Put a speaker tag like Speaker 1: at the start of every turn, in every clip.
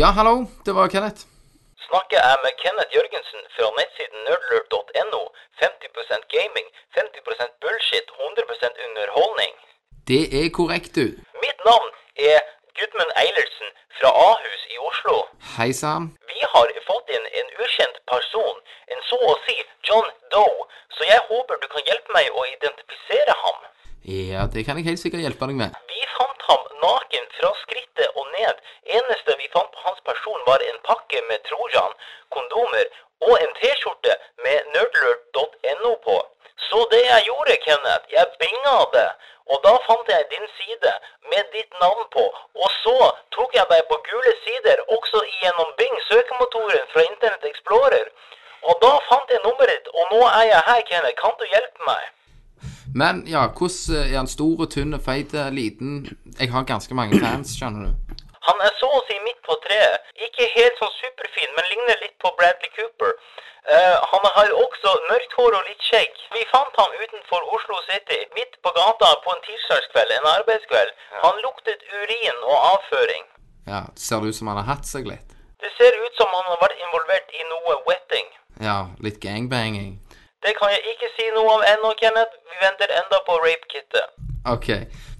Speaker 1: Ja, hallo. Det var Kenneth.
Speaker 2: Snakker jeg med Kenneth Jørgensen fra nettsiden nerdlurt.no. 50 gaming, 50 bullshit, 100 underholdning.
Speaker 1: Det er korrekt, du.
Speaker 2: Mitt navn er Gudmund Eilertsen fra Ahus i Oslo.
Speaker 1: Hei sann.
Speaker 2: Vi har fått inn en ukjent person, en så å si John Doe, så jeg håper du kan hjelpe meg å identifisere ham.
Speaker 1: Ja, det kan jeg helt sikkert hjelpe deg med.
Speaker 2: Vi fant ham naken fra skrittet og ned. Eneste vi fant på hans person var en pakke med Trojan, kondomer og en T-skjorte med nerdlurt.no på. Så det jeg gjorde, Kenneth, jeg binga det. Og da fant jeg din side med ditt navn på. Og så tok jeg deg på gule sider også gjennom Bing, søkemotoren fra Internett Explorer. Og da fant jeg nummeret ditt, og nå er jeg her, Kenneth. Kan du hjelpe meg?
Speaker 1: Men ja, hvordan eh, er han stor og tynn og feit og liten? Jeg har ganske mange fans, skjønner du.
Speaker 2: Han er så å si midt på treet. Ikke helt sånn superfin, men ligner litt på Bradley Cooper. Eh, han har også mørkt hår og litt skjegg. Vi fant ham utenfor Oslo City, midt på gata på en tirsdagskveld, en arbeidskveld. Han luktet urin og avføring.
Speaker 1: Ja, det ser ut som han har hatt seg litt.
Speaker 2: Det ser ut som han har vært involvert i noe wetting.
Speaker 1: Ja, litt gangbanging.
Speaker 2: Det kan jeg ikke si noe om ennå, Kenneth. Vi venter enda på rape-kittet.
Speaker 1: OK.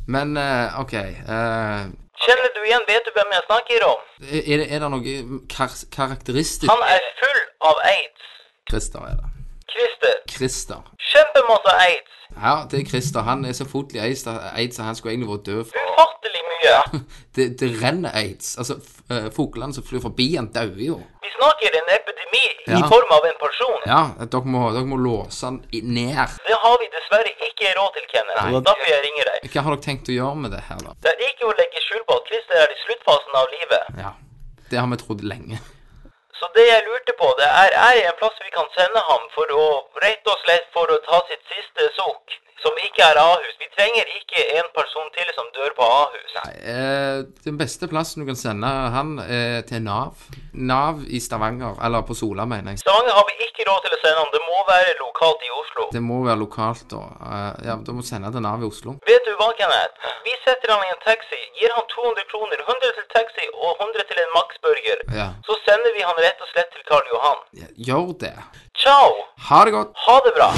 Speaker 1: Men eh, OK eh,
Speaker 2: Kjenner du igjen? Vet du hvem jeg snakker om?
Speaker 1: Er det, er det noe kar karakteristisk
Speaker 2: Han er full av aids.
Speaker 1: Christer er det.
Speaker 2: Christer.
Speaker 1: Christer.
Speaker 2: Kjempemasse aids.
Speaker 1: Ja, det er Christer. Han er så fotlig aids aids at han skulle egentlig vært død. for-
Speaker 2: Ufattelig mye.
Speaker 1: Det, det renner aids. Altså, f- eh, fuglene som flyr forbi, han dauer jo.
Speaker 2: Vi snakker en epidemi i
Speaker 1: Ja.
Speaker 2: form av en person.
Speaker 1: Ja, dere må, dere må låse han i- ned.
Speaker 2: Det har vi dessverre ikke råd til, Kenneth.
Speaker 1: Nei.
Speaker 2: Derfor jeg ringer deg.
Speaker 1: Hva har dere tenkt å gjøre med det her, da?
Speaker 2: Det er ikke å legge skjul på at Christer er i sluttfasen av livet.
Speaker 1: Ja, Det har vi trodd lenge.
Speaker 2: Så det jeg lurte på, det er er det en plass vi kan sende ham for å rett og slett for å ta sitt siste sukk, som ikke er Ahus. Vi trenger ikke en person til som dør på Ahus.
Speaker 1: Eh, den beste plassen du kan sende han, er til Nav. Nav i Stavanger, eller på Sola, mener jeg.
Speaker 2: Stavanger har vi ikke råd til å sende ham. Det må være lokalt i Oslo.
Speaker 1: Det må være lokalt, da. Eh, ja, Da må du sende til Nav i Oslo.
Speaker 2: Vet du hva, Kenneth? Vi setter han i en taxi, gir han 200 kroner, 100 til taxi og 100 til en Max-burger.
Speaker 1: Ja.
Speaker 2: Så sender vi han rett og slett til Karl Johan.
Speaker 1: Ja, Gjør det.
Speaker 2: Ciao!
Speaker 1: Ha det godt.
Speaker 2: Ha det bra!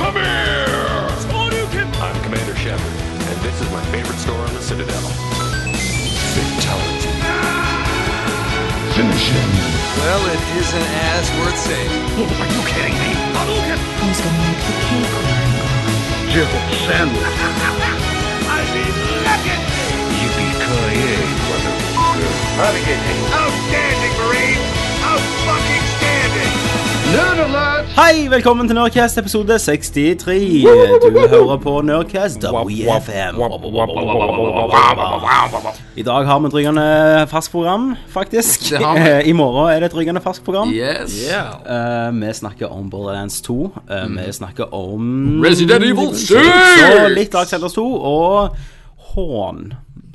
Speaker 3: Come here! I'm Commander Shepard, and this is my favorite store on the Citadel. Fatality. Finish him.
Speaker 4: Well, it isn't as worth saying.
Speaker 5: Who's gonna make the cake?
Speaker 3: Yippee-ki-yay, motherfucker.
Speaker 6: Outstanding, Marine! Out fucking standing!
Speaker 7: Hei, velkommen til Nerdcast episode 63. Du hører på Nerdcast WFM. I dag har vi et rygende fast program, faktisk.
Speaker 1: Det har vi.
Speaker 7: Eh, I morgen er det et rygende fast program.
Speaker 1: Yes.
Speaker 7: Eh, vi snakker om Borderlands 2. Eh, vi snakker om
Speaker 1: Mm. Resident Evil 7!
Speaker 7: Så litt Dark Siders 2 og Horn.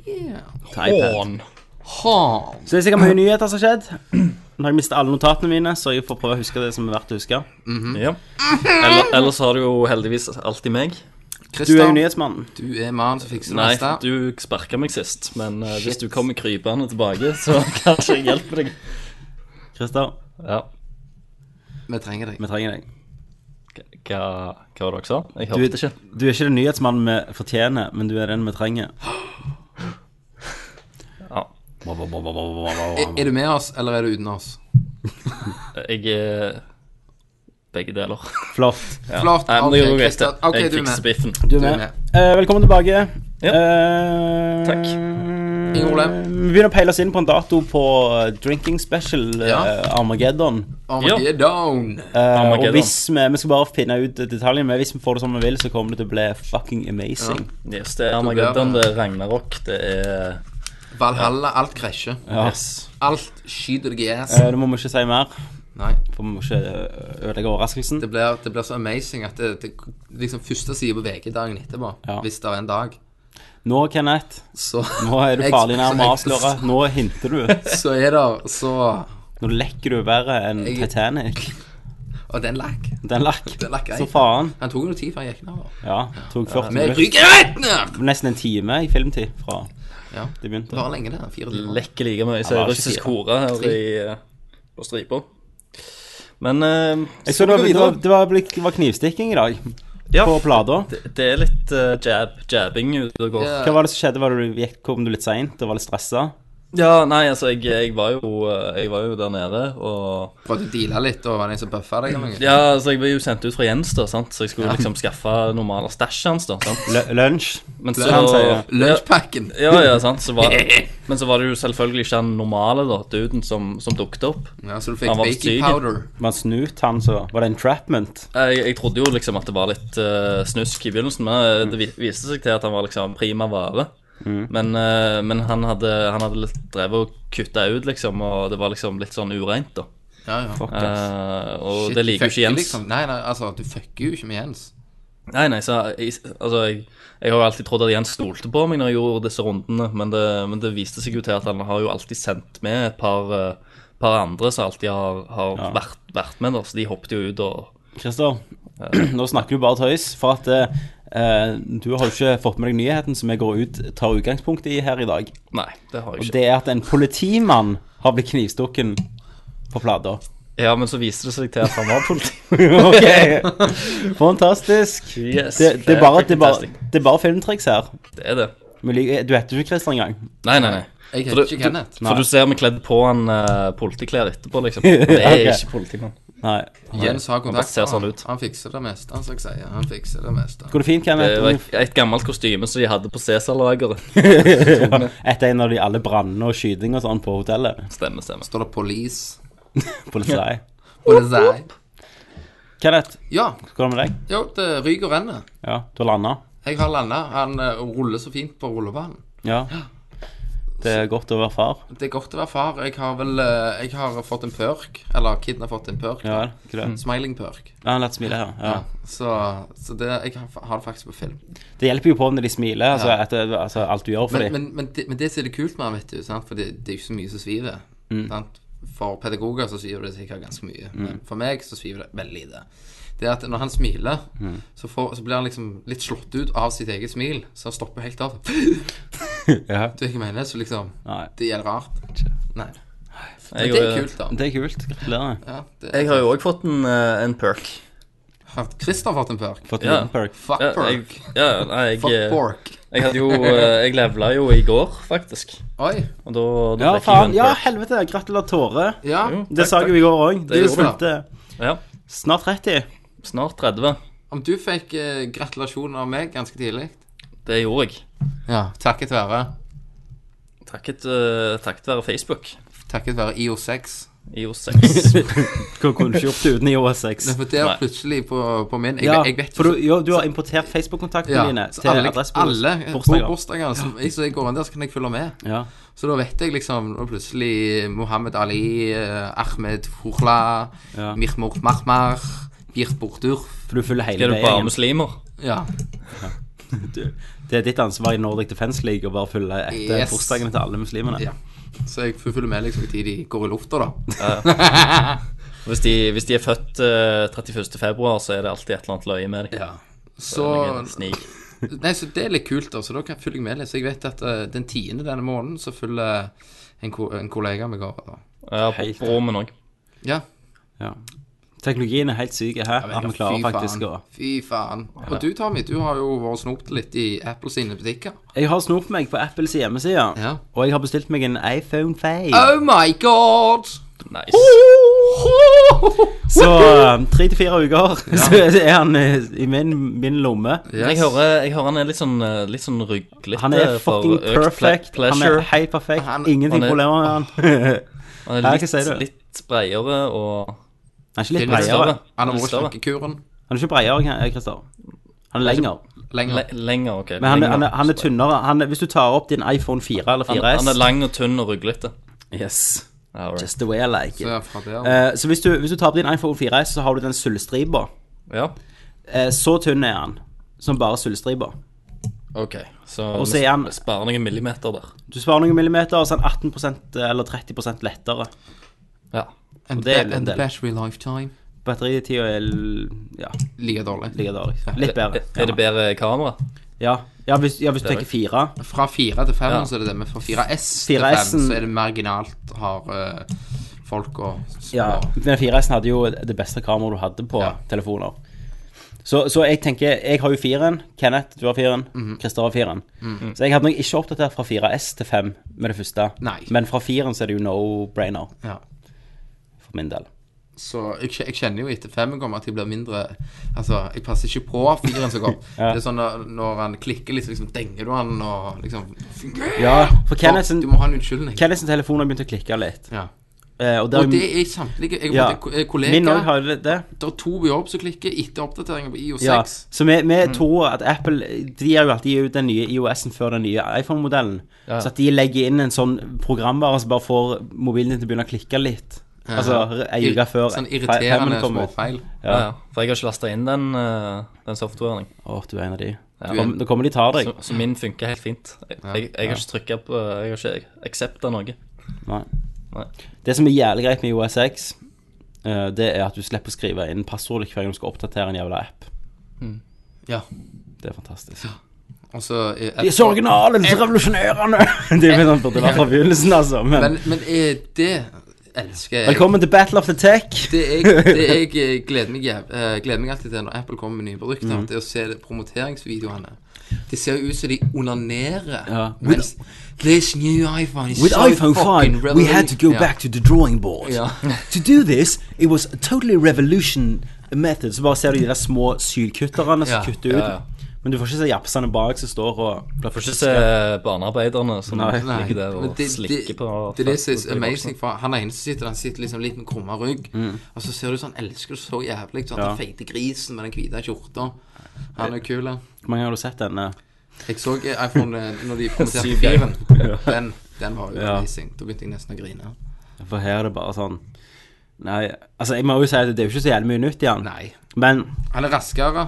Speaker 7: til iPad.
Speaker 1: Hån.
Speaker 7: Så det er sikkert mye nyheter som har skjedd. Nå har jeg mistet alle notatene mine, så jeg får prøve å huske det som er verdt å huske.
Speaker 8: Ja. Eller, ellers har du jo heldigvis alltid meg.
Speaker 7: Du er jo
Speaker 1: Christer,
Speaker 7: nyhetsmannen.
Speaker 1: du er mannen som fikser det
Speaker 8: Nei,
Speaker 1: meste.
Speaker 8: du sparka meg sist, men eh, hvis du kommer krypende tilbake, så kanskje jeg hjelper deg.
Speaker 7: Christer,
Speaker 8: Ja.
Speaker 1: Vi trenger deg.
Speaker 7: vi trenger deg.
Speaker 8: Hva, hva var det dere sa? Jeg
Speaker 7: Du,
Speaker 8: hørte
Speaker 7: er-
Speaker 8: ikke.
Speaker 7: du er ikke den nyhetsmannen vi fortjener, men du er den vi trenger.
Speaker 8: Ja.
Speaker 1: Er, er du med oss, eller er du uten oss?
Speaker 8: Jeg er begge deler.
Speaker 7: Flott.
Speaker 1: Flott.
Speaker 8: Nei, men
Speaker 1: Ok,
Speaker 8: det gjorde jeg
Speaker 1: Christer.
Speaker 8: etter.
Speaker 1: Ok,
Speaker 8: Jeg
Speaker 1: du er
Speaker 8: fikser
Speaker 1: med.
Speaker 8: biffen.
Speaker 7: Du er
Speaker 1: Du er
Speaker 7: med.
Speaker 1: med.
Speaker 7: Eh, velkommen tilbake.
Speaker 8: Ja.
Speaker 7: Eh,
Speaker 8: Takk.
Speaker 1: Ingen problem.
Speaker 7: Vi begynner å peile oss inn på en dato på eh, Drinking Special eh,
Speaker 1: Ja.
Speaker 7: Armageddon.
Speaker 1: Oh Armageddon.
Speaker 7: Eh,
Speaker 8: Armageddon.
Speaker 7: Og hvis vi, vi skal bare finne ut detaljene, men hvis vi får det som vi vil, så kommer det til å bli fucking amazing.
Speaker 8: Yes, det er Armageddon, det er Ragnarok, det er
Speaker 1: Valhalla, alt krasjer.
Speaker 7: Ja.
Speaker 8: Yes.
Speaker 1: Alt skyter deg i assen.
Speaker 7: Eh, nå må vi ikke si mer,
Speaker 1: Nei.
Speaker 7: for vi må ikke eh, ødelegge overraskelsen.
Speaker 1: Det blir, det blir så amazing at det, det liksom første side på VG dagen etterpå,
Speaker 7: Ja.
Speaker 1: hvis det er en dag,
Speaker 7: Nå, Kenneth,
Speaker 1: så
Speaker 7: nå er du
Speaker 1: Jeg-
Speaker 7: farlig nærme å
Speaker 1: så jeg-
Speaker 7: avsløre. Nå hinter du.
Speaker 1: Så er det så
Speaker 7: Nå lekker du verre enn
Speaker 1: Jeg-
Speaker 7: Titanic.
Speaker 1: Og den lakk.
Speaker 7: Den lakk.
Speaker 1: Den lakk jeg.
Speaker 7: Så faen.
Speaker 1: Han tok jo noe tid før han gikk ned. da.
Speaker 7: Ja, tok 40
Speaker 1: Med
Speaker 7: minutter.
Speaker 1: ryggen rett ned!
Speaker 7: Nesten en time i filmtid fra
Speaker 1: Ja.
Speaker 7: Det begynte.
Speaker 1: Bare lenge det. Fire timer.
Speaker 8: Lekker like mye som
Speaker 7: var
Speaker 8: ei
Speaker 7: ikke
Speaker 8: russisk
Speaker 7: fire.
Speaker 8: hore her
Speaker 1: Tre.
Speaker 8: i, eh, på stripa. Men eh,
Speaker 7: Jeg så det
Speaker 8: vi går
Speaker 7: var, det
Speaker 8: videre.
Speaker 7: var, det var, blikk- det var knivstikking i dag
Speaker 8: Ja.
Speaker 7: på plata.
Speaker 8: Det er litt eh, jab, jabbing ute og går.
Speaker 1: Ja.
Speaker 7: Hva var det som skjedde? Var det du gikk, kom du litt seint og var litt stressa?
Speaker 8: Ja, nei, altså, jeg, jeg, var jo, eh, jeg var jo der nede, og
Speaker 1: Prøvde å deale litt, og var det en som bøffa deg? eller noe?
Speaker 8: Ja, altså, jeg ble jo sendt ut fra Jens, da, sant, så jeg skulle liksom skaffe normale stæsj hans, da. sant?
Speaker 7: Lø- Lunsj?
Speaker 8: Men så
Speaker 7: Han sier.
Speaker 1: Lunsjpakken.
Speaker 8: Ja, ja, sant. Så var, men så var det jo selvfølgelig ikke den normale da, duden som, som dukket opp.
Speaker 1: Ja, så du fikk
Speaker 8: Han var
Speaker 1: baking
Speaker 8: syk.
Speaker 1: powder.
Speaker 7: Man snut han, så var det entrapment.
Speaker 8: Jeg, jeg trodde jo liksom at det var litt eh, snusk i begynnelsen, men eh, det vi- viste seg til at han var liksom prima vare. Men, eh, men han hadde, han hadde litt drevet og kutta ut, liksom, og det var liksom litt sånn ureint, da.
Speaker 1: Ja, ja.
Speaker 7: Fuck, ass.
Speaker 8: Eh, og
Speaker 1: Shit,
Speaker 8: det
Speaker 1: du
Speaker 8: liker
Speaker 1: fucker
Speaker 8: jo ikke Jens.
Speaker 1: liksom- Nei, nei, altså, du fucker jo ikke med Jens.
Speaker 8: Nei, nei, så jeg, altså, jeg, jeg har jo alltid trodd at Jens stolte på meg når jeg gjorde disse rundene, men det, men det viste seg jo til at han har jo alltid sendt med et par, eh, par andre som alltid har, har vært, vært med, da, så de hoppet jo ut og
Speaker 7: Christer, nå snakker du bare tøys, for at eh, du har jo ikke fått med deg nyheten som jeg går ut tar utgangspunkt i her i dag.
Speaker 8: Nei, det har jeg
Speaker 7: Og
Speaker 8: ikke.
Speaker 7: det er at en politimann har blitt knivstukken på plata.
Speaker 8: Ja, men så viste det seg til at han var politi.
Speaker 7: ok, fantastisk.
Speaker 8: Yes,
Speaker 7: det, det, er bare, det, er bare,
Speaker 8: fantastic.
Speaker 7: det er bare filmtriks her.
Speaker 8: Det er det.
Speaker 7: Men like- Du heter jo ikke Christer engang.
Speaker 8: Nei, nei, nei.
Speaker 1: Jeg heter
Speaker 8: For du-
Speaker 1: ikke Kenneth.
Speaker 8: Du, for du ser vi kledd på han uh, politiklær etterpå, liksom. Det er
Speaker 7: Ok.
Speaker 8: ikke politimann.
Speaker 7: Nei.
Speaker 1: Jens har kontakt
Speaker 8: ser
Speaker 1: med han.
Speaker 8: sånn ut.
Speaker 1: Han fikser det meste, han skal jeg si. Han fikser det meste.
Speaker 7: Går det fint,
Speaker 8: Det var
Speaker 7: Kenneth?
Speaker 8: et, et gammelt kostyme som de hadde på Cæsar-lageret.
Speaker 7: Etter en av de alle brannene og skyting og sånn på hotellet.
Speaker 8: Stemmer, stemmer.
Speaker 1: Står det 'police'?
Speaker 7: Politiet.
Speaker 1: Polizei.
Speaker 7: Kenneth,
Speaker 1: Ja,
Speaker 7: hvordan går det med deg?
Speaker 1: jo, det ryker og renner.
Speaker 7: Ja, du har landa?
Speaker 1: Jeg har landa. Han eh, ruller så fint på rullebanen.
Speaker 7: Ja. Det er godt å være far.
Speaker 1: Det er godt å være far. Jeg har vel eh, Jeg har fått en pørk. Eller kiden har fått en pørk.
Speaker 7: Ja vel. Ikke det?
Speaker 1: Smiling pørk.
Speaker 7: Ja, han lett smile her. Ja.
Speaker 1: Så, så det, jeg har, har det faktisk på film.
Speaker 7: Det hjelper jo på når de smiler, altså,
Speaker 1: Ja.
Speaker 7: etter, altså alt du gjør for
Speaker 1: Men,
Speaker 7: dem.
Speaker 1: men, men, det, men det som er det kult med han, vet du, sant? for det, det er jo ikke så mye som sviver.
Speaker 8: Mm.
Speaker 1: Sant? For pedagoger så sviver det sikkert ganske mye, men for meg så sviver det veldig lite. Det er at når han smiler,
Speaker 8: Mm.
Speaker 1: så, får, så blir han liksom litt slått ut av sitt eget smil. Så han stopper helt av. Du
Speaker 7: Ja.
Speaker 1: vet hva jeg mener? Så liksom
Speaker 7: Nei.
Speaker 1: Det er rart. Nei. Men
Speaker 8: Jeg,
Speaker 1: det er kult, da.
Speaker 7: Det er kult. Gratulerer.
Speaker 1: Ja, det,
Speaker 8: Jeg har jo òg fått en, eh, en perk.
Speaker 1: har Christer har fått en perk.
Speaker 7: Fått
Speaker 8: Ja.
Speaker 7: en perk.
Speaker 1: Fuck
Speaker 8: Ja, jeg,
Speaker 1: perk.
Speaker 8: ja, nei, jeg, eh,
Speaker 1: Fuck pork.
Speaker 8: jeg hadde jo eh, Jeg levela jo i går, faktisk.
Speaker 1: Oi.
Speaker 8: Og da, da
Speaker 7: Ja,
Speaker 8: fikk jeg jo
Speaker 7: faen.
Speaker 8: en
Speaker 7: Ja,
Speaker 8: perk.
Speaker 7: helvete. Gratulerer, Tåre.
Speaker 1: Ja.
Speaker 7: Det sa jeg jo i går òg. Du
Speaker 1: gjorde du.
Speaker 7: fulgte
Speaker 8: Ja,
Speaker 7: snart 30.
Speaker 8: Snart 30.
Speaker 1: Om du fikk eh, gratulasjon av meg ganske tidlig
Speaker 8: Det gjorde jeg.
Speaker 1: Ja. Takket være
Speaker 8: Takket, eh, takket være Facebook.
Speaker 1: Takket være E IO6.
Speaker 8: IO6.
Speaker 7: Hva kunne du ikke gjort det uten iOS 6?
Speaker 1: Nei, for det er
Speaker 8: Nei.
Speaker 1: plutselig på, på min Jeg,
Speaker 7: Ja,
Speaker 1: jeg vet ikke
Speaker 7: for du, jo, du har importert Facebook-kontaktene
Speaker 1: ja,
Speaker 7: dine
Speaker 1: så
Speaker 7: til
Speaker 1: alle,
Speaker 7: adresseboken.
Speaker 1: alle
Speaker 7: bursdager.
Speaker 1: på bursdager som jeg, Så jeg går inn der, så kan jeg følge med.
Speaker 7: Ja.
Speaker 1: Så da vet jeg liksom og plutselig Mohammed Ali, eh, Ahmed Hourla,
Speaker 7: Ja.
Speaker 1: Mirmort Mahmar, Birt Bortur
Speaker 7: For du følger hele
Speaker 8: Er du bare
Speaker 7: veien.
Speaker 8: muslimer?
Speaker 1: Ja.
Speaker 7: Det er ditt ansvar i Nordic Defense League å bare følge etter
Speaker 1: Yes.
Speaker 7: bursdagene til alle muslimene.
Speaker 1: ja. Så jeg følger med liksom i tid de går i lufta, da.
Speaker 8: Hvis de, hvis de er født eh, 31. februar, så er det alltid et eller annet løye med dem.
Speaker 1: Så
Speaker 8: Snik.
Speaker 1: Nei, så det er litt kult, da. Så da kan jeg følge med litt. Så jeg vet at eh, den tiende denne måneden så følger en, ko en kollega meg over. da.
Speaker 8: Ja,
Speaker 7: Helt.
Speaker 8: broren min òg.
Speaker 1: Ja.
Speaker 7: Ja. Teknologien er helt syk her. At vi klarer faktisk å
Speaker 1: Fy faen. Og du, Tommy, du har jo vært snopt litt i Apple sine butikker.
Speaker 7: Jeg har snopt meg på Apples hjemmeside,
Speaker 1: Ja.
Speaker 7: og jeg har bestilt meg en iPhone 5.
Speaker 1: Oh my god!
Speaker 8: Nice.
Speaker 7: Så um, tre til fire uker så er han eh, i min, min lomme.
Speaker 8: Jeg, hører, jeg hører han er litt sånn, eh, litt sånn ruglete.
Speaker 7: Han er
Speaker 8: for
Speaker 7: fucking
Speaker 8: økt ple-
Speaker 7: perfect. Han er
Speaker 8: pleasure.
Speaker 7: helt perfekt.
Speaker 1: Han-
Speaker 7: Ingenting
Speaker 8: han er-
Speaker 7: problemer med han. Ja,
Speaker 8: Han er
Speaker 7: hva sier du?
Speaker 8: litt, litt breiere og
Speaker 7: Han er ikke
Speaker 1: Det er
Speaker 7: litt
Speaker 1: litt
Speaker 7: breiere.
Speaker 8: større.
Speaker 1: Han har
Speaker 8: Litt
Speaker 1: vært
Speaker 8: større.
Speaker 1: snakkekuren
Speaker 7: Han er ikke breiere, K- Christer. Han er lenger.
Speaker 1: lenger.
Speaker 8: le lenger, OK.
Speaker 7: Men han, er-
Speaker 8: lenger.
Speaker 7: han, er, han er tynnere. Han er, hvis du tar opp din iPhone 4 eller
Speaker 8: Han,
Speaker 7: 4S
Speaker 8: han er lang og tynn og ruglete.
Speaker 7: Yes.
Speaker 8: Ja, alright.
Speaker 7: Just the way I like it.
Speaker 1: Så fra der.
Speaker 7: Eh, så hvis du, hvis du tar opp din iPhone 4S, så har du den sølvstripa.
Speaker 8: Ja,
Speaker 7: Eh, så tynn er han. Som bare sølvstripa.
Speaker 8: OK. Så
Speaker 7: Og så
Speaker 8: vi
Speaker 7: er han-
Speaker 8: sparer noen millimeter der.
Speaker 7: Du sparer noen millimeter, og så er han 18 eller 30 lettere.
Speaker 8: Ja.
Speaker 1: And,
Speaker 7: det er
Speaker 1: ba-
Speaker 7: jo en
Speaker 1: and
Speaker 7: del.
Speaker 1: battery lifetime.
Speaker 7: Batteritida er l- ja,
Speaker 1: Like dårlig. Eh,
Speaker 7: like dårlig. Litt bedre.
Speaker 8: Er, er det bedre kamera?
Speaker 7: Ja, ja, hvis, ja hvis du tenker fire.
Speaker 1: Fra fire til fem,
Speaker 8: Ja.
Speaker 1: så er det det. Men fra 4S til
Speaker 7: 4S-en
Speaker 1: fem, så er det marginalt har eh, folk å
Speaker 7: Ja, men 4S-en hadde jo det beste kameraet du hadde på
Speaker 1: Ja.
Speaker 7: telefoner. Så, så jeg tenker, jeg har jo 4-en, Kenneth, du har 4-en,
Speaker 1: Mhm.
Speaker 7: Christer har 4-en. Så jeg hadde nok ikke oppdatert fra 4S til 5 med det første.
Speaker 1: Nei.
Speaker 7: Men fra 4-en så er det jo no-brainer,
Speaker 1: Ja.
Speaker 7: for min del.
Speaker 1: Så jeg, kje- jeg kjenner jo etter fem kommer at jeg blir mindre Altså, jeg passer ikke på firen som går.
Speaker 7: Ja.
Speaker 1: Det er sånn når, når han klikker, liksom, liksom denger du han og liksom
Speaker 7: Ja, for Kenneth
Speaker 1: Du må ha en unnskyldning.
Speaker 7: Kenneths telefon har begynt å klikke litt.
Speaker 1: Ja.
Speaker 7: Eh, og
Speaker 1: Og det
Speaker 7: der,
Speaker 1: er samtlige jeg,
Speaker 7: Ja.
Speaker 1: har fått ko- eh, kollegaer
Speaker 7: min òg har det. det.
Speaker 1: Det er to på jobb som klikker etter oppdateringen på IO6.
Speaker 7: Ja, så vi, vi tror at Apple De gir jo alltid ut den nye IOS-en før den nye iPhone-modellen. Så at de legger inn en sånn programvare som bare får mobilen din til å begynne å klikke litt. Altså ei uke
Speaker 1: Ir-
Speaker 7: før
Speaker 1: Sånn
Speaker 7: femmen
Speaker 1: irriterende
Speaker 7: kommer ut.
Speaker 1: småfeil.
Speaker 8: Ja, ja. For jeg har ikke lasta inn den, eh, den softwaren. jeg.
Speaker 7: Å, du er en av de.
Speaker 8: Ja.
Speaker 7: Kom, da kommer de og tar deg.
Speaker 8: Så, så min funker helt fint. Jeg, jeg, jeg har ikke trykket på Jeg har ikke aksepta noe.
Speaker 7: Nei.
Speaker 8: Nei.
Speaker 7: Det som er jævlig greit med IOSX, eh, det er at du slipper å skrive inn passordet hver gang du skal oppdatere en jævla app.
Speaker 1: Ja.
Speaker 7: Det er fantastisk.
Speaker 1: Og så eh, er-
Speaker 7: De er så originale, de er så revolusjonerende! det er jo sånn, burde vært fra begynnelsen, altså. Men,
Speaker 1: Men, men eh, det elsker jeg.
Speaker 7: velkommen til Battle of the Tech.
Speaker 1: Det jeg, det jeg eh, gleder, meg, jæv- eh, gleder meg alltid til når Apple kommer med nye produkter,
Speaker 5: Mm.
Speaker 1: det er å se det- promoteringsvideoene. Det ser jo ut som de onanerer.
Speaker 7: Ja.
Speaker 1: Mens This new iPhone is
Speaker 5: With
Speaker 1: so
Speaker 5: iPhone
Speaker 1: fucking
Speaker 5: 5, we had to go
Speaker 1: revolutionary."
Speaker 5: back to the drawing board.
Speaker 1: Yeah.
Speaker 5: to do this, it was a
Speaker 7: totally revolution method. Så bare ser du de der små sylkutterne som
Speaker 1: Ja,
Speaker 7: kutter ut.
Speaker 8: ja, ja.
Speaker 7: Men du får ikke se japsene bak som står og
Speaker 8: Du får ikke se barnearbeiderne som
Speaker 7: Nei.
Speaker 1: Nei,
Speaker 8: ligger der
Speaker 1: men
Speaker 8: og slikker på
Speaker 1: det er det som er amazing. For han ene som sitter, han sitter liksom litt med krumma rygg.
Speaker 5: Mm.
Speaker 1: Og så ser du sånn, elsker du så jævlig sånn,
Speaker 7: Ja.
Speaker 1: den feite grisen med den hvite skjorta.
Speaker 5: Eh.
Speaker 1: Han er kul. han.
Speaker 7: Hvor mange har du sett denne?
Speaker 1: Jeg så eh, iPhone eh, når de promoterte
Speaker 8: Syv, ja.
Speaker 1: firen. Den, den var jo
Speaker 7: Ja.
Speaker 1: amazing. Da begynte jeg nesten å grine.
Speaker 7: For her er det bare sånn Nei, altså jeg må jo si at det er jo ikke så jævlig mye nytt i den.
Speaker 1: Nei.
Speaker 7: Men
Speaker 1: Han er raskere.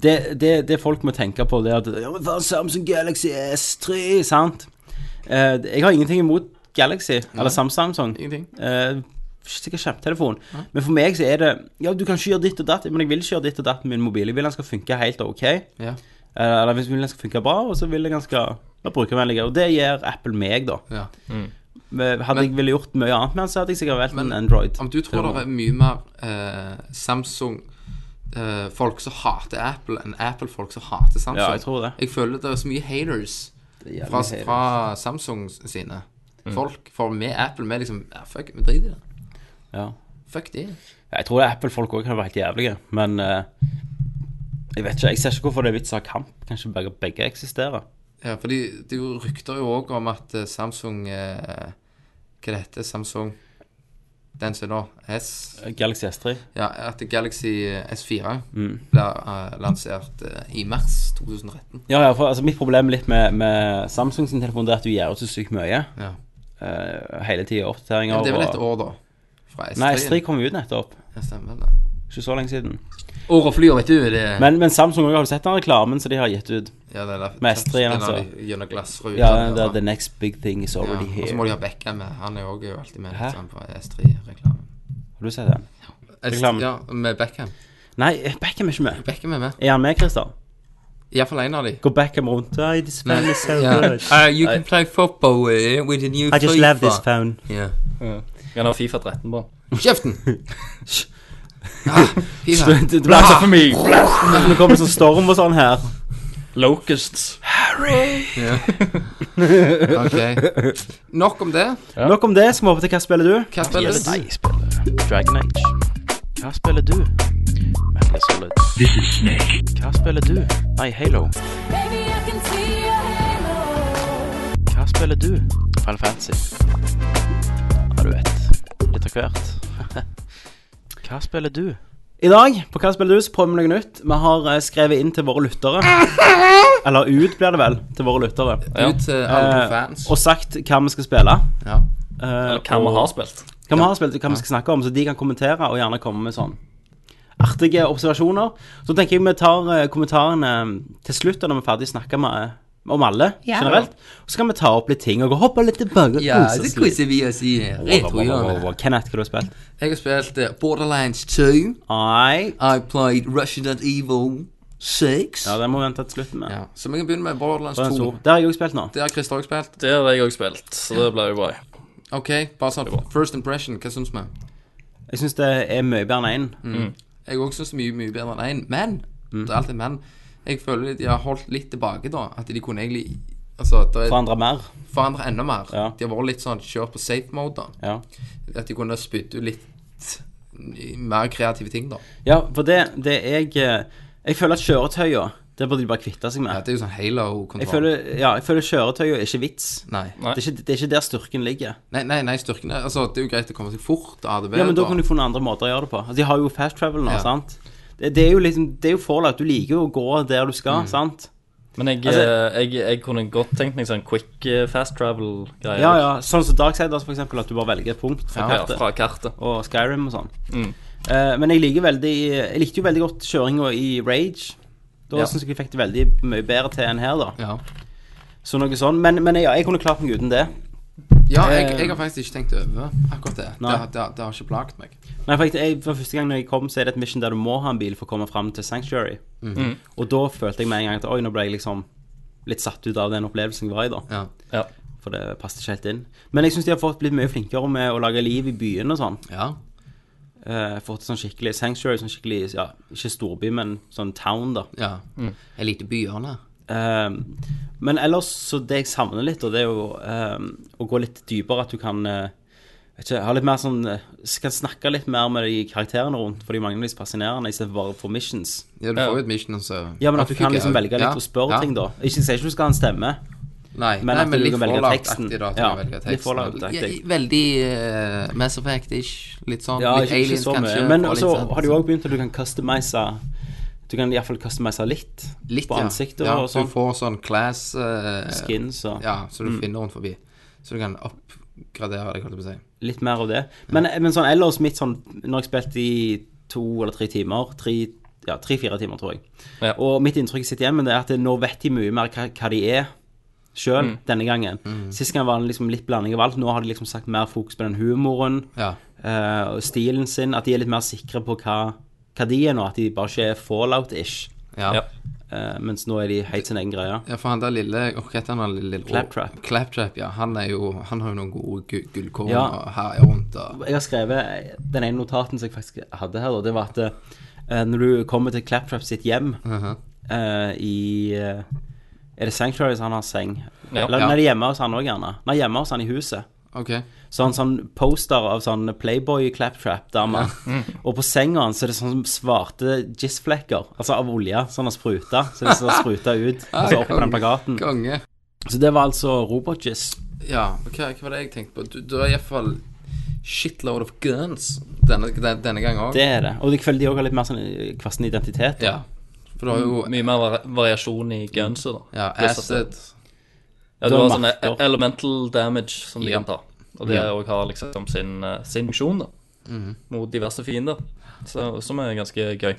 Speaker 7: det, det, det folk må tenke på, det er at ja, men faen, Samsung Galaxy S3, sant? Eh, jeg har ingenting imot Galaxy eller Sam- Samsung.
Speaker 1: Ingenting.
Speaker 7: Eh, sikkert kjempetelefon. Men for meg så er det Ja, du kan ikke gjøre ditt og datt, men jeg vil ikke gjøre ditt og datt med min mobil. Jeg vil den skal funke helt ok.
Speaker 1: Ja.
Speaker 7: Eh, Eller hvis den skal funke bra, og så vil den skal være brukervennlig. Og det gjør Apple meg, da.
Speaker 1: ja.
Speaker 7: Men Hadde jeg ville gjort mye annet med den, så hadde jeg sikkert valgt en
Speaker 1: Men
Speaker 7: Android.
Speaker 1: Om du tror det er mye mer eh, Samsung-folk som hater Apple, enn Apple-folk som hater Samsung.
Speaker 7: Ja, jeg tror det.
Speaker 1: Jeg føler det er så mye haters sånn-
Speaker 7: jævlig
Speaker 1: fra,
Speaker 7: haters.
Speaker 1: fra Samsung sine folk. For med Apple, vi liksom ja, Fuck, vi driter i det.
Speaker 7: Ja.
Speaker 1: Fuck de.
Speaker 7: Jeg tror det er Apple-folk òg kan være helt jævlige, men eh, jeg vet ikke, jeg ser ikke hvorfor det er vits å ha kamp. Kanskje begge, begge eksisterer.
Speaker 1: Ja, for det er jo rykter jo òg om at eh, Samsung eh, Hva det heter Samsung Den som er nå S
Speaker 7: Galaxy S3.
Speaker 1: Ja, at Galaxy S4
Speaker 7: Mm.
Speaker 1: ble eh, lansert eh, i mars 2013.
Speaker 7: Ja, ja, for altså, Mitt problem litt med, med Samsung sin telefon det er at du gjør ut så sykt mye.
Speaker 1: Ja.
Speaker 7: eh, hele tida oppdateringer.
Speaker 1: Men det er vel et
Speaker 7: og-
Speaker 1: år, da? Fra S3?
Speaker 7: Nei, S3 kom jo ut nettopp.
Speaker 1: Ja, stemmer det.
Speaker 7: Ikke så lenge siden.
Speaker 1: Året flyr, vet du. Det...
Speaker 7: Men, men Samsung også, har du sett den reklamen som de har gitt ut?
Speaker 1: ja, det er derfor,
Speaker 7: med S3 igjen,
Speaker 1: Den har
Speaker 7: altså.
Speaker 1: de Gjennom glassruta.
Speaker 7: Ja, det er The Next Big Thing Is
Speaker 1: sånn. ja.
Speaker 7: Already
Speaker 1: Og så må
Speaker 7: Here.
Speaker 1: de ha Beckham med. Han er jo også alltid med
Speaker 7: Hæ?
Speaker 1: liksom, på S3-reklamen.
Speaker 7: Har du sett den? Reklamen.
Speaker 1: Ja, med Beckham.
Speaker 7: Nei, eh, Beckham er ikke med.
Speaker 1: Beckham er med.
Speaker 7: Er han med, Christer?
Speaker 1: Iallfall én av de.
Speaker 7: Går Beckham rundt Nei, this phone is so
Speaker 1: Ja.
Speaker 7: good.
Speaker 1: Uh, you can play football with, it with a new
Speaker 7: I just love this
Speaker 1: FIFA.
Speaker 7: phone.
Speaker 1: Yeah.
Speaker 8: Kan ha Fifa 13 på den.
Speaker 1: Kjeften! ah, FIFA.
Speaker 7: Du blæser for meg! Det kommer sånn storm og sånn her.
Speaker 8: Locusts.
Speaker 1: Ok. Nok om det.
Speaker 7: Nok om det. Skal vi hoppe til hva spiller du?
Speaker 1: Hva spiller du?
Speaker 7: Dragon Age. Hva spiller du? Metal Gear Solid. Hva spiller du? Nei, Halo.
Speaker 9: Baby, I can see your halo.
Speaker 7: Hva spiller du? Final Fantasy. Ja, du vet. Litt av hvert. Hva spiller du? I dag på Hva spiller du, så prøver vi noe nytt. Vi har eh, skrevet inn til våre lyttere. Eller ut, blir det vel, til våre lyttere.
Speaker 1: Ut til alle
Speaker 7: Eh,
Speaker 1: fans.
Speaker 7: Og sagt hva vi skal spille.
Speaker 1: Ja.
Speaker 7: Eh,
Speaker 8: Hva vi
Speaker 7: og-
Speaker 8: har spilt.
Speaker 7: Hva vi har spilt, og hva vi skal snakke om, så de kan kommentere og gjerne komme med sånn artige observasjoner. Så tenker jeg vi tar eh, kommentarene mm, til slutt, og når vi er ferdig snakke med, om alle generelt. Og så kan vi ta opp litt ting og gå hoppe litt tilbake. og
Speaker 1: Ja,
Speaker 7: kose
Speaker 1: det
Speaker 7: oss litt.
Speaker 1: quizer vi oss i
Speaker 7: Wow, wow,
Speaker 1: retrohjørnet.
Speaker 7: wow. Kenneth, hva har du spilt?
Speaker 1: Jeg har spilt eh, Borderlands 2.
Speaker 7: Nei,
Speaker 1: I played Resident Evil. Six.
Speaker 7: Ja, den må vi vente til slutten med.
Speaker 1: Ja. Så vi kan begynne med Borderlands
Speaker 7: Den
Speaker 1: 2.
Speaker 7: store. Der har jeg òg spilt nå.
Speaker 1: Det har Christer også spilt.
Speaker 8: Det har jeg òg spilt, så det blir jo bra.
Speaker 1: Ok, bare sånn first impression, hva syns vi?
Speaker 7: Jeg syns det er mye bedre enn én.
Speaker 1: Mm. Jeg òg syns det er mye, mye bedre enn én, men Det er alltid men. Jeg føler de har holdt litt tilbake, da. At de kunne egentlig Altså, det er
Speaker 7: Forandra mer.
Speaker 1: forandra enda mer.
Speaker 7: Ja.
Speaker 1: De har vært litt sånn kjørt på safe mode, da.
Speaker 7: Ja.
Speaker 1: At de kunne spydd ut litt mer kreative ting, da.
Speaker 7: ja, for det, det er jeg eh, Jeg føler at kjøretøya Det burde de bare kvitte seg
Speaker 1: Ja,
Speaker 7: med.
Speaker 1: det er jo sånn
Speaker 7: Jeg
Speaker 1: halo-kontroll.
Speaker 7: føler, ja, jeg føler kjøretøya er ikke vits.
Speaker 1: Nei.
Speaker 7: Det er ikke, det er ikke der styrken ligger.
Speaker 1: Nei, nei, nei, styrken er Altså, det er jo greit å komme seg fort av ADB,
Speaker 7: Ja, men da kunne du funnet andre måter å gjøre det på. Altså, de har jo fast travel nå,
Speaker 1: Ja.
Speaker 7: sant? Det, det er jo liksom, det er jo Fallout. Du liker jo å gå der
Speaker 1: Mm.
Speaker 7: du skal, sant?
Speaker 8: Men jeg,
Speaker 7: Altså-
Speaker 8: eh, jeg, jeg kunne godt tenkt meg sånn quick eh, fast travel-greier.
Speaker 7: Ja, ja. Sånn som Darksiders, for eksempel, at du bare velger et punkt fra
Speaker 8: Ja,
Speaker 7: kartet.
Speaker 8: fra kartet.
Speaker 7: Og Skyrim og sånn.
Speaker 1: Mm.
Speaker 7: Eh, men jeg liker veldig Jeg likte jo veldig godt kjøringa i Rage. Da
Speaker 1: Ja.
Speaker 7: synes syns jeg jeg fikk det veldig mye bedre til enn her, da.
Speaker 1: Ja.
Speaker 7: Så noe sånn. Men, men ja, jeg kunne klart meg uten det.
Speaker 1: Ja, jeg,
Speaker 7: Eh,
Speaker 1: jeg har faktisk ikke tenkt over akkurat det. Det,
Speaker 7: Nei.
Speaker 1: har- det, har- det har ikke plaget meg.
Speaker 7: Nei, for, jeg, jeg, for første gang når jeg kom, så er det et mission der du må ha en bil for å komme fram til Sanctuary. Og da følte jeg med en gang at oi, nå ble jeg liksom litt satt ut av den opplevelsen jeg var i, da.
Speaker 1: Ja.
Speaker 8: Ja.
Speaker 7: For det passet ikke helt inn. Men jeg syns de har fått blitt mye flinkere med å lage liv i byen og sånn.
Speaker 1: ja.
Speaker 7: Eh, fått sånn skikkelig Sanctuary, sånn skikkelig ja, ikke storby, men sånn town, da.
Speaker 1: ja. Jeg likte byene.
Speaker 7: Eh, men ellers, så det jeg savner litt, og det er jo eh, å gå litt dypere, at du kan eh, vet ikke, ha litt mer sånn eh, Kan snakke litt mer med de karakterene rundt, for de mangler litt fascinerende, istedenfor bare for missions.
Speaker 1: Ja, du får jo et mission, altså.
Speaker 7: Ja, men at du kan
Speaker 1: fikk
Speaker 7: liksom
Speaker 1: jeg-
Speaker 7: velge litt og spørre
Speaker 1: ja.
Speaker 7: ting, da. Ikke jeg sier ikke du skal ha en stemme.
Speaker 1: Nei,
Speaker 7: men
Speaker 1: men, nei,
Speaker 7: at
Speaker 1: men
Speaker 7: du
Speaker 1: litt
Speaker 7: kan velge
Speaker 1: Fallout-aktig,
Speaker 7: teksten.
Speaker 1: da. At du
Speaker 7: Ja,
Speaker 1: kan velge
Speaker 7: litt
Speaker 1: teksten.
Speaker 7: Fallout-aktig.
Speaker 1: Ja, i- veldig uh, Mass Effect-ish. Litt sånn.
Speaker 7: Ja,
Speaker 1: litt
Speaker 7: ikke, ikke
Speaker 1: aliens,
Speaker 7: så mye.
Speaker 1: kanskje.
Speaker 7: Men
Speaker 1: og litt
Speaker 7: så
Speaker 1: sånn-
Speaker 7: har du jo òg begynt at du kan customize Du kan iallfall customize litt,
Speaker 1: Litt,
Speaker 7: på
Speaker 1: ja.
Speaker 7: ansiktet
Speaker 1: ja,
Speaker 7: og sånn.
Speaker 1: Du får sånn class eh,
Speaker 7: Skins og
Speaker 1: Ja, som du finner rundt forbi. Så du kan oppgradere deg, holdt jeg på å si.
Speaker 7: litt mer av det. Men, men sånn ellers mitt sånn Når jeg spilte i to eller tre timer tre, Ja, tre-fire timer, tror jeg.
Speaker 8: Ja.
Speaker 7: Og mitt inntrykk sitter igjen med det er at nå vet de mye mer hva, hva de er sjøl
Speaker 1: Mm.
Speaker 7: denne gangen. Sist gang var det liksom litt blanding av alt. Nå har de liksom sagt mer fokus på den humoren.
Speaker 1: Ja.
Speaker 7: eh, og stilen sin, at de er litt mer sikre på hva, hva de er nå, at de bare ikke er fallout-ish.
Speaker 1: Ja.
Speaker 8: Ja.
Speaker 1: ja.
Speaker 7: eh, mens nå er de helt sin egen greie.
Speaker 1: for han der lille Hva heter han der lille
Speaker 7: Claptrap.
Speaker 1: Claptrap, ja. Han, er jo, han har jo noen gode gu- gullkorn
Speaker 7: Ja.
Speaker 1: og herjer rundt og
Speaker 7: Jeg har skrevet eh, den ene notaten som jeg faktisk hadde her, da, det var at eh, når du kommer til Claptrap sitt hjem eh, i eh, Er det Sanctuary som han har seng?
Speaker 8: Ja.
Speaker 7: Eller
Speaker 1: Ja.
Speaker 7: nei, det er hjemme hos han òg, gjerne. Nei, hjemme hos han i huset.
Speaker 1: Ok.
Speaker 7: Så han sånn poster av sånn Playboy Claptrap-dame.
Speaker 1: Mm.
Speaker 7: Og på senga hans så er det sånn svarte gizzflekker, altså av olje, sånn har spruta. Så det ser spruta ut,
Speaker 1: Ah,
Speaker 7: og så opp på den plakaten.
Speaker 1: Konge.
Speaker 7: Så det var altså robotgiss.
Speaker 1: Ja, hva, hva var det jeg tenkte på? Du, du har iallfall shitload of guns denne, den- denne gangen òg.
Speaker 7: Det er det. Og jeg føler de òg har litt mer sånn eh, kvassen identitet.
Speaker 1: Ja. For du har jo
Speaker 7: Mm,
Speaker 8: Mye mer vari- variasjon i gunset, da.
Speaker 1: ja,
Speaker 8: Pluss at det-
Speaker 1: acid
Speaker 8: Ja, du
Speaker 7: Du har
Speaker 8: har sånn
Speaker 7: marker.
Speaker 8: e- elemental damage som de
Speaker 1: Ja. Mhm.
Speaker 8: kan ta. Og det òg har liksom sin, eh, sin funksjon, da. Mot diverse fiender. Så, som er ganske gøy.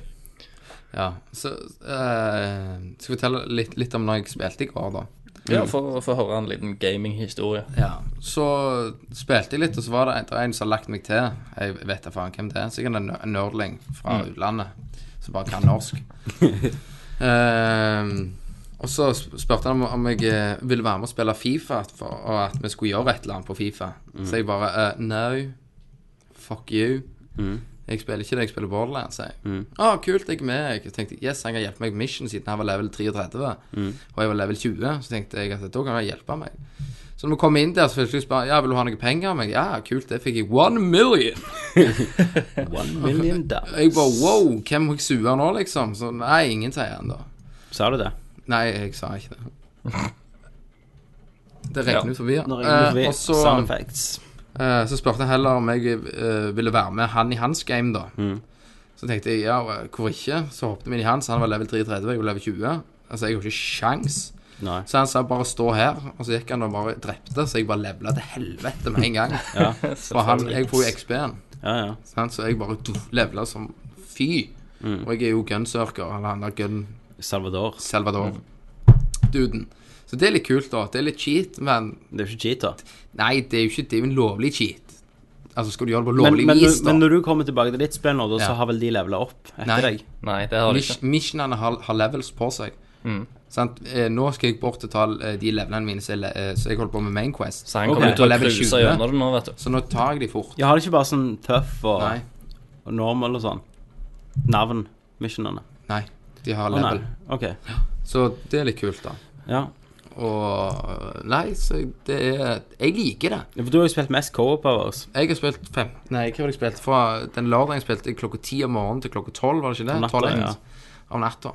Speaker 1: Ja. Så eh, skal vi fortelle litt, litt om når jeg spilte i går, da.
Speaker 8: Ja, for å få høre en liten gaminghistorie.
Speaker 1: Ja, så spilte jeg litt, og så var det en, det var en som har lagt meg til. Jeg vet da faen hvem det er. Sikkert en nø- en nerdling fra utlandet som bare kan norsk. Ehm, og så sp- spurte han om, om jeg eh, ville være med og spille Fifa, for, og at vi skulle gjøre et eller annet på Fifa. Så jeg bare eh, No, fuck you. Jeg spiller ikke det, jeg spiller Borderlands, sier jeg. Å, kult, jeg er med. Jeg tenkte yes, han kan hjelpe meg med Mission siden han var level 33, og jeg var level 20. Så tenkte jeg at da kan han hjelpe meg. Så når vi kom inn der, så fikk jeg spørre Ja, vil du ha noe penger av meg? Ja, kult, det fikk jeg. One million!
Speaker 7: One million dollars.
Speaker 1: Jeg bare wow, hvem må jeg sue nå, liksom? Så nei, ingen sier han da.
Speaker 7: Sa du det?
Speaker 1: Nei, jeg sa ikke det. Det regner ut forbi. ja.
Speaker 7: Når jeg
Speaker 1: Eh,
Speaker 7: ble
Speaker 1: og så,
Speaker 7: sound effects.
Speaker 1: eh, så spurte han heller om jeg eh, ville være med han i hans game, da. Så tenkte jeg ja, hvorfor ikke? Så hoppet vi inn i hans. Han var level 33, jeg var level 20. Altså, jeg har ikke sjans.
Speaker 7: Nei.
Speaker 1: Så han sa bare stå her, og så gikk han og bare drepte, så jeg bare levela til helvete med en gang. For han, jeg får jo XP-en.
Speaker 7: Ja, ja.
Speaker 1: Sant? Så jeg bare tuff, levela som fy.
Speaker 7: Mm.
Speaker 1: Og jeg er jo gunsurker, eller han der gun
Speaker 7: Salvador.
Speaker 1: Salvador. Duden. Så det er litt kult, da. Det er litt cheat, men
Speaker 7: Det er jo ikke cheater.
Speaker 1: Nei, det er jo ikke det er jo en lovlig cheat. Altså, skal du gjøre det på
Speaker 7: Men,
Speaker 1: lovlig
Speaker 7: men,
Speaker 1: vis,
Speaker 7: du,
Speaker 1: da?
Speaker 7: men når du kommer tilbake til ditt spill nå, da,
Speaker 1: Ja.
Speaker 7: så har vel de levela opp etter
Speaker 1: Nei.
Speaker 7: deg?
Speaker 8: Nei, det har de
Speaker 1: Mish-
Speaker 8: ikke.
Speaker 1: Missionene har, har levels på seg.
Speaker 7: Mm.
Speaker 1: Sant? Eh, nå skal jeg bort og ta eh, de levelene mine som jeg, le- eh, som jeg holder på med Main Quest.
Speaker 8: Så han
Speaker 7: Ok.
Speaker 8: kommer ut og
Speaker 1: Level
Speaker 8: cruiser
Speaker 1: 20.
Speaker 8: gjennom det nå, vet du.
Speaker 1: Så nå tar jeg de fort.
Speaker 7: Ja, har det ikke bare sånn tøff og,
Speaker 1: Nei.
Speaker 7: og normal og sånn? Navn? Missionene?
Speaker 1: Nei. De har
Speaker 7: Å nei.
Speaker 1: level.
Speaker 7: Ok.
Speaker 1: Så det er litt kult, da.
Speaker 7: Ja.
Speaker 1: Og eh, Nei, så det er Jeg liker det.
Speaker 7: Ja, For du har jo spilt mest co-op av oss.
Speaker 1: Jeg har spilt fem Nei, hva var det jeg spilte? Fra den lørdagen spilte jeg klokka ti om morgenen til klokka tolv, var det ikke det?
Speaker 7: Om natta,
Speaker 1: 12
Speaker 7: ja.
Speaker 1: Om natta.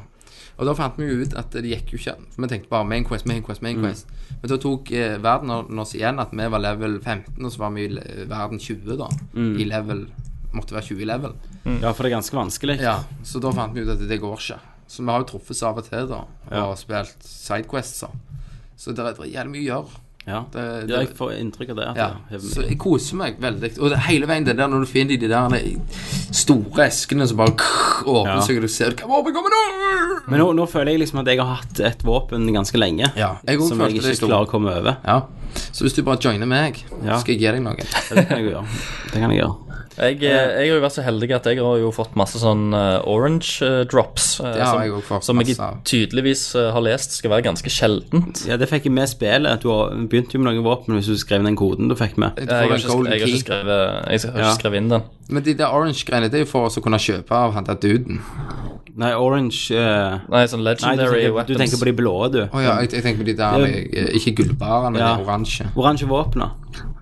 Speaker 1: Og da fant vi jo ut at det gikk jo ikke an. Vi tenkte bare Main Quest, Main Quest,
Speaker 7: Mm.
Speaker 1: Main Quest. Men da tok eh, verden oss igjen at vi var level 15, og så var vi i le- verden 20, da.
Speaker 7: Mm.
Speaker 1: I level Måtte være 20 i level.
Speaker 7: Ja, for det er ganske vanskelig.
Speaker 1: Mm. Ja, så da fant vi ut at det går ikke. Så vi har jo truffes av og til, da, og
Speaker 7: Ja.
Speaker 1: spilt sidequests. da. Så det er det er jævlig mye å gjøre.
Speaker 7: Ja.
Speaker 1: Det-
Speaker 7: Ja, jeg
Speaker 1: det-
Speaker 7: får inntrykk av det. At
Speaker 1: Ja,
Speaker 7: det
Speaker 1: så jeg koser meg veldig. Og det, hele veien det der når du finner de der store eskene som bare krr, åpner
Speaker 7: Ja.
Speaker 1: seg, og du ser hva våpen kommer nå!
Speaker 7: Men nå, nå føler jeg liksom at jeg har hatt et våpen ganske lenge.
Speaker 1: Ja, jeg også
Speaker 7: som jeg
Speaker 1: følte det
Speaker 7: ikke
Speaker 1: i stor-
Speaker 7: klarer å komme over.
Speaker 1: Ja, så hvis du bare joiner meg,
Speaker 7: Ja.
Speaker 1: skal jeg gi deg noe.
Speaker 7: Det kan jeg jo gjøre. Det kan jeg gjøre.
Speaker 8: Jeg, eh, jeg har jo vært så heldig at jeg har jo fått masse sånn eh, orange eh, drops. eh,
Speaker 1: har
Speaker 8: som,
Speaker 1: jeg også fått
Speaker 8: Som jeg
Speaker 1: masse av.
Speaker 8: tydeligvis eh, har lest skal være ganske sjeldent.
Speaker 7: Ja, det fikk jeg med spillet. at Du har- begynte jo med noen våpen hvis du skrev den koden du fikk med.
Speaker 1: Du
Speaker 8: Eh, Jeg
Speaker 1: får
Speaker 8: har
Speaker 1: en
Speaker 8: ikke, jeg
Speaker 1: golden
Speaker 8: har ikke,
Speaker 1: key.
Speaker 8: skrevet, jeg har ikke
Speaker 7: Ja.
Speaker 8: skrevet inn den.
Speaker 1: Men de der orange-greiene, det er jo for oss å kunne kjøpe av han der duden.
Speaker 7: Nei, orange eh,
Speaker 8: Nei, sånn
Speaker 7: Nei, du tenker,
Speaker 8: legendary
Speaker 7: du
Speaker 8: weapons.
Speaker 7: tenker på de blå, du.
Speaker 1: Å ja, jeg, jeg tenker på de der eh, Ikke gullbarene, men
Speaker 7: Ja.
Speaker 1: de oransje.
Speaker 7: Oransje våpna.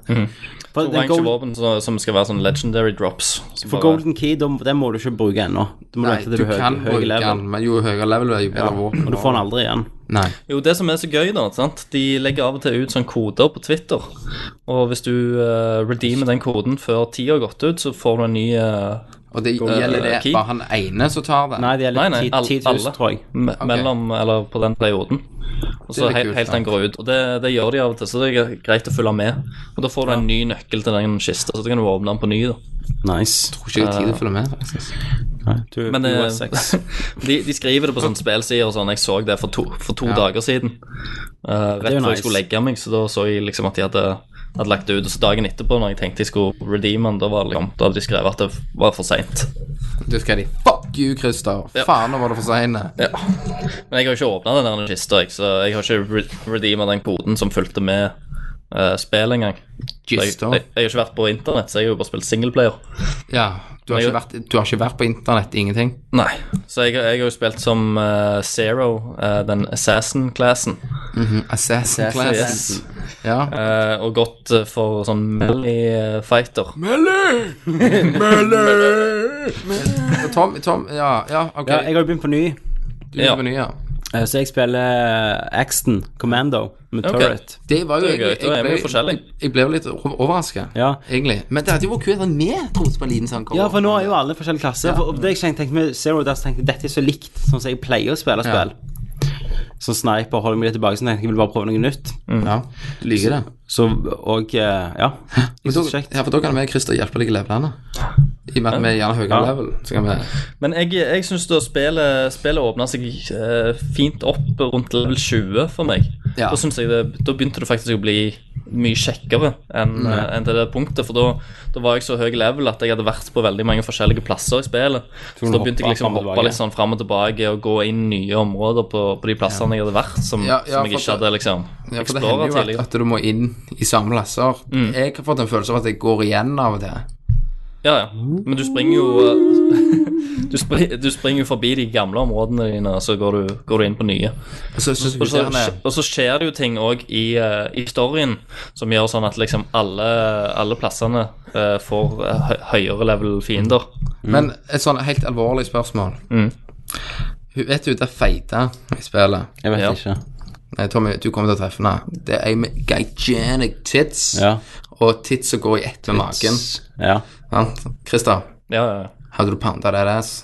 Speaker 1: Mm.
Speaker 7: For, den
Speaker 8: Oransje
Speaker 7: gold-
Speaker 8: våpen som, som skal være sånn legendary drops. som
Speaker 7: for
Speaker 8: bare-
Speaker 7: golden key, da- den må du ikke bruke ennå. Du må
Speaker 1: Nei,
Speaker 7: vente til
Speaker 1: du
Speaker 7: du er
Speaker 1: kan
Speaker 7: høy, høy
Speaker 1: bruke den,
Speaker 7: level.
Speaker 1: men jo høyere level du er, jo bedre våpen.
Speaker 7: Og du får den aldri igjen.
Speaker 1: Nei.
Speaker 8: Jo, det som er så gøy, da, sant? de legger av og til ut sånn koder på Twitter. Og hvis du eh, redeemer den koden før tida har gått ut, så får du en ny eh,
Speaker 1: Og det
Speaker 8: Golden
Speaker 1: gjelder det
Speaker 8: key.
Speaker 1: bare han ene som tar det.
Speaker 7: Nei, det
Speaker 8: Nei,
Speaker 7: gjelder
Speaker 8: nei,
Speaker 7: 10
Speaker 8: all-
Speaker 7: 10 000,
Speaker 8: alle.
Speaker 7: tror jeg.
Speaker 8: me
Speaker 1: Ok.
Speaker 8: mellom Eller på den perioden. Og så
Speaker 1: Det er
Speaker 8: he
Speaker 1: kult,
Speaker 8: helt den
Speaker 1: da.
Speaker 8: går ut. Og det, det gjør de av og til, så det er greit å følge med. Og da får du en ny nøkkel til den kista, så da kan du åpne den på ny. da
Speaker 7: Nice.
Speaker 1: Tror ikke jeg har tid til å følge med. faktisk.
Speaker 7: Du,
Speaker 8: Men
Speaker 7: du
Speaker 8: eh,
Speaker 7: har sex.
Speaker 8: de, de skriver det på sånne spillsider og sånn. Jeg så det for to, for to dager siden. Eh, rett
Speaker 7: jo
Speaker 8: før
Speaker 7: nice.
Speaker 8: jeg skulle legge meg, så da så jeg liksom at de hadde, hadde lagt det ut. Og så dagen etterpå, når jeg tenkte jeg skulle redeeme den, da, var det liksom, da hadde de skrevet at det var for seint.
Speaker 1: Da skal de Fuck you, Christer! Faen, nå var det for seine.
Speaker 8: Ja. Men jeg har jo ikke åpna den der kista, jeg, så jeg har ikke re- redeema den koden som fulgte med uh, spill engang. Så Jeg,
Speaker 1: Kista.
Speaker 8: jeg, jeg har ikke vært på internett, så jeg har jo bare spilt singleplayer.
Speaker 1: Ja, du har,
Speaker 8: Men jeg-
Speaker 1: ikke vært, du har ikke vært på internett, ingenting?
Speaker 8: Nei, så jeg, jeg har jo spilt som eh, Zero, eh, den assassin-classen.
Speaker 1: Assassin Class.
Speaker 8: Yes.
Speaker 1: Mm, Ja.
Speaker 8: Eh, og gått eh, for sånn melee fighter.
Speaker 1: Tom, Tom Ja, ja ok.
Speaker 7: Ja, jeg har jo begynt på ny,
Speaker 1: du er
Speaker 8: ja.
Speaker 1: på ny, ja.
Speaker 7: eh, så jeg spiller eh, Axton Commando med
Speaker 8: Ok.
Speaker 7: turret.
Speaker 1: Det var jo
Speaker 8: Det er gøy, da er vi jo
Speaker 1: ble,
Speaker 8: forskjellige.
Speaker 1: jeg ble jo litt overraska,
Speaker 7: Ja.
Speaker 1: egentlig. Men det hadde jo vært kult om vi trodde det var liten sånn
Speaker 7: Ja, for nå er jo alle forskjellige klasser. For det jeg tenkte med Zero Dash, tenkte jeg, dette er så likt sånn som jeg pleier å
Speaker 1: Ja.
Speaker 7: spille spill. Som sniper holder meg litt tilbake, så tenkte jeg jeg vil bare prøve noe nytt.
Speaker 1: Mm. ja, Du liker det.
Speaker 7: Så, og eh, ja. Jeg
Speaker 1: Men da,
Speaker 7: synes det er kjekt.
Speaker 1: ja, for da kan vi og Christer hjelpe deg i levelene. I og med at vi er gjerne høyere level. Så kan vi
Speaker 8: Men jeg, jeg syns da spillet, spillet åpna seg eh, fint opp rundt level 20 for meg.
Speaker 1: Ja.
Speaker 8: Da, synes jeg det, da begynte det faktisk å bli mye kjekkere enn
Speaker 1: Mm,
Speaker 8: eh, enn til det punktet. For da, da var jeg så høy level at jeg hadde vært på veldig mange forskjellige plasser i spillet. Så da begynte jeg
Speaker 7: frem
Speaker 8: liksom å
Speaker 7: og
Speaker 8: hoppe
Speaker 7: tilbake.
Speaker 8: litt sånn fram og tilbake og gå inn nye områder på, på de plassene jeg hadde vært, som,
Speaker 1: Ja, ja,
Speaker 8: som
Speaker 1: for
Speaker 8: jeg ikke
Speaker 1: det-
Speaker 8: hadde liksom
Speaker 1: Ja, for det hender
Speaker 8: eksplora
Speaker 1: jo at,
Speaker 8: tidligere.
Speaker 1: at du må inn i samme plasser.
Speaker 7: Mm.
Speaker 1: Jeg har fått en følelse av at jeg går igjen av og til.
Speaker 8: Ja, ja. Men du springer jo eh, du, spri- du springer jo forbi de gamle områdene dine, og så går du, går du inn på nye.
Speaker 1: Og så, så,
Speaker 8: Og så,
Speaker 1: irriterende-
Speaker 8: og så skjer det jo ting òg i, eh, i storyen som gjør sånn at liksom alle, alle plassene eh, får eh, hø- høyere level fiender.
Speaker 1: Men et sånn helt alvorlig spørsmål.
Speaker 7: Mm.
Speaker 1: Hun vet du, det er feita i spillet.
Speaker 7: Jeg vet
Speaker 8: Ja.
Speaker 7: ikke.
Speaker 1: Nei, Tommy, du kommer til å treffe henne. Det er ei med gigantic tits
Speaker 7: Ja.
Speaker 1: og tits som går i ett med magen.
Speaker 7: Ja.
Speaker 1: Sant? Christer,
Speaker 8: Ja, ja, ja.
Speaker 1: hadde du panda that ass?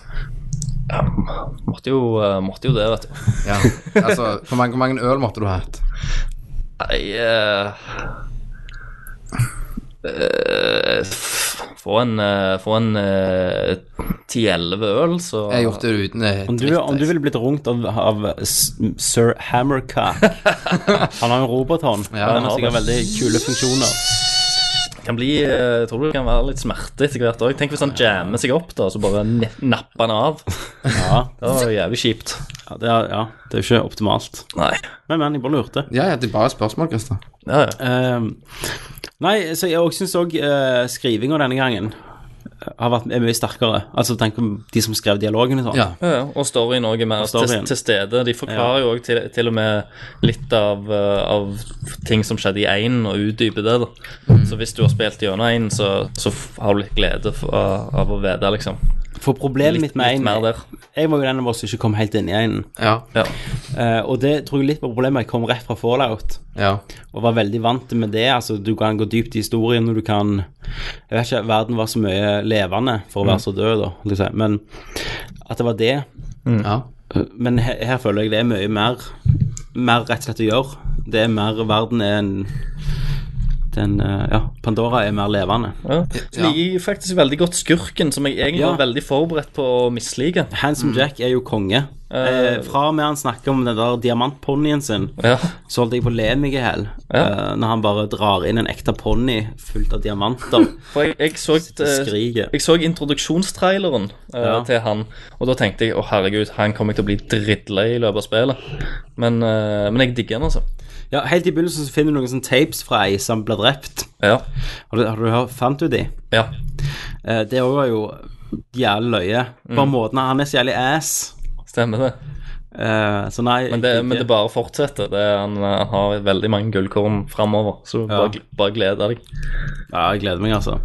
Speaker 8: Måtte jo, eh, måtte jo det, vet du.
Speaker 1: Ja. altså, hvor mange, hvor mange øl måtte du ha hatt?
Speaker 8: Nei eh, eh, f- Få en, eh, få en eh, 10-11 øl, så
Speaker 1: Jeg har gjort det uten eh,
Speaker 7: Om du,
Speaker 1: dritt,
Speaker 7: om du
Speaker 1: ass.
Speaker 7: ville blitt rungt av, av s- sir Hammercock Han har jo en robothånd.
Speaker 1: Ja,
Speaker 7: han
Speaker 1: han
Speaker 7: har
Speaker 8: har
Speaker 7: sikkert veldig kule funksjoner.
Speaker 8: kan bli, eh, jeg tror det kan være litt smerte etter hvert òg. Tenk hvis han jammer seg opp, da, og så bare ne- napper han av.
Speaker 7: Ja,
Speaker 8: Det var jo jævlig kjipt.
Speaker 7: ja, det er, ja, det er jo ikke optimalt.
Speaker 8: Nei.
Speaker 7: Men, men, jeg bare lurte.
Speaker 1: Ja, ja, det er bare et spørsmål, Christer.
Speaker 8: Ja, ja.
Speaker 7: Ehm, nei, så jeg også syns òg uh, skrivinga denne gangen har vært er mye sterkere. Altså tenk om de som skrev dialogen og sånn.
Speaker 1: Ja.
Speaker 8: Ja, ja, og storyen òg er mer til,
Speaker 7: storyen.
Speaker 8: til stede. De forklarer jo òg til, til og med litt av, eh, av ting som skjedde i én, og utdyper det. da Så hvis du har spilt gjennom én, så, så f- har du litt glede for, av, av å vite, liksom.
Speaker 7: For problemet
Speaker 8: Litt,
Speaker 7: mitt med
Speaker 8: litt
Speaker 7: en
Speaker 8: mer der.
Speaker 7: Jeg var jo den av oss som ikke kom helt inn i en.
Speaker 1: Ja.
Speaker 8: Ja.
Speaker 7: Eh, og det tror jeg litt var problemet. Jeg kom rett fra fallout
Speaker 1: ja.
Speaker 7: og var veldig vant med det. Altså, du kan gå dypt i historien, og du kan Jeg vet ikke, verden var så mye levende for å
Speaker 8: Mm.
Speaker 7: være så død, da, liksom. Men at det var det
Speaker 1: ja.
Speaker 7: Mm. Men her, her føler jeg det er mye mer Mer rett og slett å gjøre. Det er mer verden er en den, eh, ja, Pandora er mer levende.
Speaker 8: Ja. Så
Speaker 1: Ja.
Speaker 8: liker jeg faktisk veldig godt skurken, som jeg egentlig
Speaker 7: Ja.
Speaker 8: var veldig forberedt på å mislike.
Speaker 7: Handsome Jack er jo konge. Eh, fra og med han snakker om den der diamantponnien sin,
Speaker 8: Ja.
Speaker 7: så holdt jeg på å le meg i hjel
Speaker 8: Ja.
Speaker 7: eh, når han bare drar inn en ekte ponni fullt av diamanter.
Speaker 8: For jeg, jeg så eh,
Speaker 7: og skriker.
Speaker 8: Jeg så introduksjonstraileren eh,
Speaker 7: Ja.
Speaker 8: til han, og da tenkte jeg å herregud, han kommer jeg til å bli drittlei i løpet av spillet. Men, eh, men jeg digger han, altså.
Speaker 7: ja, Helt i begynnelsen så finner du noen sånne tapes fra ei som ble drept.
Speaker 8: Ja.
Speaker 7: Har du, har du hørt, fant du de?
Speaker 8: ja.
Speaker 7: Eh, det òg var jo jævlig løye.
Speaker 8: Mm.
Speaker 7: Bare måten han er så jævlig ass.
Speaker 8: Stemmer det.
Speaker 7: Eh, så nei
Speaker 8: Men det,
Speaker 7: jeg-
Speaker 8: men det bare fortsetter. Det, er- han, han har veldig mange gullkorn framover, så
Speaker 7: Ja.
Speaker 8: bare, bare gled deg.
Speaker 7: Ja, jeg gleder meg, altså.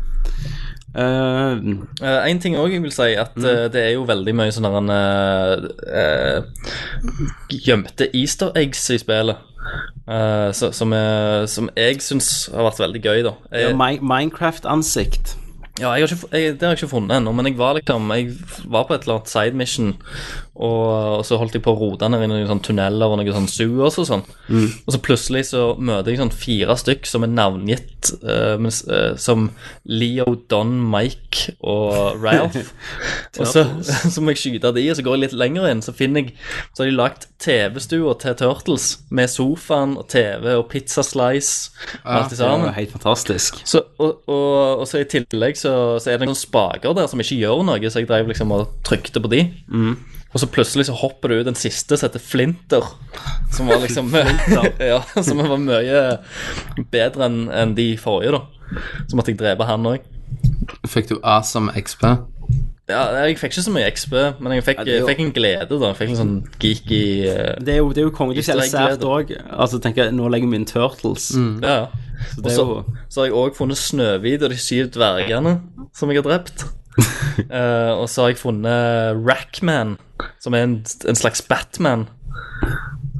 Speaker 7: Eh,
Speaker 8: Eh, en ting òg jeg vil si,
Speaker 7: Mm.
Speaker 8: at eh, det er jo veldig mye sånne eh, eh, gjemte easter eggs i spillet. eh, så, som, eh, som jeg syns har vært veldig gøy, da.
Speaker 7: det er
Speaker 8: Jeg,
Speaker 7: Mi- Minecraft-ansikt.
Speaker 8: ja, jeg har ikke, fu- jeg, det har jeg ikke funnet ennå, men jeg var liksom Jeg var på et eller annet side mission, og, og så holdt jeg på å rote ned i noen sånne tunneler og noen sånne sewers og sånn. Og så plutselig så møter jeg sånn fire stykk som er navngitt eh, mens, eh, som Leo, Don, Mike og Ralph. og så, så må jeg skyte de, og så går jeg litt lenger inn, så finner jeg Så har de lagt TV-stua til Turtles med sofaen og TV og pizzaslice og alt det
Speaker 7: Det
Speaker 8: sammen.
Speaker 7: var helt fantastisk.
Speaker 8: Så, og, og, og så i tillegg så, så er det noen spaker der som ikke gjør noe, så jeg drev liksom og trykte på de.
Speaker 7: Mm.
Speaker 8: Og så plutselig så hopper det ut en siste som heter Flinter, som var liksom ja, Som var mye bedre enn enn de forrige, da. Så måtte jeg drepe han òg.
Speaker 1: Fikk du A som XP?
Speaker 8: Ja, jeg fikk ikke så mye XB, men jeg fikk,
Speaker 7: det er jo-
Speaker 8: fikk en glede, da. Jeg fikk en sånn geeky eh,
Speaker 7: Det er jo, det er jo kongelig
Speaker 8: Easter egg
Speaker 7: sært
Speaker 8: gleder.
Speaker 7: òg. Altså, tenker jeg, nå legger vi inn Turtles.
Speaker 8: Ja, ja. Og
Speaker 7: Mm. er
Speaker 8: så,
Speaker 7: jo-
Speaker 8: så har jeg òg funnet Snøhvit og de syv dvergene som jeg har drept. Eh, og så har jeg funnet Rackman, som er en, en slags Batman.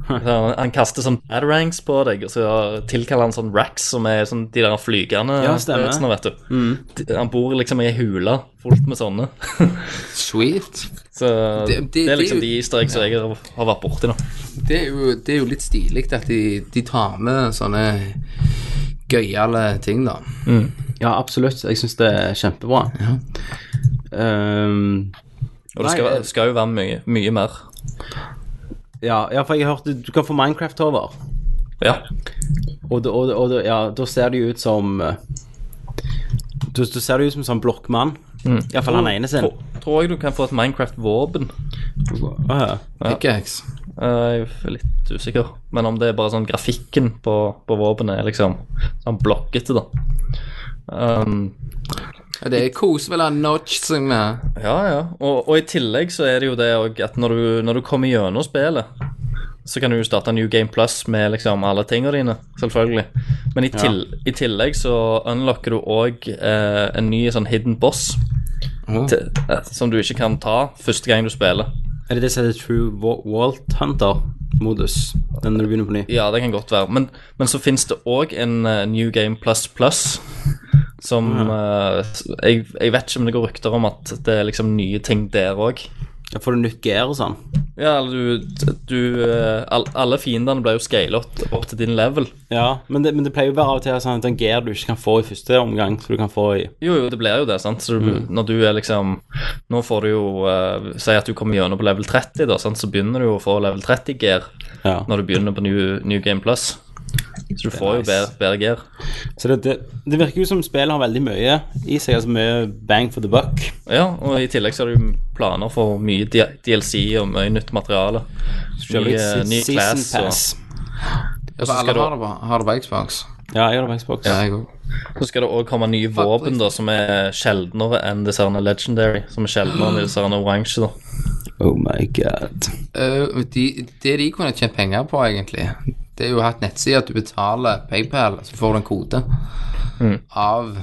Speaker 8: Så Han, han kaster sånn batarangs på deg, og så tilkaller han sånn racks, som er sånn de der flygende
Speaker 7: Ja, stemmer.
Speaker 8: spøkelsene, vet du. De- Han bor liksom i ei hule fullt med sånne.
Speaker 1: Sweet.
Speaker 8: Så det,
Speaker 1: Det- det-
Speaker 8: er liksom
Speaker 1: det er
Speaker 8: de
Speaker 1: jo-
Speaker 8: easter eggs som jeg har har vært borti nå.
Speaker 1: Det er jo, det er jo litt stilig at de, de tar med sånne gøyale ting, da.
Speaker 7: Ja, absolutt. Jeg syns det er kjempebra. Ehm,
Speaker 8: Og det
Speaker 7: Nei,
Speaker 8: skal,
Speaker 7: eh,
Speaker 8: skal jo være mye, mye mer.
Speaker 7: ja, ja, for jeg har hørt du- du kan få Minecraft over.
Speaker 8: Ja.
Speaker 7: Og, da- og, da- og da- ja, da ser det jo ut som eh, Da da ser det ut som en sånn blokkmann.
Speaker 8: Mm.
Speaker 7: Iallfall han ene sin.
Speaker 8: Tror- Tror jeg du kan få et Minecraft-våpen.
Speaker 7: Ah,
Speaker 1: Pickaxe.
Speaker 8: Eh, Jeg er litt usikker. Men om det er bare sånn grafikken på, på våpenet er liksom sånn blokkete, da. Um,
Speaker 1: Ja, det er kos vel av Notch som er
Speaker 8: ja, ja. Og, og i tillegg så er det jo det òg at når du, når du kommer gjennom spillet, så kan du jo starte en New Game Plus med liksom alle tingene dine, selvfølgelig. Men i, til, i tillegg så unlocker du òg eh, en ny sånn hidden boss.
Speaker 1: Åh.
Speaker 8: Til, eh, som du ikke kan ta første gang du spiller.
Speaker 7: Er det det som heter True Wa- Walt Hunter-modus? Den når du begynner på ny?
Speaker 8: Ja, det kan godt være. Men, men så finnes det òg en eh, New Game Plus Plus. Som eh, s- jeg, jeg vet ikke om det går rykter om at det er liksom nye ting der òg.
Speaker 7: Da får du nytt gear og sånn.
Speaker 8: Ja, eller du, du eh, all, Alle fiendene ble jo scala opp, opp til din level.
Speaker 7: Ja, men det, men det pleier jo bare av og til å være sånn at den gear du ikke kan få i første omgang, så du kan få i
Speaker 8: Jo, jo, det blir jo det, sant. Så du, når du er liksom Nå får du jo eh, Si at du kommer gjennom på level 30, da, sant? så begynner du jo å få level 30-gear
Speaker 7: Ja.
Speaker 8: når du begynner på New, New Game Plus. Så du får jo
Speaker 7: nice.
Speaker 8: bedre, bedre gear.
Speaker 7: Så det, det, det virker jo som spillet har veldig mye i seg, altså mye bang for the buck.
Speaker 8: Ja, og i tillegg så er det jo planer for mye D- DLC og mye nytt materiale. Ny, eh, ny class og
Speaker 1: Ja, så alle har det, på, har det på Xbox.
Speaker 7: Ja, jeg har det på Xbox.
Speaker 1: Ja, jeg òg.
Speaker 8: Så skal det òg komme nye våpen da, som er sjeldnere enn disse her legendary. Som er sjeldnere enn disse her oransje. da.
Speaker 7: Oh my god.
Speaker 1: Eh, de, det de kunne tjent penger på, egentlig, det er jo å ha et nettside at du betaler PayPal, så får du en kode Mm. av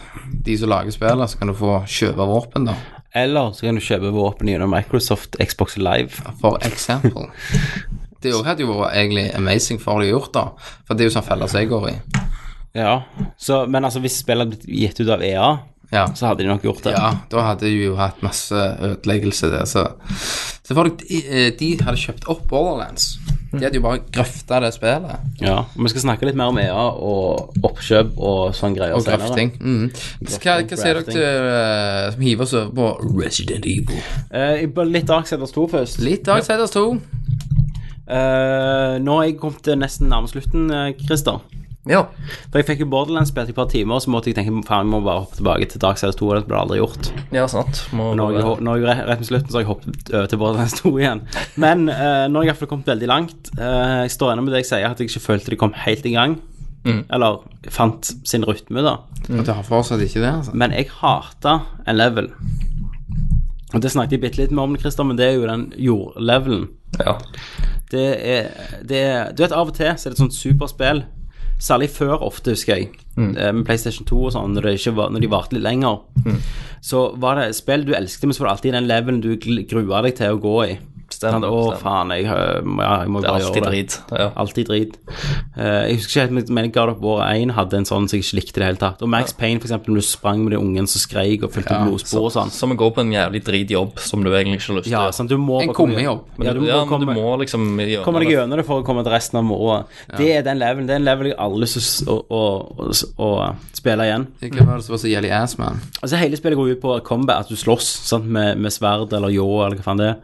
Speaker 1: de som lager spillet, så kan du få kjøpe våpen, da.
Speaker 7: Eller så kan du kjøpe våpen gjennom Microsoft Xbox Live.
Speaker 1: For eksempel. Det òg hadde jo vært egentlig amazing for de gjort, da. For det er jo sånn feller jeg går i.
Speaker 7: Ja, så, Men altså, hvis spillet hadde blitt gitt ut av EA,
Speaker 1: Ja.
Speaker 7: så hadde de nok gjort det.
Speaker 1: Ja, da hadde vi jo hatt masse ødeleggelse der, så Så for dere, de, eh, de hadde kjøpt opp Borderlands. De hadde jo bare grøfta det spillet.
Speaker 7: Ja, og Vi skal snakke litt mer om EA og oppkjøp og sånn greier
Speaker 1: Og
Speaker 7: senere.
Speaker 1: grøfting. Mm. Hva, hva sier dere
Speaker 7: grafting.
Speaker 1: til eh, som hiver oss over på Resident Evil?
Speaker 7: Eh, jeg bare litt Darksiders 2 først.
Speaker 1: Litt Darksiders 2.
Speaker 7: Mm. Eh, nå har jeg kommet til nesten nærmere slutten, eh, Christer.
Speaker 8: Ja.
Speaker 7: For jeg fikk jo Borderlands spilt i et par timer, så måtte jeg tenke faen, jeg må bare hoppe tilbake til Darksiders 2. Og det ble aldri gjort.
Speaker 8: ja, sant. Må
Speaker 7: Når jeg, når jeg rett med slutten, så har jeg hoppet over til Borderlands 2 igjen. Men eh, nå har jeg i hvert fall kommet veldig langt. Eh, jeg står ennå med det jeg sier, at jeg ikke følte det kom helt i gang. Eller fant sin rytme, da.
Speaker 1: Og det har fortsatt ikke det, altså.
Speaker 7: Men jeg hata en level. Og det snakket jeg bitte litt med om, Christer, men det er jo den jordlevelen.
Speaker 8: ja.
Speaker 7: Det er, det er Du vet, av og til så er det et sånt superspill. Særlig før ofte, husker jeg.
Speaker 8: Mm.
Speaker 7: eh, Med PlayStation 2 og sånn, når, det ikke var, når de varte litt lenger.
Speaker 8: Mm.
Speaker 7: Så var det spill du elsket, men så var det alltid den levelen du gl- grua deg til å gå i.
Speaker 8: Stemmer,
Speaker 7: Sånn, Å,
Speaker 8: stemmer.
Speaker 7: faen, jeg, hø- ja, jeg må
Speaker 8: Det
Speaker 7: bare
Speaker 8: er alltid
Speaker 7: gjøre det.
Speaker 8: drit. Ja.
Speaker 7: Alltid drit. Eh, jeg husker ikke helt, men- men God of War 1 hadde en sånn som jeg ikke likte i det hele tatt. Og Max Payne, for eksempel, når du sprang med den ungen som skreik og fulgte blodspor og sånn.
Speaker 8: Som å gå på en jævlig drit jobb som du egentlig ikke har lyst til.
Speaker 7: Ja, sånn, du må
Speaker 1: En
Speaker 7: bare komme-
Speaker 1: kummejobb.
Speaker 7: Ja, du må
Speaker 8: ja, men
Speaker 7: komme
Speaker 8: du må liksom gjøre
Speaker 7: kommer deg
Speaker 8: det.
Speaker 7: gjennom det for å komme til resten av moroa. Det er den levelen. Det er en level jeg aldri har lyst til å, s- å, å, å, s- å spille igjen.
Speaker 1: Hva var det som var så jævlig ass, man?
Speaker 7: Altså Hele spillet går ut på combat, at du slåss sant, med, med sverd eller ljå eller hva faen det er.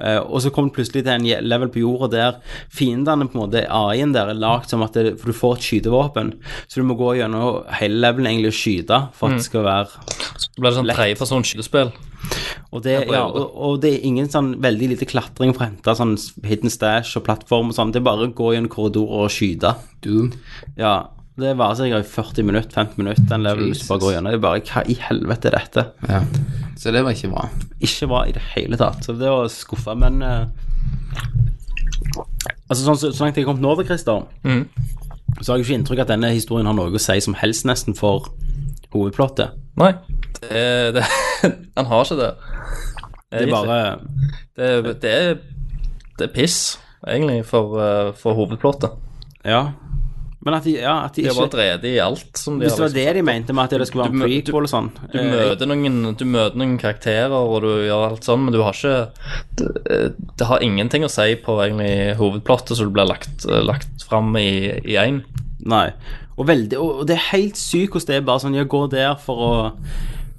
Speaker 7: Eh, og så kommer du plutselig til en je- level på jorda der fiendene, på en måte, AI-en der, er lagd som at det, For du får et skytevåpen, så du må gå gjennom hele levelen egentlig og skyte for at det skal være
Speaker 8: Så blir det sånn tredjeperson skytespill.
Speaker 7: Og det,
Speaker 8: prøver
Speaker 7: ja,
Speaker 8: det.
Speaker 7: og, og det er ingen sånn veldig lite klatring for å hente sånn hidden stash og plattform og sånn. Det er bare å gå gjennom korridorer og skyte.
Speaker 1: Doom.
Speaker 7: Ja, det varer sikkert i 40 minutter, 15 minutter, den levelen som bare går gjennom. Det er bare, hva i helvete er dette?
Speaker 1: Ja. Så det var ikke bra.
Speaker 7: Ikke bra i det hele tatt. Så det var skuffa, men eh, Altså, sånn, så, så langt jeg har kommet nå, da, Christer,
Speaker 8: Mm.
Speaker 7: så har jeg jo ikke inntrykk av at denne historien har noe å si som helst nesten for hovedplottet.
Speaker 8: Nei. Det, er- det, han har ikke det.
Speaker 7: Det er bare
Speaker 8: det, er- det, er, det er piss, egentlig, for, eh, for hovedplottet.
Speaker 7: Ja. Men at de, ja, at de
Speaker 8: De har
Speaker 7: ikke
Speaker 8: bare drevet i alt som de
Speaker 7: Hvis det
Speaker 8: har liksom
Speaker 7: var det de mente med at det skulle være en
Speaker 8: Du mø- du-
Speaker 7: prequel og sånn
Speaker 8: Du
Speaker 7: eh,
Speaker 8: møter, noen, du møter noen karakterer og du gjør alt sånn, men du har ikke Det, eh, det har ingenting å si på egentlig hovedplottet som blir lagt, eh, lagt fram i én.
Speaker 7: Nei. Og, veldig, og og det er helt sykt hvordan det er bare sånn Ja, gå der for å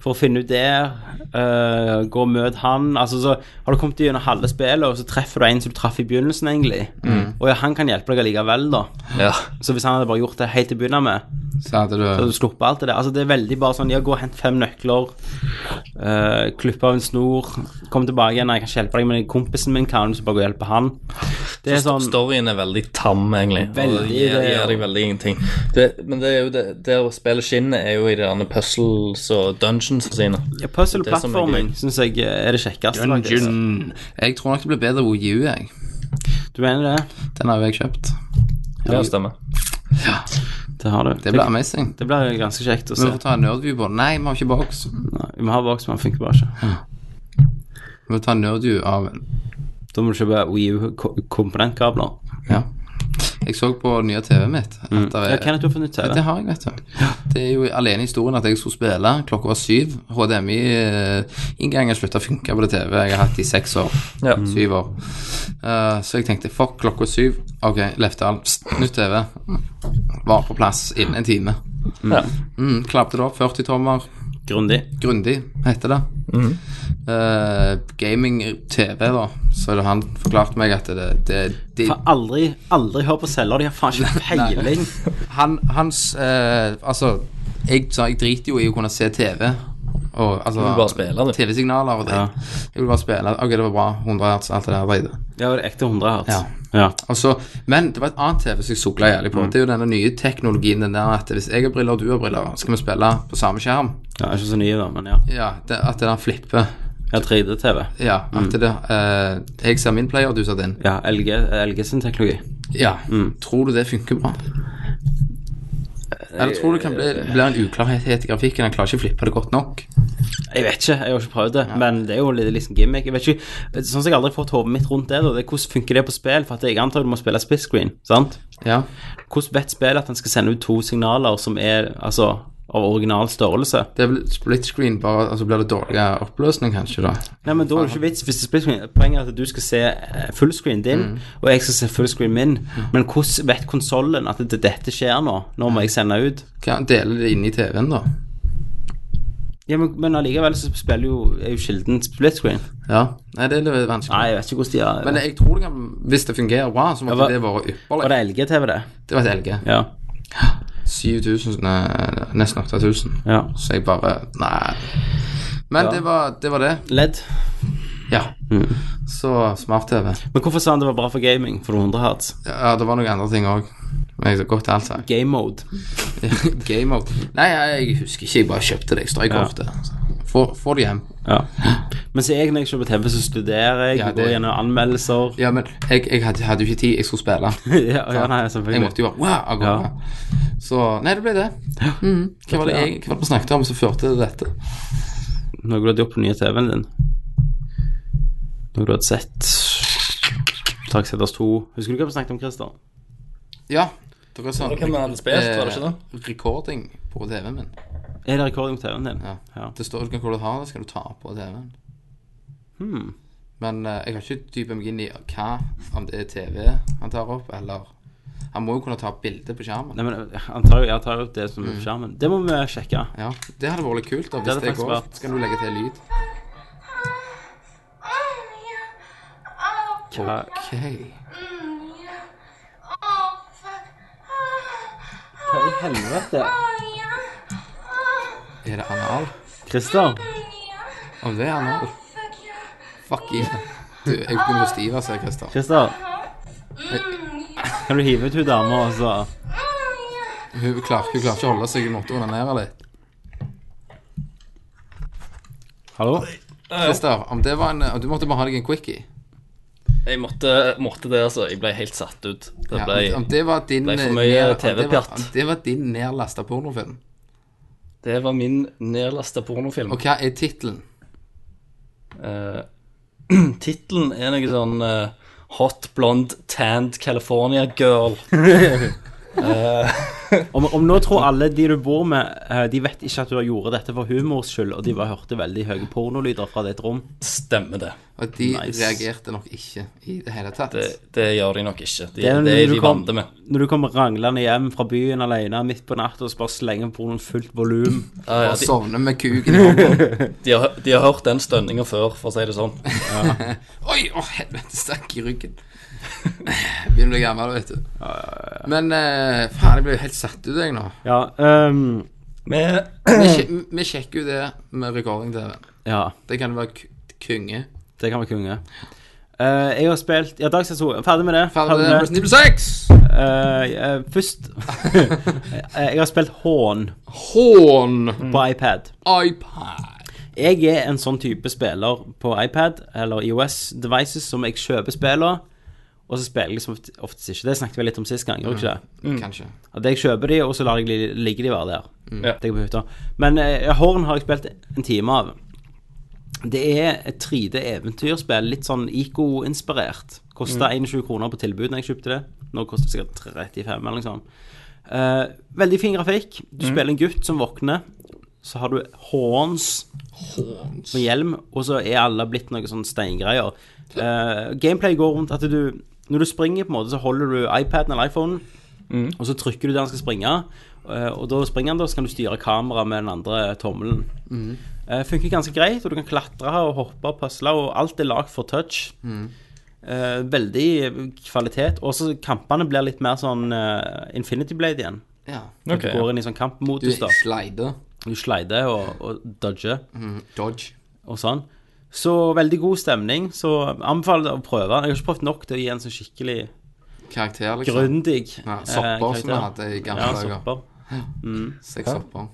Speaker 7: for å finne ut der. eh, gå og møt han. Altså, så har du kommet gjennom halve spillet, og så treffer du en som du traff i begynnelsen, egentlig.
Speaker 8: Mm.
Speaker 7: Og ja, han kan hjelpe deg allikevel, da.
Speaker 8: Ja.
Speaker 7: Så hvis han hadde bare gjort det helt til å begynne med,
Speaker 1: Så hadde du
Speaker 7: så hadde du sluppet alt det der. Altså, det er veldig bare sånn Ja, gå og hent fem nøkler. eh, klipp av en snor. Kom tilbake igjen. Nei, Jeg kan ikke hjelpe deg, men kompisen min kan, så bare gå og hjelpe han. Det er sånn
Speaker 8: Storyen er veldig tam, egentlig. og
Speaker 7: Veldig,
Speaker 8: det gir,
Speaker 7: det, ja.
Speaker 8: gir deg veldig ingenting. Det, men det er jo det, der spillet skinner, er jo i de derne puzzles og dungeons sine.
Speaker 7: Ja, puzzle og
Speaker 8: Det som er
Speaker 7: plattforming syns jeg er det altså. kjekkeste. faktisk.
Speaker 1: Jeg tror nok det blir bedre OU, jeg.
Speaker 7: Du mener det?
Speaker 1: Den har jo jeg kjøpt.
Speaker 8: Ja, stemmer.
Speaker 7: Det har du.
Speaker 1: Det blir amazing.
Speaker 7: det blir ganske kjekt å
Speaker 1: Vi
Speaker 7: se.
Speaker 1: får ta en nerdview på det. Nei, vi har ikke boks.
Speaker 7: Nei, Vi må ha boks, men den funker bare ikke.
Speaker 1: Vi må ta en nerdview av
Speaker 7: Da må du kjøpe WiiU-komponentkabler.
Speaker 1: Ja. Jeg så på nye TV mitt at det
Speaker 7: Mm. Ja, Kenneth, du har funnet ut
Speaker 1: Ja, det
Speaker 7: TV.
Speaker 1: har jeg, vet du. Det er jo alene i historien at jeg skulle spille. Klokka var syv. HDMI-inngangen slutta eh, å funke på det TV jeg har hatt i seks år.
Speaker 8: Ja.
Speaker 7: Mm.
Speaker 1: Syv år. Eh, så jeg tenkte fuck, klokka syv. Ok, Lefdal, pst, nytt TV. Var på plass innen en time.
Speaker 8: Ja.
Speaker 1: Mm, Klappte det opp. 40 tommer.
Speaker 7: Grundig.
Speaker 1: Grundig, heter det. eh, gaming-TV, da, så er det han forklarte meg at det, det, det
Speaker 7: Faen, aldri, aldri hør på selger, de har faen ikke peiling.
Speaker 1: han, Hans eh, Altså, jeg, sa- jeg driter jo i å kunne se TV. Og, altså,
Speaker 8: vil bare spille det.
Speaker 1: TV-signaler og det. Jeg vil bare spille. Ok, det var bra. 100 hertz, alt det der dritet.
Speaker 7: Ja, det er ekte 100 hertz.
Speaker 1: Ja.
Speaker 7: Ja.
Speaker 1: Og så- men det var et annet TV som jeg sukla jævlig
Speaker 8: Mm.
Speaker 1: på. Det er jo denne nye teknologien den der at hvis jeg har briller og du har briller, skal vi spille på samme skjerm.
Speaker 7: Ja, ikke så nye, da, men ja.
Speaker 1: Ja, det, At det der flipper.
Speaker 7: Ja, 3D-TV.
Speaker 1: Ja, at
Speaker 8: Mm.
Speaker 1: det der eh, Jeg ser min player, du ser din.
Speaker 7: Ja, LG, LG sin teknologi.
Speaker 1: Ja.
Speaker 8: Mm.
Speaker 1: Tror du det funker bra? Eller tror du det kan bli, bli en uklarhet i grafikken? Han klarer ikke å flippe det godt nok.
Speaker 7: Jeg vet ikke, jeg har ikke prøvd det, men det er jo litt liksom gimmick. Jeg vet ikke, Sånn som jeg aldri har fått hodet mitt rundt det, da, det er hvordan funker det på spill? For at jeg antar du må spille split screen, sant?
Speaker 1: Ja.
Speaker 7: Hvordan vet spillet at den skal sende ut to signaler som er altså, av original størrelse?
Speaker 1: Det er vel split screen, bare altså blir det dårligere oppløsning, kanskje, da.
Speaker 7: Nei, men da er det ikke vits hvis det er split screen. Poenget er at du skal se eh, fullscreen din,
Speaker 1: Mm.
Speaker 7: og jeg skal se fullscreen min. Men hvordan vet konsollen at det, dette skjer nå? Nå må jeg sende ut.
Speaker 1: Kan dele det inn i TV-en, da.
Speaker 7: Ja, men, men allikevel så spiller jo, er jo kilden split screen.
Speaker 1: Ja. Nei, det er litt vanskelig.
Speaker 7: Nei, jeg vet ikke hvordan de har
Speaker 1: Men jeg tror det kan Hvis det fungerer bra, så måtte
Speaker 7: Ja, hva-
Speaker 1: det vært ypperlig.
Speaker 7: Var det LG-TV, det?
Speaker 1: Det var et LG.
Speaker 7: Ja.
Speaker 1: 7000, nei, nesten 8000.
Speaker 7: ja.
Speaker 1: Så jeg bare Nei. Men det, var, det var det.
Speaker 7: LED.
Speaker 1: Ja.
Speaker 7: Mm.
Speaker 1: Så smart-TV.
Speaker 7: Men hvorfor sa han det var bra for gaming? For 100 hertz?
Speaker 1: Ja, det var noen andre ting òg. Men jeg godt alt sagt.
Speaker 7: Game mode.
Speaker 1: Game of Nei, jeg husker ikke. Jeg bare kjøpte det. Jeg strøykortet. Får får Altså, det hjem.
Speaker 7: Ja. Men så jeg når jeg kjøper TV, så studerer jeg,
Speaker 1: Ja,
Speaker 7: jeg
Speaker 1: det-
Speaker 7: går gjennom anmeldelser.
Speaker 1: Ja, men jeg, jeg hadde, hadde jo ikke tid. Jeg skulle spille.
Speaker 7: ja, ja, nei,
Speaker 1: Jeg
Speaker 7: selvfølgelig.
Speaker 1: måtte jo bare wow, av gårde. Så Nei, det ble det. Mhm. Hva var det jeg hva var det vi snakket om som førte til dette?
Speaker 7: Noe du hadde gjort på den nye TV-en din. Noe du hadde sett. Takseters 2. Husker du hva vi snakket om, Christer?
Speaker 1: Ja. Det var sånn
Speaker 8: Hva kan vi hadde spilt, var det ikke det?
Speaker 1: eh, Recording på TV-en min.
Speaker 7: Er det rekording på TV-en din?
Speaker 1: Ja.
Speaker 7: Ja.
Speaker 1: Det står ikke hvor du har det, skal du ta på TV-en.
Speaker 7: Hmm.
Speaker 1: Men eh, jeg har ikke dypet meg inn i hva, om det er TV han tar opp, eller Han må jo kunne ta bilde på skjermen.
Speaker 7: Nei, men eh, han tar jo, jeg tar jo opp det som er på skjermen. Det må vi sjekke.
Speaker 1: Ja, Det hadde vært litt kult, da, hvis
Speaker 7: hadde
Speaker 1: det,
Speaker 7: faktisk
Speaker 1: går.
Speaker 7: vært-
Speaker 1: Så kan du legge til lyd.
Speaker 7: Hva-
Speaker 1: Ok.
Speaker 7: Hva i helvete?
Speaker 1: Er det anal?
Speaker 7: Christer?
Speaker 1: Om det er anal? Fuck you. Du, jeg begynner å stive, sier Christer.
Speaker 7: Christer? Kan du hive ut hun dama, og så
Speaker 1: Hun klarer, hun klarer ikke å holde seg, hun måtte onanere litt.
Speaker 7: Hallo?
Speaker 1: Christer, om det var en om Du måtte bare ha deg en quickie.
Speaker 8: Jeg måtte, måtte det, altså. Jeg ble helt satt ut. Det
Speaker 1: Ja,
Speaker 8: ble,
Speaker 1: om, om det var din
Speaker 8: ble for
Speaker 1: eh,
Speaker 8: mye
Speaker 1: ned- om det var-
Speaker 8: TV-pjatt.
Speaker 1: Om det var din nedlasta pornofilm.
Speaker 8: det var min nedlasta pornofilm.
Speaker 1: Og hva er tittelen?
Speaker 8: Eh, Tittelen er noe sånn eh, Hot blonde tanned California girl.
Speaker 7: Om, om nå tror alle de du bor med, eh, de vet ikke at du har gjort dette for humors skyld, og de bare hørte veldig høye pornolyder fra ditt rom.
Speaker 8: Stemmer det.
Speaker 1: Og de
Speaker 7: Nice.
Speaker 1: reagerte nok ikke i det hele tatt.
Speaker 8: Det, det gjør de nok ikke. De,
Speaker 7: Det
Speaker 8: det
Speaker 7: er
Speaker 8: er,
Speaker 7: når du
Speaker 8: de
Speaker 7: kom-
Speaker 8: vant med.
Speaker 7: Når du kommer ranglende hjem fra byen alene midt på natta og så bare slenger pornoen fullt volum.
Speaker 8: Ja, ja,
Speaker 1: Bare
Speaker 8: de,
Speaker 1: sovne med kuken i hånden.
Speaker 8: de, har, de har hørt den stønninga før, for å si det sånn.
Speaker 1: Oi, å helvete, stakk i ryggen. Begynner å bli gammel, vet du. Men eh, faen, jeg ble jo helt satt ut, jeg nå.
Speaker 7: Ja, ehm,
Speaker 8: Med
Speaker 1: Vi sje- Vi sjekker jo det med recording-TV.
Speaker 7: ja
Speaker 1: Det kan være k- konge.
Speaker 7: det kan være konge. Eh, jeg har spilt Ja, Dagsnytt 2. Ferdig med det.
Speaker 1: Ferdig med det. Resident Evil 6!
Speaker 7: Eh, eh, først Eh, Jeg har spilt Hån
Speaker 1: Hån!
Speaker 8: Mm.
Speaker 7: på iPad.
Speaker 1: iPad.
Speaker 7: Jeg er en sånn type spiller på iPad eller iOS devices som jeg kjøper spiller, og så spiller jeg liksom oft- oftest ikke. Det snakket vi litt om sist gang, gjorde
Speaker 8: Mm.
Speaker 7: vi ikke det?
Speaker 1: Kanskje.
Speaker 7: At jeg kjøper de, og så lar jeg li- ligge de være der.
Speaker 8: Ja.
Speaker 7: Det er på hytta. Men eh, Horn har jeg spilt en time av. Det er et 3D-eventyrspill, litt sånn ICO-inspirert. Kosta 21 kroner på tilbud når jeg kjøpte det. Nå koster det sikkert 35 eller noe sånt. Eh, veldig fin grafikk. Du spiller en gutt som våkner. Så har du horns på hjelm, og så er alle blitt noe sånn steingreier. Eh, gameplay går rundt at du Når du springer, på en måte, så holder du iPaden eller iPhonen, Og så trykker du der han skal springe, eh, og da springer han, da, så kan du styre kameraet med den andre tommelen.
Speaker 1: Mm.
Speaker 7: Eh, funker ganske greit, og du kan klatre og hoppe og pusle, og alt er lagd for touch.
Speaker 1: Mm.
Speaker 7: Eh, veldig kvalitet. Og så kampene blir litt mer sånn eh, Infinity Blade igjen.
Speaker 1: Ja.
Speaker 8: Ok,
Speaker 7: Du
Speaker 8: ja.
Speaker 7: går inn i sånn
Speaker 1: Du
Speaker 7: kampmodus, da.
Speaker 1: slider.
Speaker 7: Du slider og, og dodger
Speaker 1: Dodge.
Speaker 7: og sånn. Så veldig god stemning. Så anbefaler jeg å prøve. Jeg har ikke prøvd nok til å gi en sånn skikkelig
Speaker 1: Karakter, liksom.
Speaker 7: grundig
Speaker 1: Ja,
Speaker 7: eh,
Speaker 1: sopper som vi
Speaker 7: karakter.
Speaker 1: hadde i gamle
Speaker 7: Ja,
Speaker 1: dager.
Speaker 7: sopper.
Speaker 1: Seks sopper.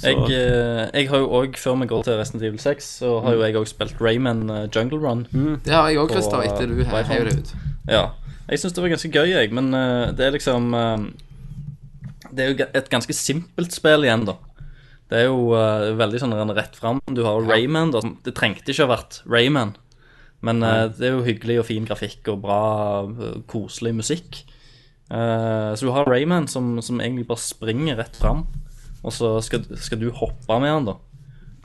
Speaker 8: Jeg, eh, jeg har jo òg, før vi går til Resident Evil 6, så har jo jeg òg spilt Rayman eh, Jungle Run.
Speaker 7: Mm.
Speaker 1: Det har jeg òg, Christer,
Speaker 8: Og,
Speaker 1: etter du
Speaker 8: eh,
Speaker 1: he- heiv det ut.
Speaker 8: Ja. Jeg syns det var ganske gøy, jeg, men eh, det er liksom eh, Det er jo ga- et ganske simpelt spill igjen, da. Det er jo eh, veldig sånn renn rett fram. Du har jo Rayman, da. som- Det trengte ikke å ha vært Rayman, men eh, det er jo hyggelig og fin grafikk og bra, eh, koselig musikk. Eh, så du har Rayman som, som egentlig bare springer rett fram, og så skal, skal du hoppe med han, da.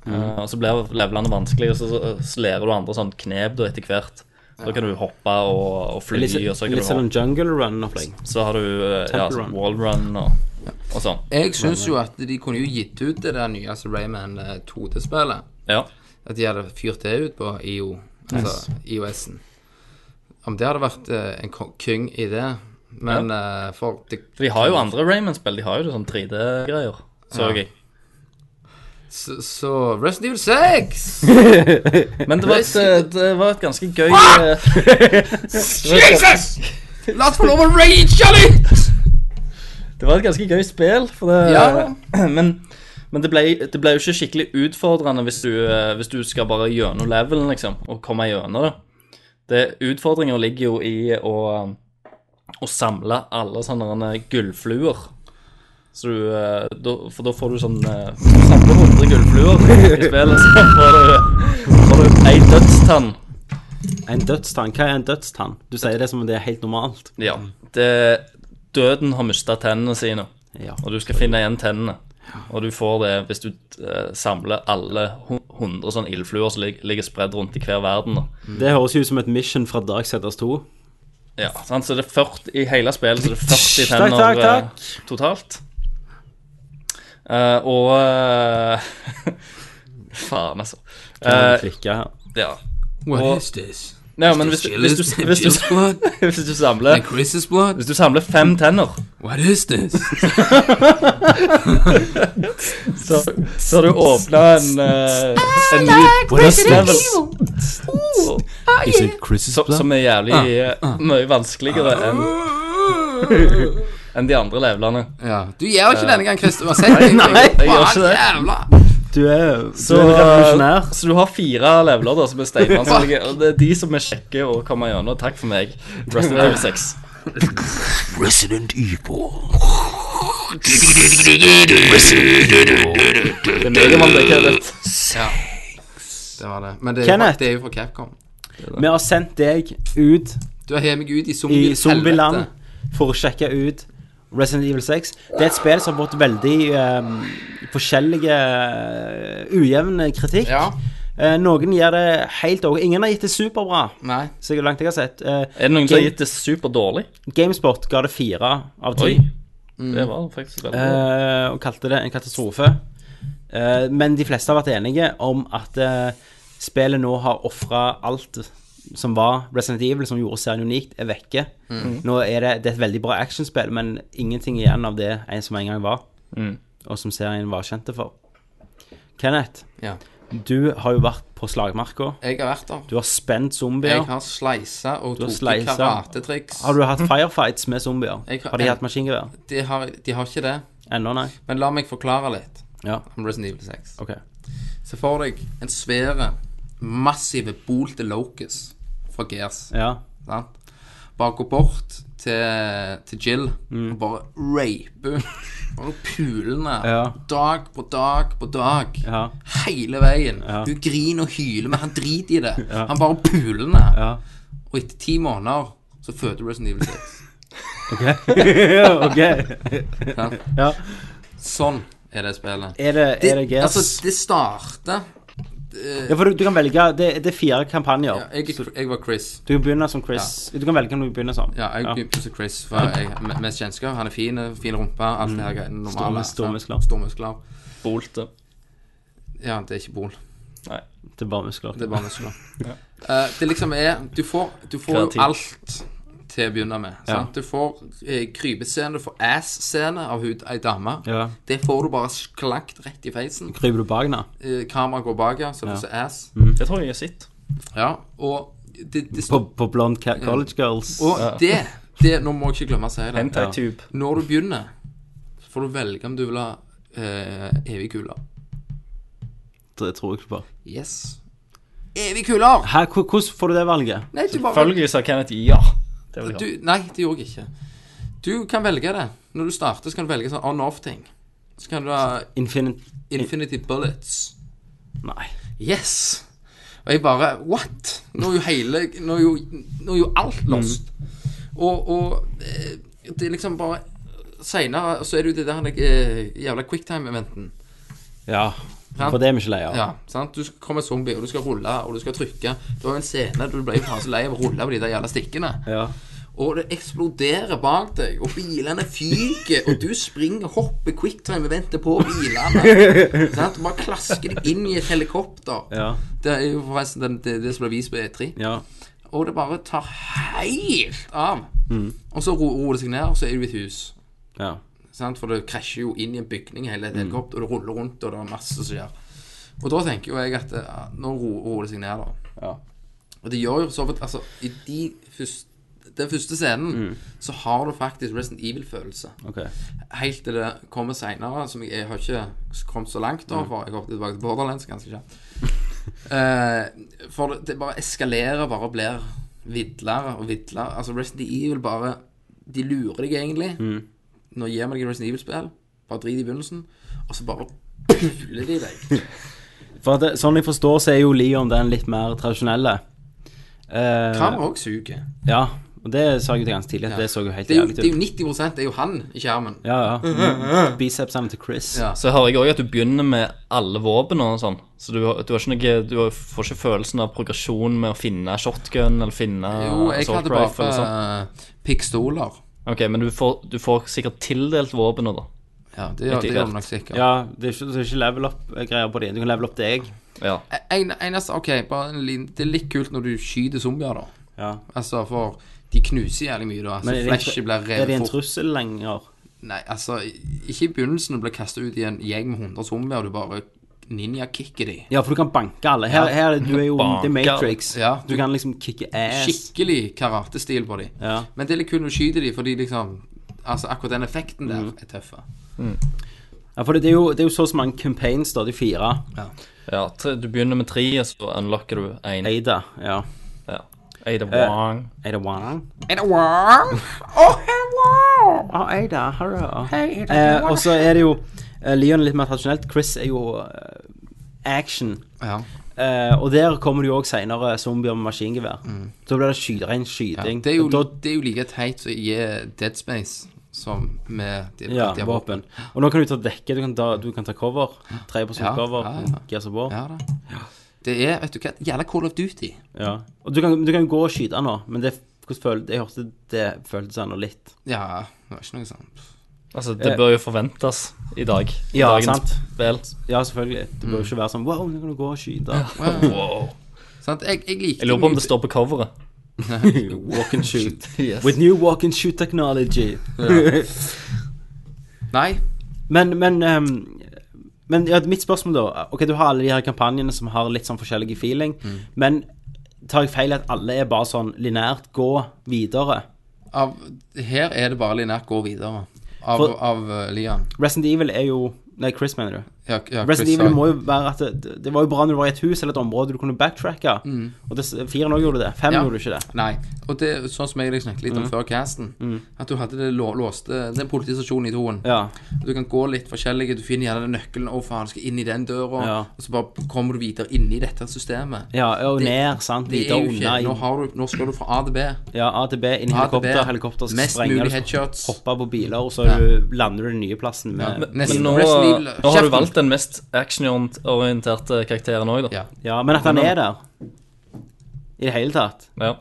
Speaker 7: Mm.
Speaker 8: Eh, og så blir levelene vanskelig, og så, så, så lærer du andre sånn knep da etter hvert. Da kan du hoppe og, og fly,
Speaker 7: Litt,
Speaker 8: og så kan
Speaker 7: litt
Speaker 8: du
Speaker 7: sånn
Speaker 8: hoppe.
Speaker 7: jungle run-opplegg.
Speaker 8: Så har du eh, ja,
Speaker 7: Temple run.
Speaker 8: sånn wall run og, og sånn.
Speaker 1: Jeg syns jo at de kunne jo gitt ut det der nye altså Rayman 2D-spillet.
Speaker 8: Ja.
Speaker 1: At de hadde fyrt det ut på IO, altså IOS-en. Om det hadde vært eh, en ko- king i det Men eh, for det,
Speaker 8: For de har jo andre Rayman-spill. De har jo det sånn 3D-greier, så jeg.
Speaker 1: Så, så Resident Evil 6!
Speaker 8: Men det var et, eh, det var et ganske gøy eh,
Speaker 1: Jesus! La oss få lov å rage litt!
Speaker 8: Det var et ganske gøy spill, for det,
Speaker 1: Ja.
Speaker 8: men, men det, ble, det ble jo ikke skikkelig utfordrende hvis du, eh, hvis du skal bare gjennom levelen, liksom, og komme gjennom det. det utfordringer ligger jo i å, å samle alle sånne derne gullfluer. Så du, eh, da, for da får du sånn eh, Samle 100 gullfluer i spillet, så får du, får du ei dødstann.
Speaker 7: En dødstann. Hva er en dødstann? Du sier det som om det er helt normalt.
Speaker 8: Ja. Det, døden har mista tennene sine,
Speaker 7: Ja.
Speaker 8: og du skal finne igjen tennene. Og du får det hvis du eh, samler alle hu- 100 sånne ildfluer som lig- ligger spredd rundt i hver verden. Da.
Speaker 7: Det høres jo ut som et mission fra Darksiders 2.
Speaker 8: Ja, sant? Så det er 40, I hele spillet så er det 40
Speaker 7: Takk,
Speaker 8: tenner
Speaker 7: takk,
Speaker 8: eh,
Speaker 7: takk.
Speaker 8: totalt. Eh, og eh, Faen, altså. Eh,
Speaker 7: Klikka her.
Speaker 8: ja.
Speaker 1: What
Speaker 8: Og-
Speaker 1: is this?
Speaker 8: Nei, men hvis, du- hvis, du, hvis, du,
Speaker 1: Jill's blood?
Speaker 8: hvis, du samler,
Speaker 1: And Chris's blood?
Speaker 8: hvis du samler fem tenner
Speaker 1: What is this?
Speaker 8: Så, så har du åpna en, eh, en ny level
Speaker 7: Oh,
Speaker 5: Is it Chris's
Speaker 8: som, som er jævlig
Speaker 7: Ah,
Speaker 8: eh, mye vanskeligere enn enn de andre levelene.
Speaker 1: ja. Du gjør ikke denne gang, Christer. Uansett.
Speaker 8: Nei, jeg gjør ikke det.
Speaker 1: Jævla!
Speaker 7: Du er,
Speaker 8: Så, eh,
Speaker 7: du er revolusjonær.
Speaker 8: så du har fire leveler da som er steinvanskelige, og det er de som er kjekke å komme gjennom. Takk for meg. Resident Evil 6.
Speaker 5: Resident Evil.
Speaker 8: Det er meget vanskelig.
Speaker 1: Det var det. Men det er, jo,
Speaker 7: Kenneth.
Speaker 1: det er jo fra Capcom.
Speaker 7: Vi har sendt deg ut
Speaker 1: Du har hevet meg ut i
Speaker 7: i
Speaker 1: zombie-
Speaker 7: zombieland
Speaker 1: helvete.
Speaker 7: for å sjekke ut Resident Evil 6. Det er et spill som har fått veldig eh, forskjellige eh, ujevn kritikk.
Speaker 1: Ja.
Speaker 7: Eh, noen gir det helt over. Ingen har gitt det superbra,
Speaker 1: Nei.
Speaker 7: så langt jeg har sett. Eh,
Speaker 8: Er det noen som har gitt det superdårlig?
Speaker 7: Gamesport ga det fire av ti.
Speaker 8: Oi. Det var faktisk veldig bra.
Speaker 7: eh, og kalte det en katastrofe. Eh, men de fleste har vært enige om at eh, spillet nå har ofra alt som var Resident Evil, som gjorde serien unikt, er vekke.
Speaker 1: Mm.
Speaker 7: Nå er det, det er et veldig bra actionspill, men ingenting igjen av det en som en gang var, og som serien var kjent for. Kenneth,
Speaker 1: Ja.
Speaker 7: du har jo vært på slagmarka.
Speaker 1: Jeg har vært der.
Speaker 7: Du har spent zombier.
Speaker 1: Jeg har sleisa og
Speaker 7: har
Speaker 1: tok i
Speaker 7: sleisa.
Speaker 1: karatetriks.
Speaker 7: Har du hatt firefights med zombier?
Speaker 1: Jeg har-
Speaker 7: har de hatt maskingevær?
Speaker 1: De, har, de har ikke det.
Speaker 7: Ennå, nei?
Speaker 1: Men la meg forklare litt
Speaker 7: Ja,
Speaker 1: om Resident Evil 6.
Speaker 7: ok.
Speaker 1: Se for deg en svære, massive bolte locus fra Gears.
Speaker 7: Ja.
Speaker 1: Sant? Bare gå bort til, til Jill
Speaker 7: Mm.
Speaker 1: og bare rape henne. Bare pulende.
Speaker 7: Ja.
Speaker 1: Dag på dag på dag.
Speaker 7: Ja.
Speaker 1: Hele veien. Hun griner og hyler, men han driter i det. Han bare puler henne.
Speaker 7: Ja.
Speaker 1: Og etter ti måneder så føder Resident Evil 6.
Speaker 7: Ok. ok.
Speaker 1: sant?
Speaker 7: Ja.
Speaker 1: Sånn er det spillet.
Speaker 7: Er det, er det Gears?
Speaker 1: Altså, det starter eh,
Speaker 7: Ja, for du, du kan velge Det, det er fire kampanjer.
Speaker 1: ja, jeg, jeg var Chris.
Speaker 7: Du kan begynne som Chris. Du kan velge hvem du begynner som.
Speaker 1: Ja, jeg begynte som Chris, for jeg er mest kjennskap. Han er fin, fin rumpe, alt det
Speaker 7: Mm.
Speaker 1: her normale.
Speaker 7: Store- store
Speaker 1: sant?
Speaker 7: muskler.
Speaker 1: Store muskler.
Speaker 8: Bolte.
Speaker 1: Ja, det er ikke bol.
Speaker 8: Nei.
Speaker 7: Det er bare muskler.
Speaker 1: Det er bare muskler. Eh, det liksom er Du får, du får jo
Speaker 8: Kreativ.
Speaker 1: alt til å begynne med. Sant? Du får eh, krypescene, du får ass-scene av hun ei dame.
Speaker 7: Ja.
Speaker 1: Det får du bare sklakt rett i feisen.
Speaker 7: Kryper du bak, da?
Speaker 1: Eh, Kameraet går bak, ja, så det er så ass.
Speaker 8: Det tror jeg jeg har sett.
Speaker 1: Ja, og det, det
Speaker 7: På, på Blonde Ca College Girls?
Speaker 1: Og det, det Nå må jeg ikke glemme å si det.
Speaker 8: Hentai-tube.
Speaker 1: Når du begynner, så får du velge om du vil ha eh, evig kuler.
Speaker 7: Det tror jeg ikke på.
Speaker 1: Yes. Evig kuler!
Speaker 7: Hæ, hvor- hvordan får du det valget?
Speaker 1: Nei, du bare
Speaker 8: Selvfølgelig sa Kenneth ja. Det vil jeg
Speaker 1: du,
Speaker 8: ha.
Speaker 1: Nei, det gjorde jeg ikke. Du kan velge det. Når du starter, så kan du velge sånn on-off-ting. Så kan du ha
Speaker 7: Infinite
Speaker 1: Infinity Bullets.
Speaker 7: Nei.
Speaker 1: Yes! Og jeg bare What?! Nå er jo hele Nå er jo, nå er jo alt lost. Og, og eh, det er liksom bare Seinere så er det jo det der eh, jævla quicktime-eventen.
Speaker 7: Ja.
Speaker 1: Sant?
Speaker 7: For det er vi ikke lei av.
Speaker 1: Ja, sant? Du skal komme zombie, og du skal rulle, og du skal trykke. Det var jo en scene du ble jo faen så lei av å rulle på de der jævla stikkene.
Speaker 7: Ja.
Speaker 1: Og det eksploderer bak deg, og bilene fyker, og du springer, hopper, quicktime, venter på bilene. sant? Bare klasker deg inn i et helikopter.
Speaker 7: Ja.
Speaker 1: Det er jo forresten den, det, det som ble vist på E3.
Speaker 7: ja.
Speaker 1: Og det bare tar helt av.
Speaker 7: Mm.
Speaker 1: Og så ro- roer det seg ned, og så er du i et hus.
Speaker 7: ja.
Speaker 1: Sant? For det krasjer jo inn i en bygning hele et helikopter, og det ruller rundt, og det er masse som skjer. Og da tenker jo jeg at eh, nå ro- roer det seg ned, da.
Speaker 7: Ja.
Speaker 1: Og det gjør jo for så vidt Altså, i de først- den første scenen så har du faktisk Resident Evil-følelse.
Speaker 7: Ok.
Speaker 1: Helt til det kommer seinere, som jeg, jeg har ikke kommet så langt da, for jeg hoppet tilbake til Borderlands ganske kjapt. Eh, for det, det bare eskalerer, bare blir vidlere og vidlere. Altså Resident Evil bare De lurer deg egentlig. Nå gir vi deg et Resident Evil-spill, bare drit i begynnelsen, og så bare puler de deg.
Speaker 7: For at det, sånn jeg forstår, så er jo Leon den litt mer tradisjonelle. Eh,
Speaker 1: Kameraet òg suger.
Speaker 7: ja. Og det sa jeg jo til ganske tidlig, at det så jo helt
Speaker 1: Det er jo,
Speaker 7: jævlig
Speaker 1: det er
Speaker 7: ut.
Speaker 1: jo 90 det er jo han i skjermen.
Speaker 7: Ja, ja. Bicepsene Mm-hmm. til Chris.
Speaker 1: Mm-hmm. Ja.
Speaker 8: Så hører jeg òg at du begynner med alle våpen og sånn. Så du, har- du, har ikke noe, du har- får ikke følelsen av progresjon med å finne shotgun eller finne
Speaker 1: Jo, jeg
Speaker 8: assault
Speaker 1: hadde
Speaker 8: rifle
Speaker 1: bare
Speaker 8: og sånn.
Speaker 1: eh, pikstoler.
Speaker 8: Ok, men du får, du får sikkert tildelt våpenet, da.
Speaker 1: Ja, det gjør det gjør du nok sikkert.
Speaker 7: Ja, det er ikke, det er ikke level up-greier på de. Du kan level up deg.
Speaker 8: Ja.
Speaker 1: En, eneste, ok, bare en liten Det er litt kult når du skyter zombier, da.
Speaker 7: Ja.
Speaker 1: Altså, for de knuser jævlig mye, da.
Speaker 7: Men
Speaker 1: Så
Speaker 7: er det-
Speaker 1: flashet blir
Speaker 7: Er det
Speaker 1: revet
Speaker 7: en
Speaker 1: fort.
Speaker 7: trussel lenger?
Speaker 1: Nei, altså, ikke i begynnelsen du blir kasta ut i en gjeng med 100 zombier, og du bare ninja-kicker de.
Speaker 7: Ja, for du kan banke alle. Her, her er- du er jo
Speaker 8: Banke
Speaker 7: The Matrix.
Speaker 1: alle. Ja.
Speaker 7: Du kan liksom kicke ass.
Speaker 1: Skikkelig karatestil på de.
Speaker 7: Ja.
Speaker 1: Men det er litt kult når du skyter de, fordi liksom Altså, akkurat den effekten
Speaker 7: Mm.
Speaker 1: der er tøffe.
Speaker 7: Ja, for det det er jo, det er jo så så mange campaigns, da. De fire.
Speaker 8: ja tre, du begynner med tre, og så unlocker du én.
Speaker 7: Ada. Ja.
Speaker 8: Ja. Ada Wong.
Speaker 7: Ada Wang.
Speaker 1: Er det warm? Oh, hello!
Speaker 7: Å, Ada. Hallo.
Speaker 1: Hei, Ada,
Speaker 7: Eh,
Speaker 1: hello.
Speaker 7: og så er det jo eh, Leon er litt mer tradisjonelt. Chris er jo eh, action.
Speaker 1: Ja.
Speaker 7: Eh, og der kommer det jo òg seinere zombier med maskingevær. Da blir det skyterein
Speaker 1: Mm. Ja,
Speaker 7: skyting.
Speaker 1: det, er jo,
Speaker 7: Og da,
Speaker 1: det er jo like teit som å gi Dead Space som med de,
Speaker 7: ja,
Speaker 1: de har
Speaker 7: våpen. Og nå kan du ta dekke, du kan ta, du kan ta cover. 3
Speaker 1: Ja,
Speaker 7: cover.
Speaker 1: ja,
Speaker 7: Ja,
Speaker 1: ja.
Speaker 7: Gears of War.
Speaker 1: Ja da. Det er, vet du hva, et jævla Call of Duty.
Speaker 7: Ja. Og du kan, du kan gå og skyte nå, men det, hvordan føl- jeg hørte det føltes ennå litt.
Speaker 1: Ja, det var ikke noe sånt.
Speaker 8: Altså, det bør jo forventes i dag. I
Speaker 7: Ja,
Speaker 8: dagens
Speaker 7: sant.
Speaker 8: spill.
Speaker 7: Ja, selvfølgelig. Det bør jo
Speaker 1: Mm.
Speaker 7: ikke være sånn Wow, nå kan du gå og skyte.
Speaker 8: Wow.
Speaker 1: Sant? Jeg, jeg likte
Speaker 8: Jeg lurer på om
Speaker 1: mye-
Speaker 8: det står på coveret.
Speaker 7: walk and shoot.
Speaker 8: Yes.
Speaker 7: With new walk and shoot technology.
Speaker 1: Nei.
Speaker 7: men, men ehm, Men ja, mitt spørsmål, da. Ok, du har alle de her kampanjene som har litt sånn forskjellige feeling,
Speaker 1: Mm.
Speaker 7: men tar jeg feil i at alle er bare sånn lineært gå videre?
Speaker 1: Av, her er det bare linært gå videre. Av,
Speaker 7: For-
Speaker 1: av uh, Lian.
Speaker 7: Resident Evil er jo Nei, Chris, mener du?
Speaker 1: Ja, ja,
Speaker 7: Resident
Speaker 1: Chris
Speaker 7: Evil
Speaker 1: sa-
Speaker 7: må jo være at det, det var jo bra når det var i et hus eller et område du kunne backtracke. Og det, fire nå gjorde det. Fem
Speaker 1: Mm. Ja.
Speaker 7: gjorde ikke det. Mm.
Speaker 1: Nei. Og det er sånn som jeg snakket litt om før casten. At du hadde det lå, låste Den politistasjonen i toen.
Speaker 7: Ja.
Speaker 1: Du kan gå litt forskjellige. Du finner gjerne den nøkkelen. Å, faen, skal inn i den døra.
Speaker 7: Ja.
Speaker 1: Og så bare kommer du videre inn i dette systemet.
Speaker 7: ja og
Speaker 1: Det-
Speaker 7: ned, sant.
Speaker 1: Det
Speaker 7: Videre
Speaker 1: er jo
Speaker 7: unna.
Speaker 1: ikke Nå,
Speaker 7: i-
Speaker 1: har du, nå skal du fra A til B.
Speaker 7: Ja, A til B, inn i
Speaker 1: A til B.
Speaker 7: helikopter, helikopter
Speaker 1: Mest
Speaker 7: sprenger
Speaker 1: mulig
Speaker 7: du,
Speaker 1: headshots.
Speaker 7: hopper på biler, og så
Speaker 1: Ja.
Speaker 7: du, lander du den nye plassen med
Speaker 1: Nesten
Speaker 8: men nå-
Speaker 1: Resident Hold
Speaker 8: har,
Speaker 1: i lø-
Speaker 8: nå har
Speaker 1: kjeften.
Speaker 8: du valgt den mest actionorienterte karakteren òg, da.
Speaker 1: Ja.
Speaker 7: Ja, men at han er der i det hele tatt
Speaker 8: Ja.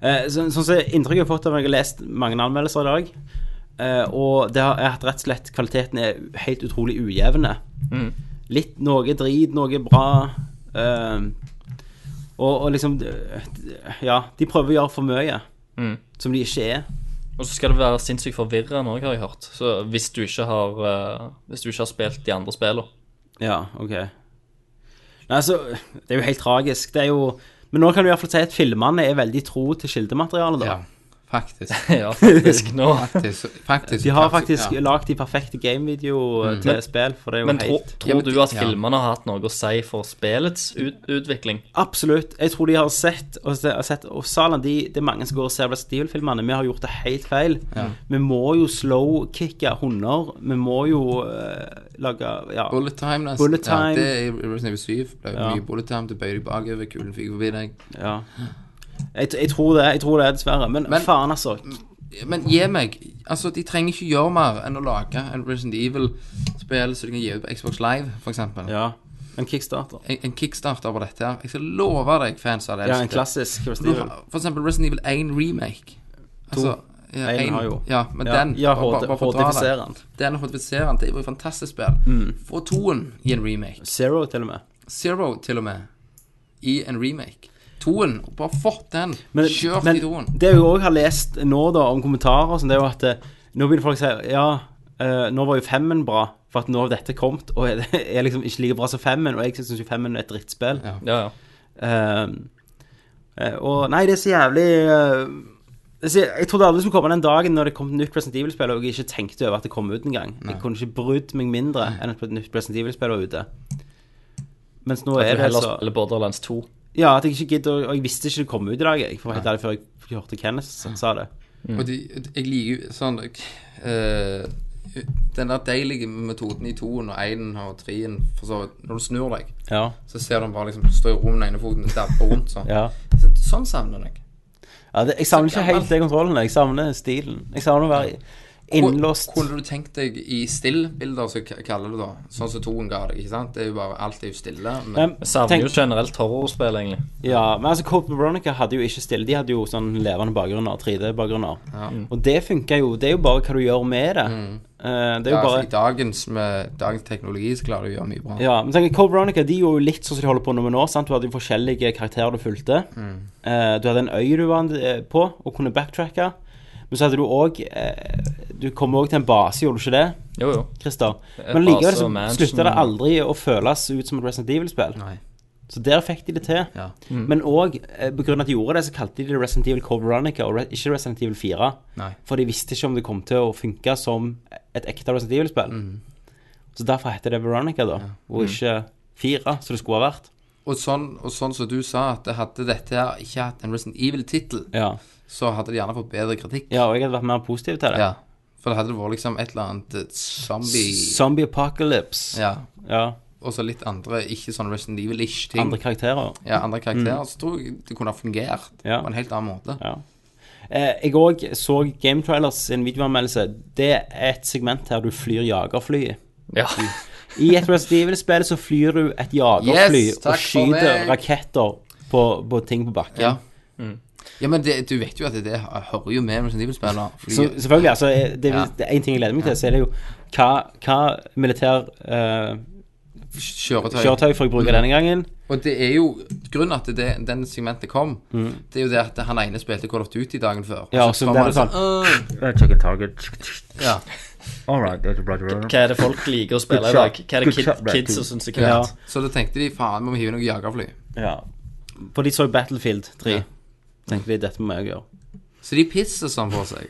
Speaker 7: eh, så, Sånn som inntrykket jeg har fått av at jeg har lest mange anmeldelser i dag, eh, og det har- er at rett og slett kvaliteten er helt utrolig ujevne. Litt noe drit, noe bra. Eh, og, og liksom Ja, de prøver å gjøre for mye som de ikke er.
Speaker 8: Og så skal det være sinnssykt forvirrende òg, har jeg hørt. Så hvis du ikke har, eh, hvis du ikke har spilt de andre spillene.
Speaker 7: Ja, ok. Nei, så Det er jo helt tragisk. Det er jo Men nå kan du i hvert fall si at filmene er veldig tro til kildematerialet, da.
Speaker 1: Ja, faktisk.
Speaker 8: ja, faktisk. Nå.
Speaker 1: Faktisk, faktisk,
Speaker 7: De har
Speaker 1: faktisk-
Speaker 7: faktisk
Speaker 1: ja.
Speaker 7: lagd de perfekte gamevideo eh, til spill, for det er jo
Speaker 8: Men
Speaker 7: helt
Speaker 8: tro, tror du at
Speaker 1: Ja.
Speaker 8: filmene har hatt noe å si for spillets ut, utvikling?
Speaker 7: Absolutt. Jeg tror de har sett Og, se- har sett, og Salan, de, det er mange som går og ser Resident Evil-filmene. Vi har gjort det helt feil. Vi må jo slow-kicke hunder. Vi må jo eh, lage Ja.
Speaker 1: Bullet time, nesten.
Speaker 7: Bullet time.
Speaker 1: Ja, det er i Resident Evil 7. Ble
Speaker 7: Ja.
Speaker 1: mye bullet time. Du bøyer deg bakover, kulen fyker forbi deg.
Speaker 7: ja. Jeg, jeg tror det, jeg tror det, dessverre. Men,
Speaker 1: Men- Mm.
Speaker 7: faen, altså.
Speaker 1: Men gi meg Altså, de trenger ikke gjøre mer enn å lage en Resident Evil-spill som de kan gi ut på Xbox Live, for eksempel.
Speaker 7: Ja. En kickstarter.
Speaker 1: En, en kickstarter på dette her. Jeg skal love deg, fans av det.
Speaker 7: Ja, en klassisk Resident
Speaker 1: Du
Speaker 7: Evil.
Speaker 1: har- For eksempel Resident Evil 1 remake. Altså, ja,
Speaker 7: En
Speaker 1: en-
Speaker 7: har jo.
Speaker 1: Ja, men
Speaker 7: Ja,
Speaker 1: den
Speaker 7: ja,
Speaker 1: bare- bare-
Speaker 7: HD
Speaker 1: bare for å dra det.
Speaker 7: HD-fisere den.
Speaker 1: Den hodifiseren. Det var jo et fantastisk spill.
Speaker 7: Mm.
Speaker 1: Få toen i en remake.
Speaker 7: Zero, til og med.
Speaker 1: Zero, til og med, i en remake. Toen. Bare fått den.
Speaker 7: Men,
Speaker 1: Kjørt
Speaker 7: men
Speaker 1: i toen.
Speaker 7: det jeg òg har lest nå, da, om kommentarer og sånn, det er jo at eh, nå begynner folk å si Ja, eh, nå var jo femmen bra, for at nå har dette kommet, og er, det er liksom ikke like bra som femmen, og jeg syns jo femmen er et drittspill. Ehm,
Speaker 1: Ja.
Speaker 8: Ja, ja.
Speaker 7: Eh, eh, og nei, det er så jævlig eh, det er så, Jeg trodde aldri det skulle komme den dagen når det kom et nytt Resident Evil-spill, og jeg ikke tenkte over at det kom ut engang. Jeg kunne ikke brydd meg mindre enn at et nytt Resident Evil-spill var ute. Mens nå
Speaker 8: Du
Speaker 7: er det
Speaker 8: heller
Speaker 7: så
Speaker 8: spiller Borderlands 2.
Speaker 7: Ja, at jeg ikke gidder å- Og jeg visste ikke det kom ut i dag, jeg. For helt ærlig, før jeg hørte Kenneth som sa det.
Speaker 1: Og de, jeg liker jo sånn eh, Den der deilige metoden i toen og einen og treen for så vidt. Når du snur deg,
Speaker 7: Ja.
Speaker 1: så ser du han bare liksom stå i ro med den ene foten og dabbe rundt sånn.
Speaker 7: ja.
Speaker 1: Sånn- Sånn savner jeg.
Speaker 7: det, jeg savner ikke
Speaker 1: gammel.
Speaker 7: helt det kontrollen. Jeg savner stilen. Jeg savner å være
Speaker 1: Hvor-
Speaker 7: innlåst.
Speaker 1: Kunne du tenkt deg i stillbilder, som jeg kaller det da? Sånn som toen ga deg, ikke sant? Det er jo bare Alt er jo stille. Men
Speaker 7: Men
Speaker 8: Jeg savner
Speaker 7: tenk-
Speaker 8: jo generelt horrorspill, egentlig.
Speaker 7: Ja, men altså Cope Veronica hadde jo ikke stille. De hadde jo sånn levende bakgrunner, 3D-bakgrunner. Og det funka jo. Det er jo bare hva du gjør med det.
Speaker 8: Mm.
Speaker 7: Eh, det er jo
Speaker 1: ja, altså,
Speaker 7: bare
Speaker 1: i dagens, med dagens teknologi så klarer du å gjøre mye bra.
Speaker 7: Ja, men tenk, Code Veronica de gjorde jo litt sånn som de holder på nå med nå. sant? Du hadde jo forskjellige karakterer du fulgte.
Speaker 8: Mm.
Speaker 7: Eh, du hadde en øy du var eh, på og kunne backtracke. Men så hadde du òg Du kom òg til en base, gjorde du ikke det,
Speaker 8: Jo, jo.
Speaker 7: Christer?
Speaker 8: En
Speaker 7: Men likevel
Speaker 8: Eh, base,
Speaker 7: så
Speaker 8: mansion.
Speaker 7: slutta det aldri å føles ut som et Resident Evil-spill.
Speaker 1: Nei.
Speaker 7: Så der fikk de det til.
Speaker 1: Ja.
Speaker 7: Men òg eh, pga. at de gjorde det, så kalte de det Resident Evil Code Veronica og Re ikke Resident Evil 4.
Speaker 1: Nei.
Speaker 7: For de visste ikke om det kom til å funke som et ekte Resident Evil-spill.
Speaker 1: Mm.
Speaker 7: Så derfor heter det Veronica, da, og ikke 4, som det skulle ha vært.
Speaker 1: Og sånn, og sånn som du sa, at hadde dette her ikke hatt en Resident Evil-tittel,
Speaker 7: Ja.
Speaker 1: så hadde det gjerne fått bedre kritikk.
Speaker 7: ja, og jeg hadde vært mer positiv til det.
Speaker 1: Ja. For det hadde vært liksom et eller annet eh, zombie
Speaker 7: Zombie Apocalypse.
Speaker 1: Ja.
Speaker 7: Ja.
Speaker 1: Og så litt andre, ikke sånn Resident Evil-ish ting.
Speaker 7: Andre karakterer.
Speaker 1: ja, andre karakterer. Så tror jeg det kunne ha fungert
Speaker 7: Ja.
Speaker 1: på en helt annen måte.
Speaker 7: Ja. Eh, jeg òg så Game Trailers sin videoanmeldelse. Det er et segment her du flyr jagerfly. i.
Speaker 8: Ja.
Speaker 7: I et Resident Evil-spill så flyr du et jagerfly
Speaker 1: Yes,
Speaker 7: og
Speaker 1: takk for
Speaker 7: skyter
Speaker 1: meg.
Speaker 7: raketter på, på ting på bakken.
Speaker 1: Ja. Ja, men det, du vet jo at det, det hører jo med Resident Evil-spillere. fordi-
Speaker 7: Så selvfølgelig, altså, det,
Speaker 1: Ja.
Speaker 7: det er en ting jeg gleder meg til, så er det jo hva, hva militær eh,
Speaker 1: Kjøretøy.
Speaker 7: kjøretøy får jeg
Speaker 1: Mm.
Speaker 7: bruke denne gangen?
Speaker 1: Og det er jo grunnen at det, den segmentet kom, det er jo det at han ene spilte Call of Duty dagen før.
Speaker 7: Mm. Ja, så
Speaker 1: kom
Speaker 7: der
Speaker 1: han
Speaker 7: er det
Speaker 1: sånn, «Øh, ja.
Speaker 8: Hva er det folk liker å spille i dag? Hva er det kid, kids som syns er kult?
Speaker 7: Ja.
Speaker 1: Så da tenkte de faen, vi må hive noe jagerfly.
Speaker 7: Ja. For de så Battlefield 3.
Speaker 1: Ja.
Speaker 7: Tenkte de dette må jeg gjøre.
Speaker 1: Så de pisser sånn på seg.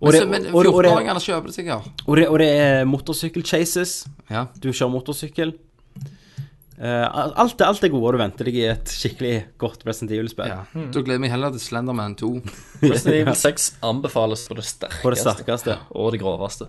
Speaker 7: Og det,
Speaker 1: Men så- men
Speaker 7: og, det- og,
Speaker 1: 14-åringene
Speaker 7: det,
Speaker 1: kjøper det sikkert.
Speaker 7: og, det, og det er motorsykkel-chases.
Speaker 1: Ja.
Speaker 7: Du kjører motorsykkel. Eh, alt, alt det gode du venter deg i et skikkelig godt Resident Evil-spill.
Speaker 1: ja. Da gleder jeg meg heller til Slenderman 2.
Speaker 8: Resident Evil 6 anbefales på det sterkeste.
Speaker 7: På det sterkeste.
Speaker 8: Og det groveste.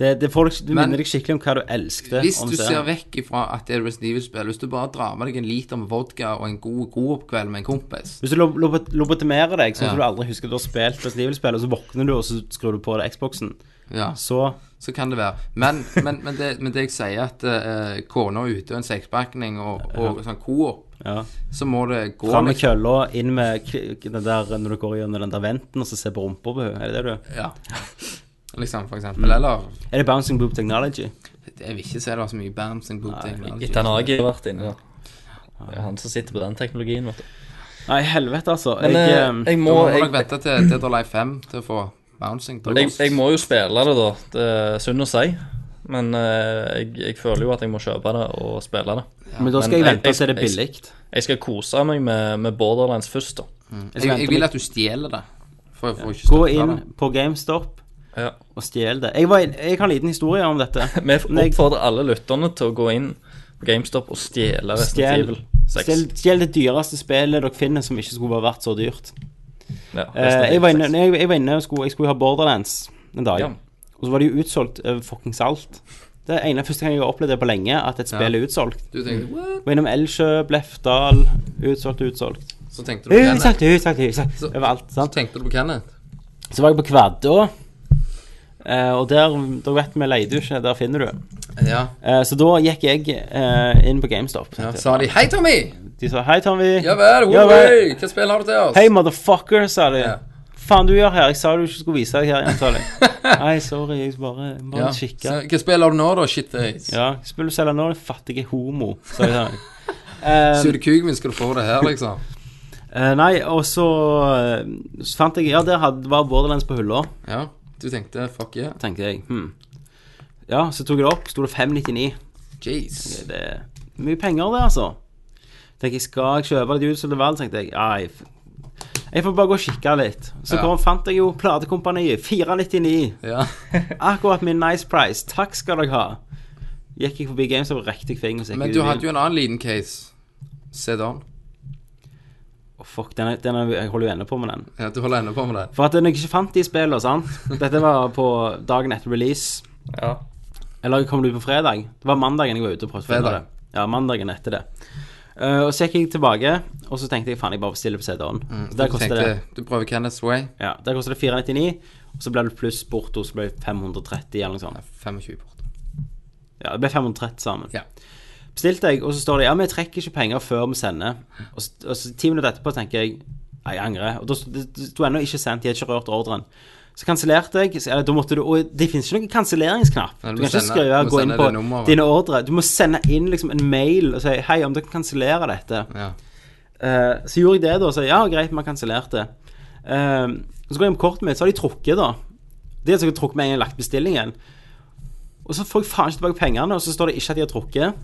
Speaker 7: Det, det, får, deg- det
Speaker 1: Men-
Speaker 7: minner deg skikkelig om hva du elsket.
Speaker 1: Hvis
Speaker 7: om
Speaker 1: du
Speaker 7: serien.
Speaker 1: ser vekk ifra at det er Resident Evil-spill, hvis du bare drar med deg en liter med vodka og en god god-kveld med en kompis
Speaker 7: Hvis du lob- lob- lobotomerer deg, sånn
Speaker 1: Ja.
Speaker 7: at du aldri husker du har spilt Resident Evil-spill, og så våkner du, og så skrur du på deg Xboxen,
Speaker 1: Ja.
Speaker 7: så
Speaker 1: Så kan det være. Men, men, men, det, men det jeg sier, at eh, kona er ute og en sekspakning og, og sånn coop,
Speaker 7: ja.
Speaker 1: så må det gå
Speaker 7: Fram med
Speaker 1: litt-
Speaker 7: kølla, inn med k- den der når du går gjennom den der venten og så ser på rumpa på henne. Er det det du
Speaker 1: Ja. Liksom, for eksempel. Eller
Speaker 7: Er det bouncing boob technology?
Speaker 1: Jeg vil ikke se det var så mye bouncing boot
Speaker 8: Gitan Agi har vært inne der. Det er han som sitter på den teknologien, vet du.
Speaker 7: Nei, helvete, altså.
Speaker 8: Men
Speaker 7: jeg,
Speaker 8: eh,
Speaker 7: ehm,
Speaker 8: jeg
Speaker 1: Nå
Speaker 8: må
Speaker 1: må
Speaker 8: jeg,
Speaker 1: nok vente til Dead or Alive 5 til å få bouncing.
Speaker 8: jeg, jeg må jo spille det, da. Det er synd å si. Men eh, jeg, jeg føler jo at jeg må kjøpe det og spille det.
Speaker 7: men da skal jeg
Speaker 8: men jeg-
Speaker 7: vente til det er
Speaker 8: jeg-
Speaker 7: billig.
Speaker 8: Jeg skal kose meg med, med Borderlands først, da.
Speaker 7: Jeg
Speaker 1: jeg,
Speaker 7: skal
Speaker 1: jeg
Speaker 7: vente
Speaker 1: vil
Speaker 7: litt.
Speaker 1: at du stjeler det. For, for å ikke støtte
Speaker 7: Gå inn
Speaker 1: det.
Speaker 7: på GameStop
Speaker 8: Ja.
Speaker 7: og stjel det. Jeg, var, inn- jeg har en liten historie om dette.
Speaker 8: Vi
Speaker 7: Men jeg-
Speaker 8: oppfordrer alle lytterne til å gå inn på GameStop og
Speaker 7: Stjel,
Speaker 8: stjele Resident Evil 6.
Speaker 7: stjel, stjel det dyreste spillet dere finner som ikke skulle vært så dyrt.
Speaker 8: Ja, Resident
Speaker 7: Eh, jeg,
Speaker 8: Evil
Speaker 7: var inne,
Speaker 8: 6.
Speaker 7: når jeg, jeg var inne og skulle, jeg skulle ha Borderlands en dag,
Speaker 8: Ja.
Speaker 7: og så var det jo utsolgt over fuckings alt. Det er ene første gang jeg har opplevd det på lenge, at et spill er utsolgt.
Speaker 1: Du tenkte, what?
Speaker 7: Var innom Elkjøp, Lefdal, utsolgt, utsolgt. Eh,
Speaker 1: Så tenkte du på Kenneth.
Speaker 7: Utsolgt, utsolgt, utsolgt.
Speaker 1: Så-
Speaker 7: Overalt.
Speaker 1: Så
Speaker 7: sant?
Speaker 1: tenkte du på Kenneth.
Speaker 7: Så var jeg på Kvaddå, eh, og der Da vet vi leier du ikke, der finner du.
Speaker 1: Ja.
Speaker 7: Eh, så da gikk jeg eh, inn på GameStop.
Speaker 1: ja.
Speaker 7: tenkte jeg.
Speaker 1: Sa de 'Hei, Tommy!
Speaker 7: De sa 'Hei, Tommy'.
Speaker 1: Ja vel,
Speaker 7: Ja
Speaker 1: wow,
Speaker 7: vel.
Speaker 1: hey, hva spill har du til oss?'
Speaker 7: Hei, motherfucker, sa de.
Speaker 1: Ja.
Speaker 7: Faen du gjør her? Jeg sa du ikke skulle vise deg her igjen, sa de. Nei, sorry, jeg bare, jeg bare
Speaker 1: ja.
Speaker 7: kikke.
Speaker 1: så, Hva spill har du nå, da? Shit Ace.
Speaker 7: Ja, spiller du selge nå, din fattige homo, sa de til meg. Eh,
Speaker 1: Suger kuken min, skal du få det her, liksom.
Speaker 7: eh, nei, og så, eh, så fant jeg Ja, der hadde, var Borderlands på hylla,
Speaker 1: Ja. Du tenkte 'fuck yeah'.
Speaker 7: tenkte jeg. Hm. Ja, så tok jeg det opp, sto det 599.
Speaker 1: Jeez.
Speaker 7: Det er mye penger, det, altså. Tenkte jeg, skal jeg kjøpe det utsolgte valg? Tenkte jeg. Nei, f- jeg får bare gå og kikke litt. Så
Speaker 1: Ja.
Speaker 7: kom, fant jeg jo Platekompaniet. 499.
Speaker 1: Ja.
Speaker 7: Akkurat min nice price. Takk skal dere ha. Gikk jeg forbi Games og rekte fingeren. så gikk
Speaker 1: Men
Speaker 7: jeg
Speaker 1: du
Speaker 7: ut i
Speaker 1: hadde jo
Speaker 7: bilen.
Speaker 1: en annen liten case. Set on.
Speaker 7: Å, Fuck, den, er- den er, jeg holder jo ennå på med den.
Speaker 1: Ja, du holder ennå på med det.
Speaker 7: For at når jeg ikke fant de spillene, sant Dette var på dagen etter release.
Speaker 8: Ja.
Speaker 7: Eller kom det ut på fredag? Det var mandagen jeg var ute og prøvde å finne
Speaker 1: Fredag.
Speaker 7: det. Ja, mandagen etter det. Eh, og så gikk jeg tilbake, og så tenkte jeg faen, jeg bare bestiller på CD-en. Så der
Speaker 1: Mm, Du
Speaker 7: koster det
Speaker 1: tenkte, Du prøver Kenneth's Way.
Speaker 7: Ja, der koster det 499, og så ble det pluss borto, så ble det 530 eller noe sånt.
Speaker 1: 25 bort.
Speaker 7: Ja, det ble 530 sammen.
Speaker 1: Ja.
Speaker 7: Bestilte jeg, og så står det ja, vi trekker ikke penger før vi sender. Og så, og så ti minutter etterpå tenker jeg nei, jeg angrer. Og da sto- det det sto ennå ikke sendt, de hadde ikke rørt ordren. Så kansellerte jeg. Så, eller, da måtte du, og det finnes ikke noen kanselleringsknapp.
Speaker 1: Nei, du
Speaker 7: Du,
Speaker 1: må
Speaker 7: kan ikke
Speaker 1: sende-
Speaker 7: skrive
Speaker 1: du må
Speaker 7: gå inn
Speaker 1: sende
Speaker 7: på
Speaker 1: det nummeret.
Speaker 7: dine ordre. Du må sende inn liksom en mail og si hei, om dere kan kansellere dette.
Speaker 1: Ja.
Speaker 7: Eh, så gjorde jeg det, da. Og sa ja, greit, vi har kansellert det. Eh, og så går jeg på kortet mitt, så har de trukket, da. De har sikkert trukket med en gang jeg har lagt bestillingen. Og så får jeg faen ikke tilbake pengene, og så står det ikke at de har trukket.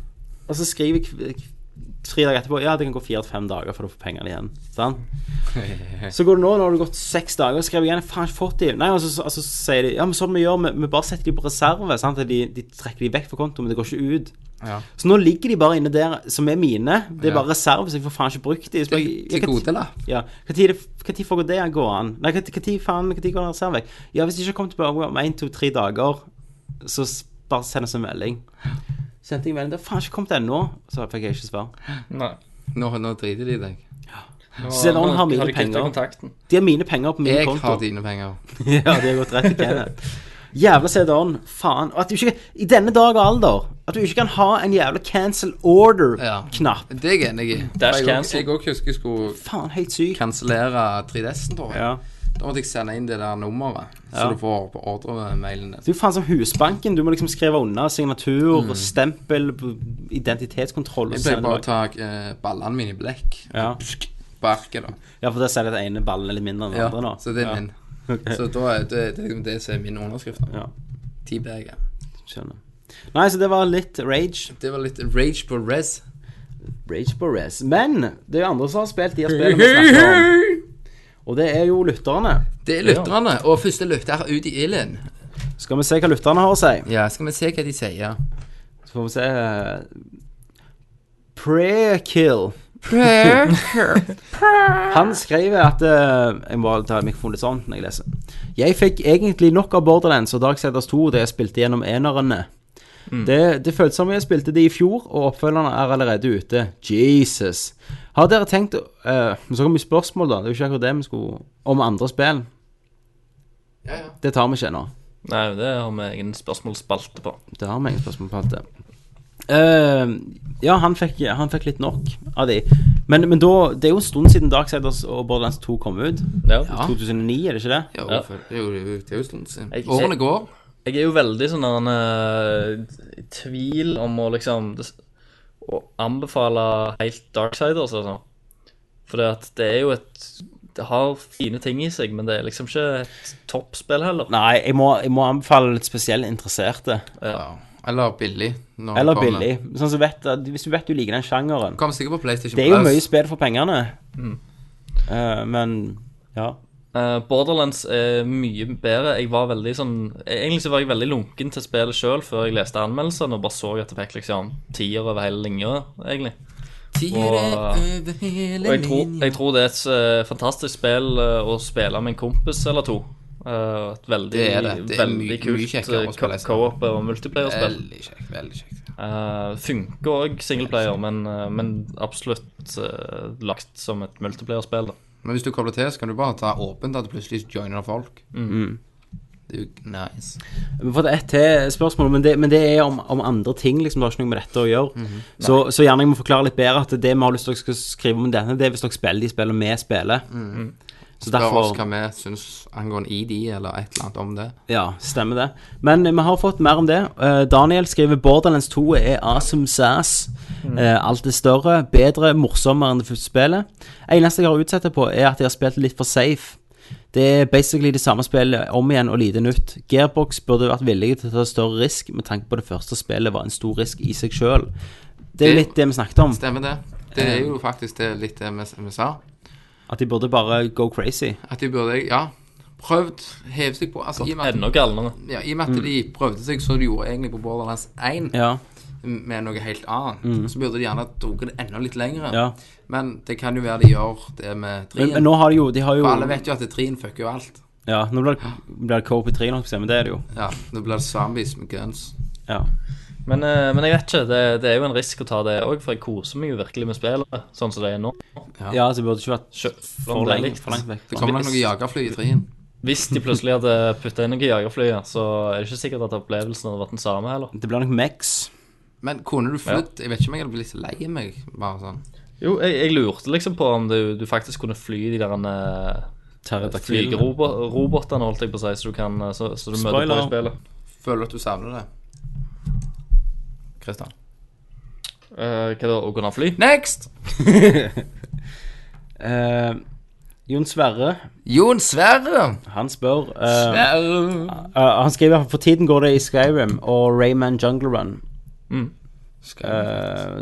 Speaker 7: Og så skriver jeg kv- kv- tre dager etterpå ja, det kan gå fire til fem dager før du får pengene igjen. Sant? Så går det nå, nå har det gått seks dager, og så skriver jeg igjen jeg har faen ikke fått de. Nei, og så, og så sier de ja, men sånn vi gjør, vi, vi bare setter de på reserve. Sant? At De, de trekker de vekk fra kontoen, men det går ikke ut.
Speaker 1: Ja.
Speaker 7: Så nå ligger de bare inne der som er mine. Det er
Speaker 1: Ja.
Speaker 7: bare reserve, så jeg får faen ikke brukt de. Så
Speaker 1: Til,
Speaker 7: jeg- jeg-
Speaker 1: til gode lapp.
Speaker 7: Ja. Hva tid, det- hva tid får det gående? Nei, hva hva tid faen, hva tid går det reserve vekk? Ja, hvis det ikke kommer tilbake om én, to, tre dager, så s- bare send oss en melding. Sendte jeg en melding. Det har faen ikke kommet ennå. Så fikk jeg ikke svar.
Speaker 8: Nei.
Speaker 1: Nå, nå driter de i deg.
Speaker 7: Så
Speaker 8: Nå-
Speaker 7: noen har mine
Speaker 8: de kuttet
Speaker 7: penger.
Speaker 8: kontakten.
Speaker 7: De har mine penger på min
Speaker 1: Jeg
Speaker 7: konto.
Speaker 1: har dine penger.
Speaker 7: ja, de har gått rett til Kenneth. Jævla CD-en. Faen. Og at du ikke I denne dag og alder At du ikke kan ha en jævla cancel
Speaker 1: Ja.
Speaker 7: order-knapp.
Speaker 1: Det er jeg enig i. For
Speaker 8: Dash
Speaker 1: jeg òg-
Speaker 8: cancel.
Speaker 1: Jeg òg husker jeg skulle
Speaker 7: Faen, helt syk.
Speaker 1: kansellere 3DS-en, tror jeg.
Speaker 7: Ja.
Speaker 1: Da måtte jeg sende inn det der nummeret, så
Speaker 7: Ja.
Speaker 1: du får på ordremailene.
Speaker 7: Det er jo faen som Husbanken. Du må liksom skrive unna signatur og stempel, b- identitetskontroll
Speaker 1: Mm. Jeg
Speaker 7: og sånn. sende
Speaker 1: pleier bare å
Speaker 7: tilbake.
Speaker 1: ta eh, ballene mine i blekk.
Speaker 7: Ja.
Speaker 1: På arket, da.
Speaker 7: ja, for der ser jeg at den ene ballen er litt mindre enn den
Speaker 1: Ja,
Speaker 7: andre nå.
Speaker 1: så det er
Speaker 7: ja.
Speaker 1: min. Så da er det, det er liksom det som er min underskrift. da.
Speaker 7: Ja,
Speaker 1: Ti beger.
Speaker 7: skjønner. Nei, så det var litt rage.
Speaker 1: Det var litt rage på res.
Speaker 7: Rage på res. Men det er jo andre som har spilt de her spillene vi snakker om. Og det er jo lytterne.
Speaker 1: Det er lytterne. Og første lytter ut i ilden.
Speaker 7: Skal vi se hva lytterne har å si?
Speaker 1: Ja, skal vi se hva de sier.
Speaker 7: Så får vi se eh, Prayer kill. Han skriver at eh, Jeg må ta mikrofonen litt sånn når jeg leser. Jeg fikk egentlig nok av Borderlands og Dark Siders 2 da jeg spilte gjennom enerne.
Speaker 1: Mm.
Speaker 7: Det, det føltes som jeg spilte det i fjor, og oppfølgerne er allerede ute. Jesus. Har dere tenkt å- eh, Så kommer spørsmål, da. Det er jo ikke akkurat det vi skulle Om andre spill.
Speaker 1: Ja, ja.
Speaker 7: Det tar vi ikke ennå.
Speaker 8: Nei, det har vi egen spørsmålsspalte på.
Speaker 7: Det har vi ingen spørsmål på alt det. Eh, ja, han fikk, han fikk litt nok av de. Men, men da, det er jo en stund siden Darksiders og Borderlands 2 kom ut.
Speaker 8: Ja.
Speaker 7: I 2009, er det ikke det?
Speaker 1: Jo,
Speaker 8: Ja.
Speaker 1: for- det er jo det er jo en stund siden.
Speaker 8: Jeg-
Speaker 1: Årene går.
Speaker 8: Jeg er jo veldig sånn der, eh, i tvil om å liksom des- Å anbefale helt Darksiders, altså. For det at det er jo et Det har fine ting i seg, men det er liksom ikke et toppspill heller.
Speaker 7: Nei, jeg må, jeg må anbefale litt spesielt interesserte.
Speaker 1: Ja. Eller billig. når det
Speaker 7: Eller
Speaker 1: kommer.
Speaker 7: billig. Sånn som vet, at- hvis du vet du liker den sjangeren.
Speaker 1: Kommer sikkert på PlayStation
Speaker 7: Det er jo
Speaker 1: Plus.
Speaker 7: mye spill for pengene. Eh, men ja.
Speaker 8: Eh, Borderlands er mye bedre. Jeg var veldig sånn Egentlig så var jeg veldig lunken til spillet sjøl før jeg leste anmeldelsene og bare så at det fikk liksom tier over hele linja, egentlig. Og jeg tror, jeg tror det er et eh, fantastisk spill eh, å spille med en kompis eller to. Eh, et veldig,
Speaker 1: Det er det. Det er
Speaker 8: veldig
Speaker 1: mye- mye
Speaker 8: kult
Speaker 1: kjekkere
Speaker 8: eh,
Speaker 1: å spille
Speaker 8: co- co-op og multiplayer-spill.
Speaker 1: Veldig kjekt. Veldig kjekt.
Speaker 8: Eh, funker òg singleplayer, men, eh, men absolutt eh, lagt som et multiplayer-spill. da.
Speaker 1: Men hvis du kobler til, så kan du bare ta åpent at du plutselig joiner folk.
Speaker 7: Mm.
Speaker 1: Det er jo nice.
Speaker 7: Vi får ett til spørsmål, men det, men det er om, om andre ting. liksom, Det har ikke noe med dette å gjøre.
Speaker 1: Mhm.
Speaker 7: så, så gjerne jeg må forklare litt bedre at det vi har lyst til at dere skal skrive om denne, det er hvis dere spiller de spillene vi spiller. Så
Speaker 1: Mhm. Spør oss
Speaker 7: derfor
Speaker 1: hva vi syns angående ID eller et eller annet om det.
Speaker 7: Ja, stemmer det. Men eh, vi har fått mer om det. Eh, Daniel skriver Borderlands 2 er awesome sass. Eh, alt er større, bedre, morsommere enn det første spillet. Eneste jeg har utsatt det på, er at jeg har spilt litt for safe. Det er basically det samme spillet om igjen og lite nytt. Gearbox burde vært villige til å ta større risk, med tanke på det første spillet var en stor risk i seg sjøl. Det er jo
Speaker 1: Det-
Speaker 7: litt det vi snakket om.
Speaker 1: Stemmer det? Det
Speaker 7: Eh.
Speaker 1: er jo faktisk det litt det vi, vi sa.
Speaker 7: At de burde bare go crazy.
Speaker 1: At de burde Ja. Prøvd, hevet seg på. Altså, i, og med
Speaker 8: Enda
Speaker 1: at,
Speaker 8: galnere.
Speaker 1: ja, I og
Speaker 7: Mm.
Speaker 1: med at de prøvde seg som de gjorde egentlig på Borderlands 1,
Speaker 7: Ja.
Speaker 1: med noe helt annet, så burde de gjerne drukket det enda litt lengre.
Speaker 7: Mm. Ja.
Speaker 1: Men det kan jo være de gjør det med
Speaker 7: Men,
Speaker 1: trien.
Speaker 7: men nå har de jo, de har jo
Speaker 1: For alle vet jo at trien fucker jo alt.
Speaker 7: Ja, nå blir det- blir det co-op i 3, men det er det jo.
Speaker 1: Ja, Nå blir det zombies med guns.
Speaker 7: Ja.
Speaker 8: Men, eh, men jeg vet ikke, det, det er jo en risk å ta det òg, for jeg koser meg jo virkelig med spillet sånn som det er nå.
Speaker 7: Ja, så burde det ikke vært
Speaker 8: Sjø-
Speaker 7: for,
Speaker 8: om det er
Speaker 7: langt,
Speaker 8: likt.
Speaker 7: for langt vekk.
Speaker 1: Det kommer nok noen jagerfly i trien.
Speaker 8: Hvis de plutselig hadde putta inn noen jagerfly, ja, så er det ikke sikkert at opplevelsen hadde vært den samme heller.
Speaker 7: Det blir nok Mex.
Speaker 1: Men kunne du flydd Jeg vet ikke om jeg hadde blitt litt lei meg, bare sånn.
Speaker 8: Jo, jeg, jeg lurte liksom på om du, du faktisk kunne fly de der
Speaker 7: Pterodactyl.
Speaker 8: flygerobotene, holdt jeg på å si, så du, kan, eh, så, så du møter på
Speaker 7: Spoiler.
Speaker 8: i spillet.
Speaker 1: Føler du at du savner det? Kristian.
Speaker 8: Eh, hva da, å kunne fly?
Speaker 1: Next!
Speaker 7: Eh, Jon Sverre,
Speaker 1: Jon Sverre.
Speaker 7: han spør eh,
Speaker 1: Sverre.
Speaker 7: eh, Han skriver for tiden går det i Skyrim og Rayman Jungle Run. Eh,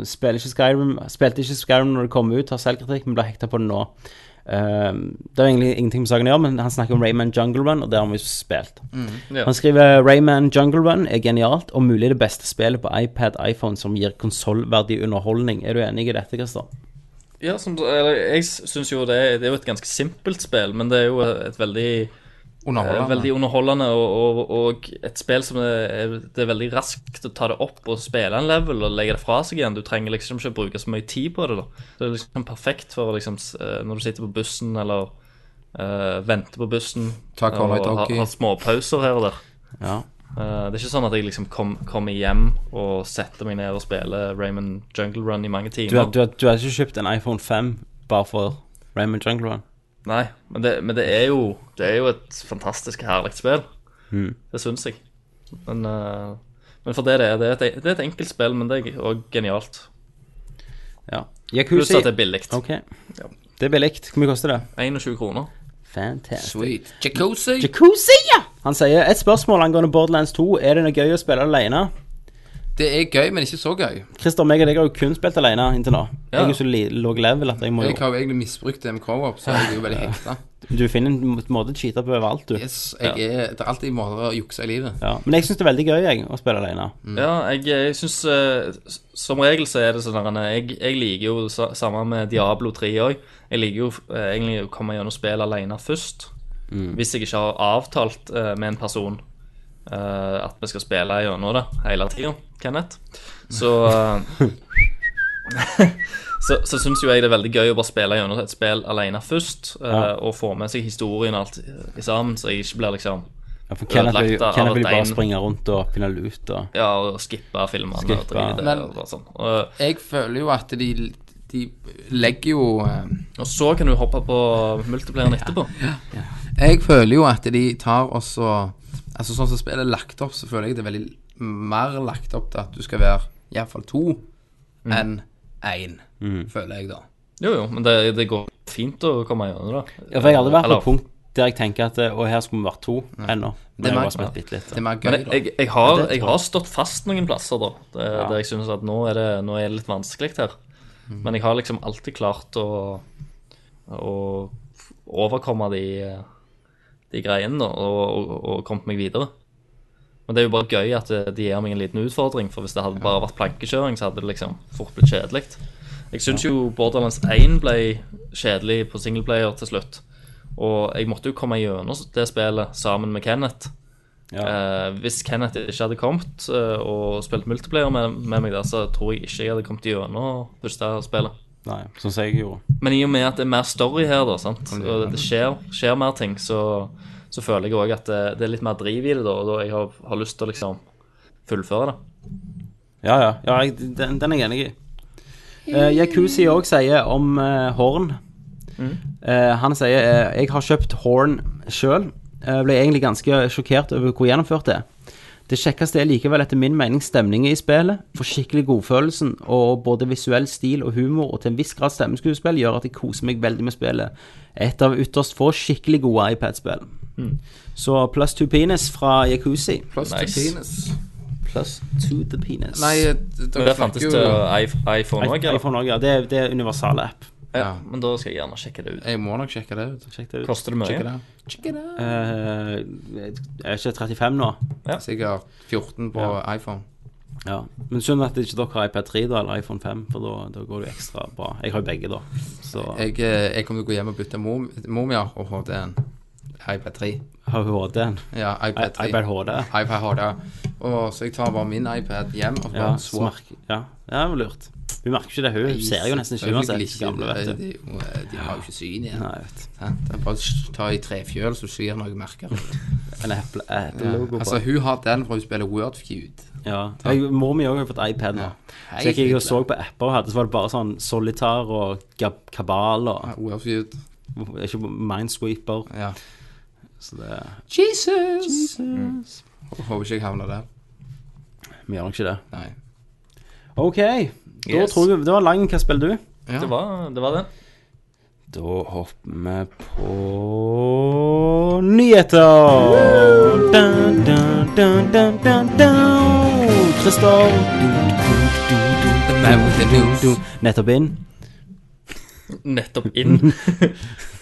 Speaker 7: spiller ikke Skyrim Spilte ikke Skyrim når det kom ut, har selvkritikk, men blir hekta på det nå. Eh, det er egentlig ingenting med saken å gjøre, men han snakker om Rayman Jungle Run, og det har vi jo spilt. Han skriver Rayman Jungle Run er genialt og mulig det beste spillet på iPad, iPhone som gir konsollverdig underholdning. Er du enig i dette, Christer?
Speaker 8: Ja, som, eller, jeg syns jo det, det er jo et ganske simpelt spill, men det er jo et veldig Eh,
Speaker 1: Underholdende.
Speaker 8: Veldig underholdende, og, og, og et spill som er, det er veldig raskt å ta det opp og spille en level og legge det fra seg igjen. Du trenger liksom ikke bruke så mye tid på det. da. Det er liksom perfekt for liksom, s- eh, når du sitter på bussen eller eh, venter på bussen
Speaker 1: Ta
Speaker 8: eh,
Speaker 1: Call of
Speaker 8: og har
Speaker 1: Duty.
Speaker 8: ha småpauser her og der.
Speaker 7: Ja.
Speaker 8: Eh, det er ikke sånn at jeg liksom kom, kommer hjem og setter meg ned og spiller Raymond Jungle Run i mange
Speaker 7: Du har,
Speaker 8: timer.
Speaker 7: du, har, du har ikke kjøpt en iPhone 5 bare for Raymond Jungle Run?
Speaker 8: Nei, men det, men det er jo Det er jo et fantastisk herlig spill. Det syns jeg. Men, eh, men for det det er, det er et, det er et enkelt spill, men det er òg genialt.
Speaker 7: Ja.
Speaker 8: Pluss
Speaker 7: Jacuzzi.
Speaker 8: at det er billig.
Speaker 7: Ok. Det er billig. Hvor mye koster det?
Speaker 8: 21 kroner.
Speaker 7: Fantastisk.
Speaker 1: Sweet. Jacuzzi.
Speaker 7: Jacuzzi! ja! Han sier et spørsmål angående Borderlands 2. Er det noe gøy å spille alene?
Speaker 1: Det er gøy, men ikke så gøy.
Speaker 7: Christer, meg og deg har jo kun spilt alene inntil nå. Jeg
Speaker 8: Ja.
Speaker 7: er jo så li- låg level at jeg må
Speaker 1: Jeg
Speaker 7: jo
Speaker 1: har jo egentlig misbrukt DMK-op, så jeg er jo veldig hekta.
Speaker 7: Du finner en m- måte å cheate på overalt, du.
Speaker 1: Yes, jeg er, det er alltid måter å jukse i livet.
Speaker 7: Ja. Men jeg syns det er veldig gøy, jeg, å spille alene.
Speaker 8: Ja, jeg, jeg syns Som regel så er det sånn at jeg, jeg liker jo sa, samme med Diablo 3 òg. Jeg liker jo eh, egentlig å komme gjennom spill alene først. Hvis jeg ikke har avtalt eh, med en person eh, at vi skal spille gjennom det hele tida, Kenneth, så eh, Så, så syns jo jeg det er veldig gøy å bare spille gjennom et spill alene først, eh, og få med seg historien og alt eh, sammen, så jeg ikke blir liksom
Speaker 7: Ja, for Kenneth vil
Speaker 8: ødelagt av
Speaker 7: Kenneth vil
Speaker 8: at
Speaker 7: bare
Speaker 8: en-
Speaker 7: springe rundt og finne lut og
Speaker 8: Ja, og skippe filmene og
Speaker 7: Skippe.
Speaker 8: drite
Speaker 1: Men-
Speaker 8: og bare sånn. Og,
Speaker 1: Jeg føler jo at de, de legger jo eh,
Speaker 8: og så kan du hoppe på multiplayeren etterpå.
Speaker 1: Jeg føler jo at de tar også Altså sånn som spillet er lagt opp, så føler jeg det er veldig mer lagt opp til at du skal være iallfall to
Speaker 8: Mm.
Speaker 1: enn én, føler jeg da.
Speaker 8: Jo, jo, men det, det går fint å komme gjennom det.
Speaker 7: Ja, for jeg har aldri vært på
Speaker 8: Eller-
Speaker 7: et punkt der jeg tenker at Og her skulle vi vært to ennå.
Speaker 1: Det
Speaker 7: Men jeg
Speaker 1: var-
Speaker 7: har spilt bitte litt.
Speaker 1: Det er mer gøy,
Speaker 8: Men jeg,
Speaker 1: da.
Speaker 8: jeg, jeg, har,
Speaker 7: det tror
Speaker 8: jeg har stått fast noen plasser, da. Det, Der jeg synes at nå er, det, nå er det litt vanskelig her.
Speaker 1: Mm.
Speaker 8: Men jeg har liksom alltid klart å, å overkomme de, de greiene da, og, og, og kommet meg videre. Men det er jo bare gøy at eh, de gir meg en liten utfordring, for hvis det hadde bare vært plankekjøring, så hadde det liksom fort blitt kjedelig. Jeg syns jo Borderlands 1 ble kjedelig på singleplayer til slutt. Og jeg måtte jo komme gjennom det spillet sammen med Kenneth. Eh, hvis Kenneth ikke hadde kommet eh, og spilt multiplayer med, med meg der, så tror jeg ikke jeg hadde kommet gjennom første spillet.
Speaker 7: Nei, sånn som jeg gjorde.
Speaker 8: Men i og med at det er mer story her, da, sant? og det, det skjer, skjer mer ting, så, så føler jeg òg at det, det er litt mer driv i det, da, og da jeg har, har lyst til å liksom fullføre det.
Speaker 7: Ja, ja. ja jeg, den, den er jeg enig i. Uh, Yakuzi òg sier om eh, Horn. Eh, han sier eh, Jeg har kjøpt Horn sjøl. ble egentlig ganske sjokkert over hvor gjennomført det er. Det kjekkeste er likevel etter min mening stemningen i spillet. For skikkelig godfølelsen og både visuell stil og humor og til en viss grad stemmeskuespill gjør at jeg koser meg veldig med spillet. Et av ytterst få skikkelig gode iPad-spill. Så plus two penis fra Yakuzi.
Speaker 1: Plus to
Speaker 8: Nice.
Speaker 1: penis.
Speaker 7: Plus to the penis.
Speaker 1: Nei, eh,
Speaker 8: Men
Speaker 1: dere
Speaker 8: det fantes
Speaker 1: snakker
Speaker 8: til
Speaker 1: jo
Speaker 8: i- iPhone òg, eller?
Speaker 7: iPhone også, ja. Det er, det er universal app.
Speaker 8: Ja, men da skal jeg gjerne sjekke det ut.
Speaker 1: Jeg må nok sjekke det ut.
Speaker 7: Sjekk det ut.
Speaker 8: Koster det mye?
Speaker 1: Sjekke det. Sjekke det.
Speaker 7: Eh, jeg er ikke 35 nå.
Speaker 1: Sikkert 14 på iPhone.
Speaker 7: Ja. Men synd at ikke dere har iPad 3 da, eller iPhone 5, for da, da går det jo ekstra bra. Jeg har jo begge, da. Så
Speaker 1: Jeg, eh, jeg kommer til å gå hjem og bytte mom- Momia og HD-en. iPad 3.
Speaker 7: har HD-en.
Speaker 1: Ja, iPad 3.
Speaker 7: iPad HD.
Speaker 1: iPad HD. Og så jeg tar bare min iPad hjem og så
Speaker 7: Ja,
Speaker 1: bare
Speaker 7: så merk- ja. ja, det var lurt. Hun merker ikke det, hun. Hun ser jo nesten ikke uansett. Gamle, vet du.
Speaker 1: De, de har jo ikke syn igjen.
Speaker 7: Nei, vet du.
Speaker 1: Sant? Det er Bare å ta i trefjøl, så skjer noe merker.
Speaker 7: En Apple- Apple-logo på.
Speaker 1: Altså, hun har den for hun spiller Wordfeud.
Speaker 7: eh, Ja. Jeg, mor mi òg har jo fått iPad nå.
Speaker 1: Hei,
Speaker 7: Så jeg gikk og
Speaker 1: Hitler.
Speaker 7: så på apper hun hadde, så var det bare sånn Solitaire og Gab Kabal og
Speaker 1: Wordfeud.
Speaker 7: Ikke Minesweeper.
Speaker 1: Ja.
Speaker 7: Så det
Speaker 1: Jesus! Håper ikke jeg havner der.
Speaker 7: Vi gjør nok ikke det.
Speaker 1: Nei.
Speaker 7: OK. Da
Speaker 8: Yes.
Speaker 7: tror jeg Det var lang. Hva spiller du?
Speaker 1: Ja.
Speaker 8: Det var det. Var det.
Speaker 7: Da hopper vi på nyheter. Dun, dun, dun, dun, dun, dun. Christer. Du, du, du, du, du, du, du. Nettopp inn.
Speaker 8: Nettopp inn.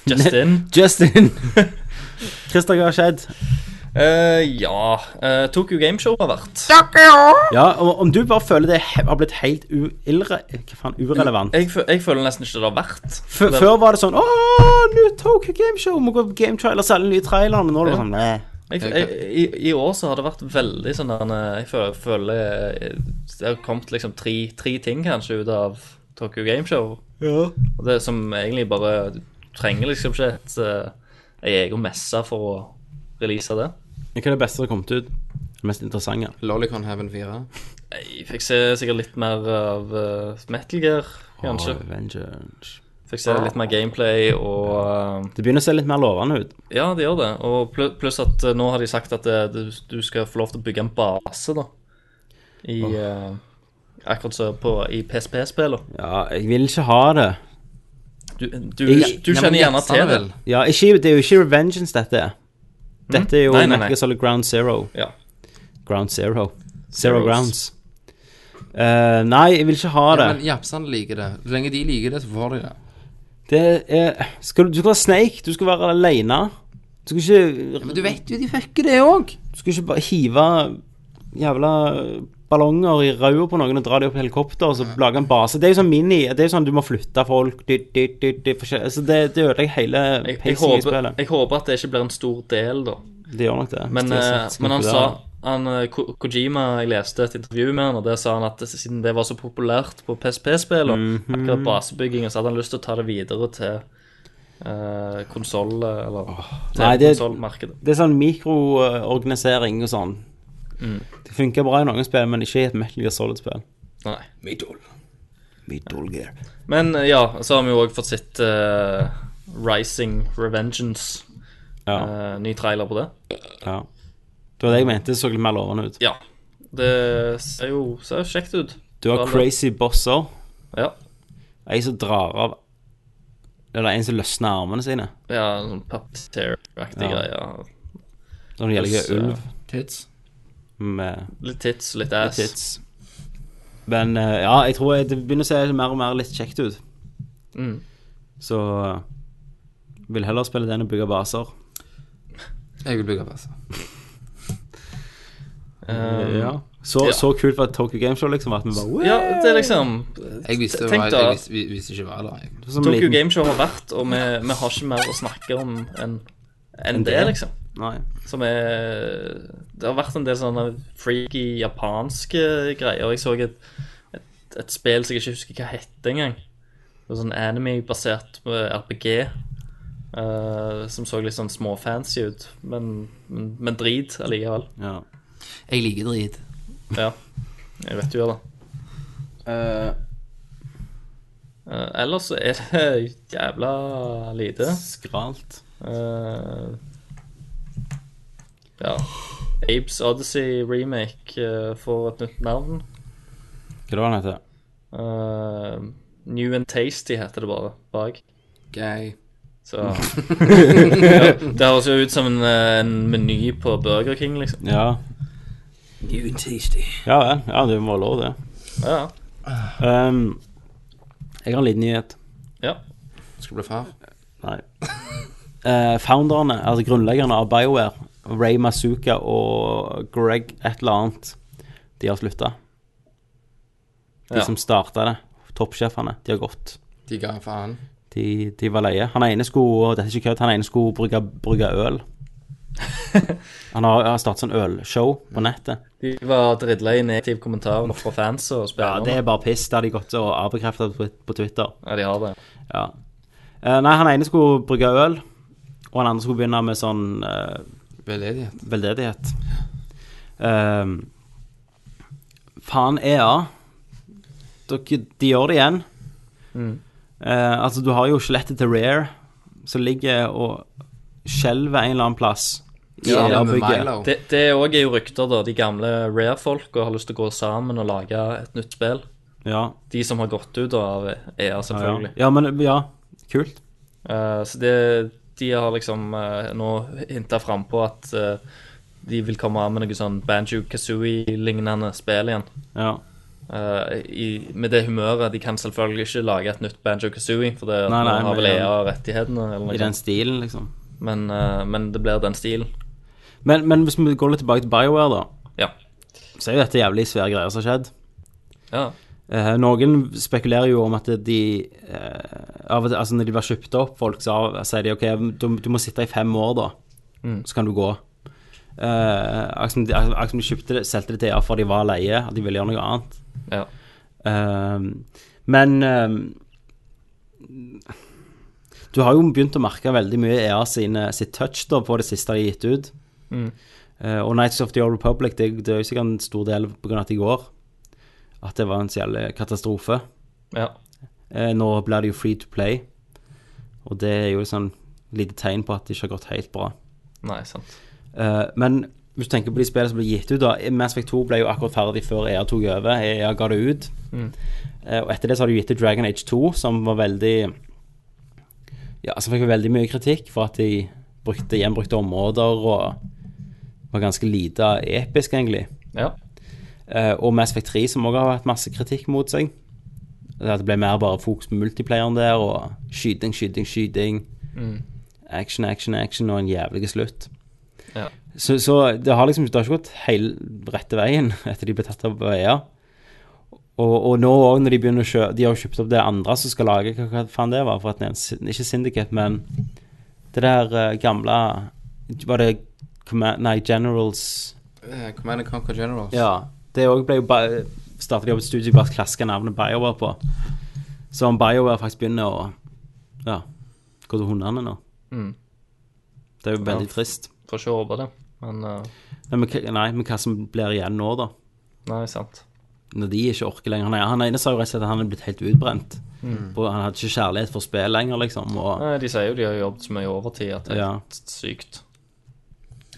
Speaker 8: Just in.
Speaker 7: Justin. Christer, hva har skjedd?
Speaker 8: Eh, ja uh, Tokyo Gameshow har vært.
Speaker 7: Ja, og Om du bare føler det he- har blitt helt u illre, hva faen, urelevant
Speaker 8: Jeg, fø- jeg føler nesten ikke det har vært.
Speaker 7: F Før var det sånn Å, nå Tokyo Gameshow! Må gå på game trailer, selge nye trailere. Men nå er det bare sånn «Nei».
Speaker 8: Jeg, jeg, i, I år så har det vært veldig sånn der, eh, Jeg føler, føler eh, Det har kommet liksom tre, tre ting kanskje ut av Tokyo Gameshow.
Speaker 7: Ja.
Speaker 8: Og det som egentlig bare Du trenger liksom ikke et eh, ei egen messe for å release det.
Speaker 7: Hva er det beste som har kommet ut? Det mest interessante?
Speaker 1: Lolicon Heaven 4.
Speaker 8: Nei, Jeg fikk se sikkert litt mer av eh, Metal Gear, kanskje.
Speaker 7: Åh, vengeance.
Speaker 8: Fikk se litt mer gameplay og eh,
Speaker 7: Det begynner å se litt mer lovende ut.
Speaker 8: Ja, det gjør det. Og pl- pluss at eh, nå har de sagt at eh, du, du skal få lov til å bygge en base, da. I eh, Akkurat som på i PSP-spillene.
Speaker 7: Ja, jeg vil ikke ha det.
Speaker 8: Du, du,
Speaker 7: Jeg-
Speaker 8: du
Speaker 1: Nei,
Speaker 8: kjenner
Speaker 1: men
Speaker 8: gjerne
Speaker 1: gjerne
Speaker 8: til det.
Speaker 1: vel.
Speaker 7: Ja, ikke, det er jo ikke Revengeance, dette. er. Dette er jo
Speaker 8: Mm. Nei, nei, nei.
Speaker 7: Metal Gear Solid Ground Zero.
Speaker 8: Ja.
Speaker 7: Ground Zero. Zero
Speaker 8: Zeros.
Speaker 7: Grounds. Eh, nei, jeg vil ikke ha det.
Speaker 1: Men japsene liker det. Så lenge de liker det, så får de det.
Speaker 7: det er, skal, du- du skal være Snake. Du skal være alene. Du skal ikke,
Speaker 1: Men du vet jo de fucker det òg.
Speaker 7: du skal ikke bare hive jævla ballonger i rauda på noen og dra dem opp i helikopter og så lage en base. Det er jo sånn mini Det er jo sånn du må flytte folk dytt, dytt, dytt, dytt, forskjell- altså Det, det ødelegger hele
Speaker 8: Jeg, jeg,
Speaker 7: pacingen i
Speaker 8: håper,
Speaker 7: spillet.
Speaker 8: jeg håper at det ikke blir en stor del, da.
Speaker 7: Det gjør nok det.
Speaker 8: Men,
Speaker 7: Det er
Speaker 8: eh,
Speaker 7: sant,
Speaker 8: men han
Speaker 7: det er-
Speaker 8: sa han, eh, Ko- Kojima, Jeg leste et intervju med han, og der sa han at siden det var så
Speaker 7: Mhm.
Speaker 8: populært på PSP-spill, og akkurat basebygging, så hadde han lyst til å ta det videre til eh, konsoll eller
Speaker 7: Nei, det-
Speaker 8: konsollmarkedet.
Speaker 7: Det er sånn mikroorganisering og sånn.
Speaker 8: Mm.
Speaker 7: Det funker bra i noen spill, men ikke i et Metal Gear Solid-spill.
Speaker 8: Nei.
Speaker 7: Metal Gear.
Speaker 8: Men eh, ja, så har vi jo òg fått sett eh, Rising Revengeance.
Speaker 7: Ja,
Speaker 8: Eh, ny trailer på det.
Speaker 7: ja. Det var det jeg mente. Det så litt mer lovende ut.
Speaker 8: Ja. Det ser jo, ser jo kjekt ut.
Speaker 7: Du har
Speaker 8: Alle-
Speaker 7: crazy bosser.
Speaker 8: Ja.
Speaker 7: En som drar av Eller en som løsner armene sine.
Speaker 8: ja sånn puppeteer-aktig
Speaker 7: Ja.
Speaker 8: greier.
Speaker 7: Når det gjelder
Speaker 8: Løs,
Speaker 7: ulv
Speaker 1: Tits.
Speaker 7: med
Speaker 8: Litt tits, litt ass.
Speaker 7: tits. Men eh, ja, jeg tror jeg, det begynner å se mer og mer litt kjekt ut.
Speaker 8: Mm.
Speaker 7: Så eh, vil heller spille den og bygge baser.
Speaker 1: Jeg vil altså. bygge PC.
Speaker 8: Eh,
Speaker 7: ja. Så,
Speaker 8: ja.
Speaker 7: så kult var Tokyo Game Show, liksom. At vi bare,
Speaker 8: ja, det er liksom
Speaker 1: Jeg visste, hva,
Speaker 8: Tenk da,
Speaker 1: jeg visste, vi- visste ikke hva det var. jeg.
Speaker 7: som
Speaker 8: Tokyo
Speaker 7: liten-
Speaker 8: Game Show har vært, og vi, vi har ikke mer å snakke om enn enn det, liksom.
Speaker 7: Nei.
Speaker 8: Som er Det har vært en del sånne freaky japanske greier. Jeg så et, et, et spill som jeg ikke husker hva het engang. Det var Sånn anime-basert på RPG. eh, som så litt sånn småfancy ut, men, men, men drit allikevel.
Speaker 7: Ja.
Speaker 1: Jeg liker drit.
Speaker 8: Ja. Jeg vet du gjør det. Eh, ellers så er det jævla lite.
Speaker 7: Skralt.
Speaker 8: Eh, ja. Apes Odyssey remake eh, får et nytt navn.
Speaker 7: Hva var den heter?
Speaker 8: Eh, New and Tasty heter det bare bak.
Speaker 1: Gøy.
Speaker 8: Så ja, Det høres jo ut som en, eh, en meny på Burger King, liksom.
Speaker 7: Ja. Ja vel. Ja, det må være lov, det.
Speaker 8: Ja,
Speaker 7: Ehm, jeg har en liten nyhet.
Speaker 8: ja.
Speaker 1: Skal bli far.
Speaker 7: Nei. Eh, founderne, altså grunnleggerne av BioWare, Ray Masuka og Greg et eller annet, de har slutta. De
Speaker 8: Ja.
Speaker 7: som starta det, toppsjefene, de har gått.
Speaker 1: De ga faen.
Speaker 7: De, de var leie. Han ene skulle og dette er ikke kødd, han ene skulle brygge, brygge øl. Han har, har startet sånn ølshow på nettet.
Speaker 8: De var dridla i negative kommentarer fra fans og
Speaker 7: Ja,
Speaker 8: spillere.
Speaker 7: Det er bare piss. Det har de gått og avbekrefta på på Twitter.
Speaker 8: Ja, de har det.
Speaker 7: Ja. Eh, nei, han ene skulle brygge øl, og han andre skulle begynne med sånn eh,
Speaker 1: Veldedighet.
Speaker 7: veldedighet. Ehm, faen EA. Dere, de gjør det igjen.
Speaker 8: Mm.
Speaker 7: Eh, altså, du har jo skjelettet til Rare, som ligger og skjelver en eller annen plass. i E
Speaker 1: Ja, det med
Speaker 7: bygget.
Speaker 1: Milo.
Speaker 8: Det, det er òg rykter, da. De gamle Rare-folka har lyst til å gå sammen og lage et nytt spill.
Speaker 7: Ja,
Speaker 8: De som har gått ut av EA,
Speaker 7: ja, ja.
Speaker 8: selvfølgelig.
Speaker 7: ja, men Ja, kult.
Speaker 8: Eh, så det, de har liksom eh, nå hinta frampå at eh, de vil komme av med noe sånn Banjo Kazooie-lignende spill igjen.
Speaker 7: Ja.
Speaker 8: Eh, i, med det humøret. De kan selvfølgelig ikke lage et nytt Banjo Kazooie, for det
Speaker 7: Nei, nei,
Speaker 8: nå har vel
Speaker 7: men-
Speaker 8: EA rettighetene, eller
Speaker 7: I
Speaker 8: noe
Speaker 7: den
Speaker 8: sånt.
Speaker 7: stilen, liksom.
Speaker 8: Men, eh, men det blir den stilen.
Speaker 7: Men, men hvis vi går litt tilbake til BioWare, da,
Speaker 8: Ja.
Speaker 7: så er jo dette jævlig svære greier som har skjedd.
Speaker 8: ja.
Speaker 7: Eh, noen spekulerer jo om at de eh, av, og til- Altså når de blir kjøpt opp, folk sa, sier de OK, du, du må sitte i fem år, da. Så kan du gå. Eh, akkurat som de, akkurat som de kjøpte det, solgte det til EA for de var leie, at de ville gjøre noe annet.
Speaker 8: ja.
Speaker 7: Ehm, men ehm, du har jo begynt å merke veldig mye EA sine, sitt touch da, på det siste de har gitt ut. Eh, og Nights of the Old Republic det, det er jo sikkert en stor del pga. at de går. At det var en så jævlig katastrofe.
Speaker 8: ja.
Speaker 7: Eh, nå blir det jo free to play, og det er jo et sånn lite tegn på at det ikke har gått helt bra.
Speaker 8: Nei, sant.
Speaker 7: Eh, men hvis du tenker på de spillene som ble gitt ut, da Mass Effect 2 ble jo akkurat ferdig før EA tok over. EA ga det ut. Eh, og etter det så har de gitt ut Dragon Age 2, som var veldig Ja, som fikk veldig mye kritikk for at de brukte gjenbrukte områder og var ganske lite episk, egentlig.
Speaker 8: Ja.
Speaker 7: Eh, og Mass Effect 3, som også har hatt masse kritikk mot seg. At det ble mer bare fokus på multiplayeren der, og skyting, skyting, skyting. Action, action, action, og en jævlig slutt.
Speaker 8: Ja.
Speaker 7: Så, så det har liksom det har ikke gått hele rette veien etter de ble tatt av EA. Og, og nå òg, når de begynner å kjø De har jo kjøpt opp det andre som skal lage Hva, hva faen det var? For at det er en, syn- ikke Syndicate, men det der eh, gamle Var det Command- Nei, Generals
Speaker 1: Eh, Command and Conquer Generals.
Speaker 7: ja, det òg ble jo ba- startet de opp et studio de bare klaska navnet BioWare på. Så om BioWare faktisk begynner å ja, går til hundene nå.
Speaker 8: Mm.
Speaker 7: Det er jo veldig
Speaker 8: Ja.
Speaker 7: trist.
Speaker 8: Får ikke håpe det. Men eh,
Speaker 7: Nei men, hva- nei, men hva som blir igjen nå, da?
Speaker 8: Nei, sant.
Speaker 7: Når de ikke orker lenger. Han, er- han ene sa jo rett og slett at han er blitt helt utbrent.
Speaker 8: Mm.
Speaker 7: Og Han hadde ikke kjærlighet for spill lenger, liksom. Og,
Speaker 8: Nei, De sier jo de har jobbet så mye overtid at det er
Speaker 7: Ja.
Speaker 8: helt sykt.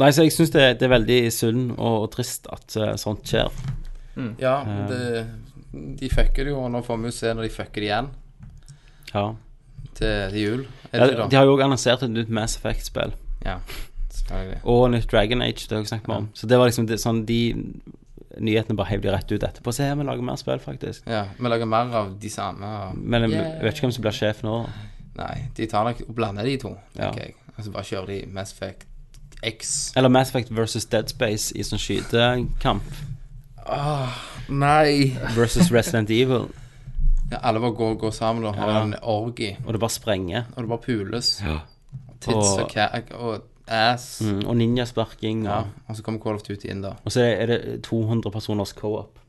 Speaker 7: nei, så jeg syns det, det er veldig synd og, og trist at eh, sånt skjer.
Speaker 1: Ja,
Speaker 7: Eh.
Speaker 1: det, de fucker det jo, og nå får vi jo se når de fucker det igjen
Speaker 7: Ja.
Speaker 1: til, til jul. Er
Speaker 7: Ja,
Speaker 1: det
Speaker 7: de
Speaker 1: ikke da?
Speaker 7: har jo også annonsert et nytt Mass Effect-spill.
Speaker 1: Ja, selvfølgelig.
Speaker 7: Og nytt Dragon Age, det har jeg snakket med om. Så det var liksom det, sånn de nyhetene bare heiv de rett ut etterpå. Se her, vi lager mer spill, faktisk.
Speaker 1: Ja, vi lager mer av de samme. Og,
Speaker 7: Men jeg vet ikke hvem som blir sjef nå. da.
Speaker 1: nei, de tar nok og blander de to,
Speaker 7: Ja.
Speaker 1: tenker jeg. Altså bare kjører de Mass Effect X.
Speaker 7: Eller Mass Effect versus Dead Space i sånn skytekamp
Speaker 1: Ah, Nei!
Speaker 7: versus Resident Evil.
Speaker 1: Ja, alle bare går, går sammen og har
Speaker 7: Ja.
Speaker 1: en orgi,
Speaker 7: Og det bare sprenger.
Speaker 1: og det bare pules. Tits og,
Speaker 7: Og-
Speaker 1: kak og ass.
Speaker 7: Mm, og ninjasparking.
Speaker 1: Ja,
Speaker 7: Og,
Speaker 1: og så kommer Call of Duty inn, da.
Speaker 7: og så er det 200 personers co-op.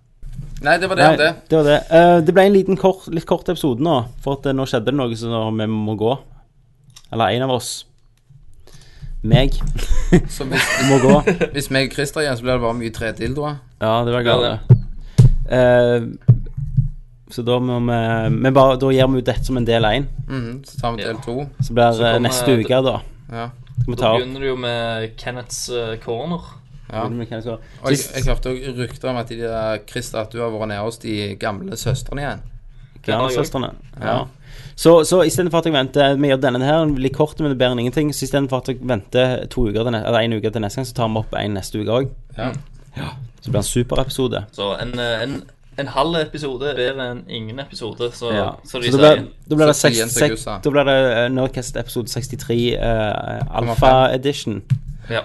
Speaker 1: Nei, det var det om det.
Speaker 7: Nei, det var det. Eh, det ble en liten kort, litt kort episode nå, for at eh, nå skjedde det noe som vi må gå. Eller en av oss. Meg
Speaker 1: Så hvis,
Speaker 7: må gå.
Speaker 1: hvis meg og Christer igjen, så blir det bare mye tre dildoer.
Speaker 7: Ja, det var
Speaker 8: Ja,
Speaker 7: gale. så da må vi Men bare, da gjør vi jo dette som en del én.
Speaker 1: Mhm, så tar vi del
Speaker 8: Ja.
Speaker 1: to.
Speaker 7: Så blir det
Speaker 8: kommer-
Speaker 7: neste uke, da.
Speaker 1: Ja.
Speaker 7: Skal vi ta
Speaker 8: Da
Speaker 7: opp
Speaker 8: begynner du jo med Kenneths eh, corner.
Speaker 1: ja.
Speaker 7: Men hva skal-
Speaker 1: Og jeg, jeg hørte også rykter om at de der, Christer, at du har vært nede hos de gamle søstrene igjen.
Speaker 7: Kjernesøstrene. Ja. Så, så istedenfor at jeg venter Vi gjør denne her litt kort, men det er bedre enn ingenting. Så istedenfor at jeg venter to uker til, ne- eller en uke til neste gang, så tar vi opp en neste uke òg.
Speaker 1: Ja.
Speaker 7: Så det blir en superepisode.
Speaker 8: Så en, eh, en, en halv episode er bedre enn ingen episode, så,
Speaker 7: Ja.
Speaker 8: så de
Speaker 7: da
Speaker 8: sier.
Speaker 7: blir- da blir det,
Speaker 1: Så
Speaker 7: seks-
Speaker 1: 10.
Speaker 7: seks-
Speaker 1: august, da.
Speaker 7: da blir det eh, Nordcast episode 63 eh, Alfa Edition.
Speaker 8: Ja.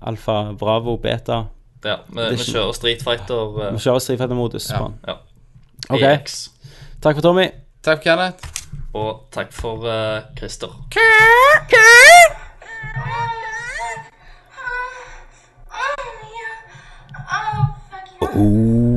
Speaker 7: Alfa Bravo Beta.
Speaker 8: ja vi, vi kjører Street Fighter eh,
Speaker 7: Vi kjører strifightermodus.
Speaker 1: Ja.
Speaker 7: Ja.
Speaker 8: ja. E
Speaker 7: Ok.
Speaker 8: EX.
Speaker 7: Takk for Tommy.
Speaker 1: Takk, Kenneth.
Speaker 8: Og takk for eh, Christer.
Speaker 9: Oh, fuck you.
Speaker 5: Oh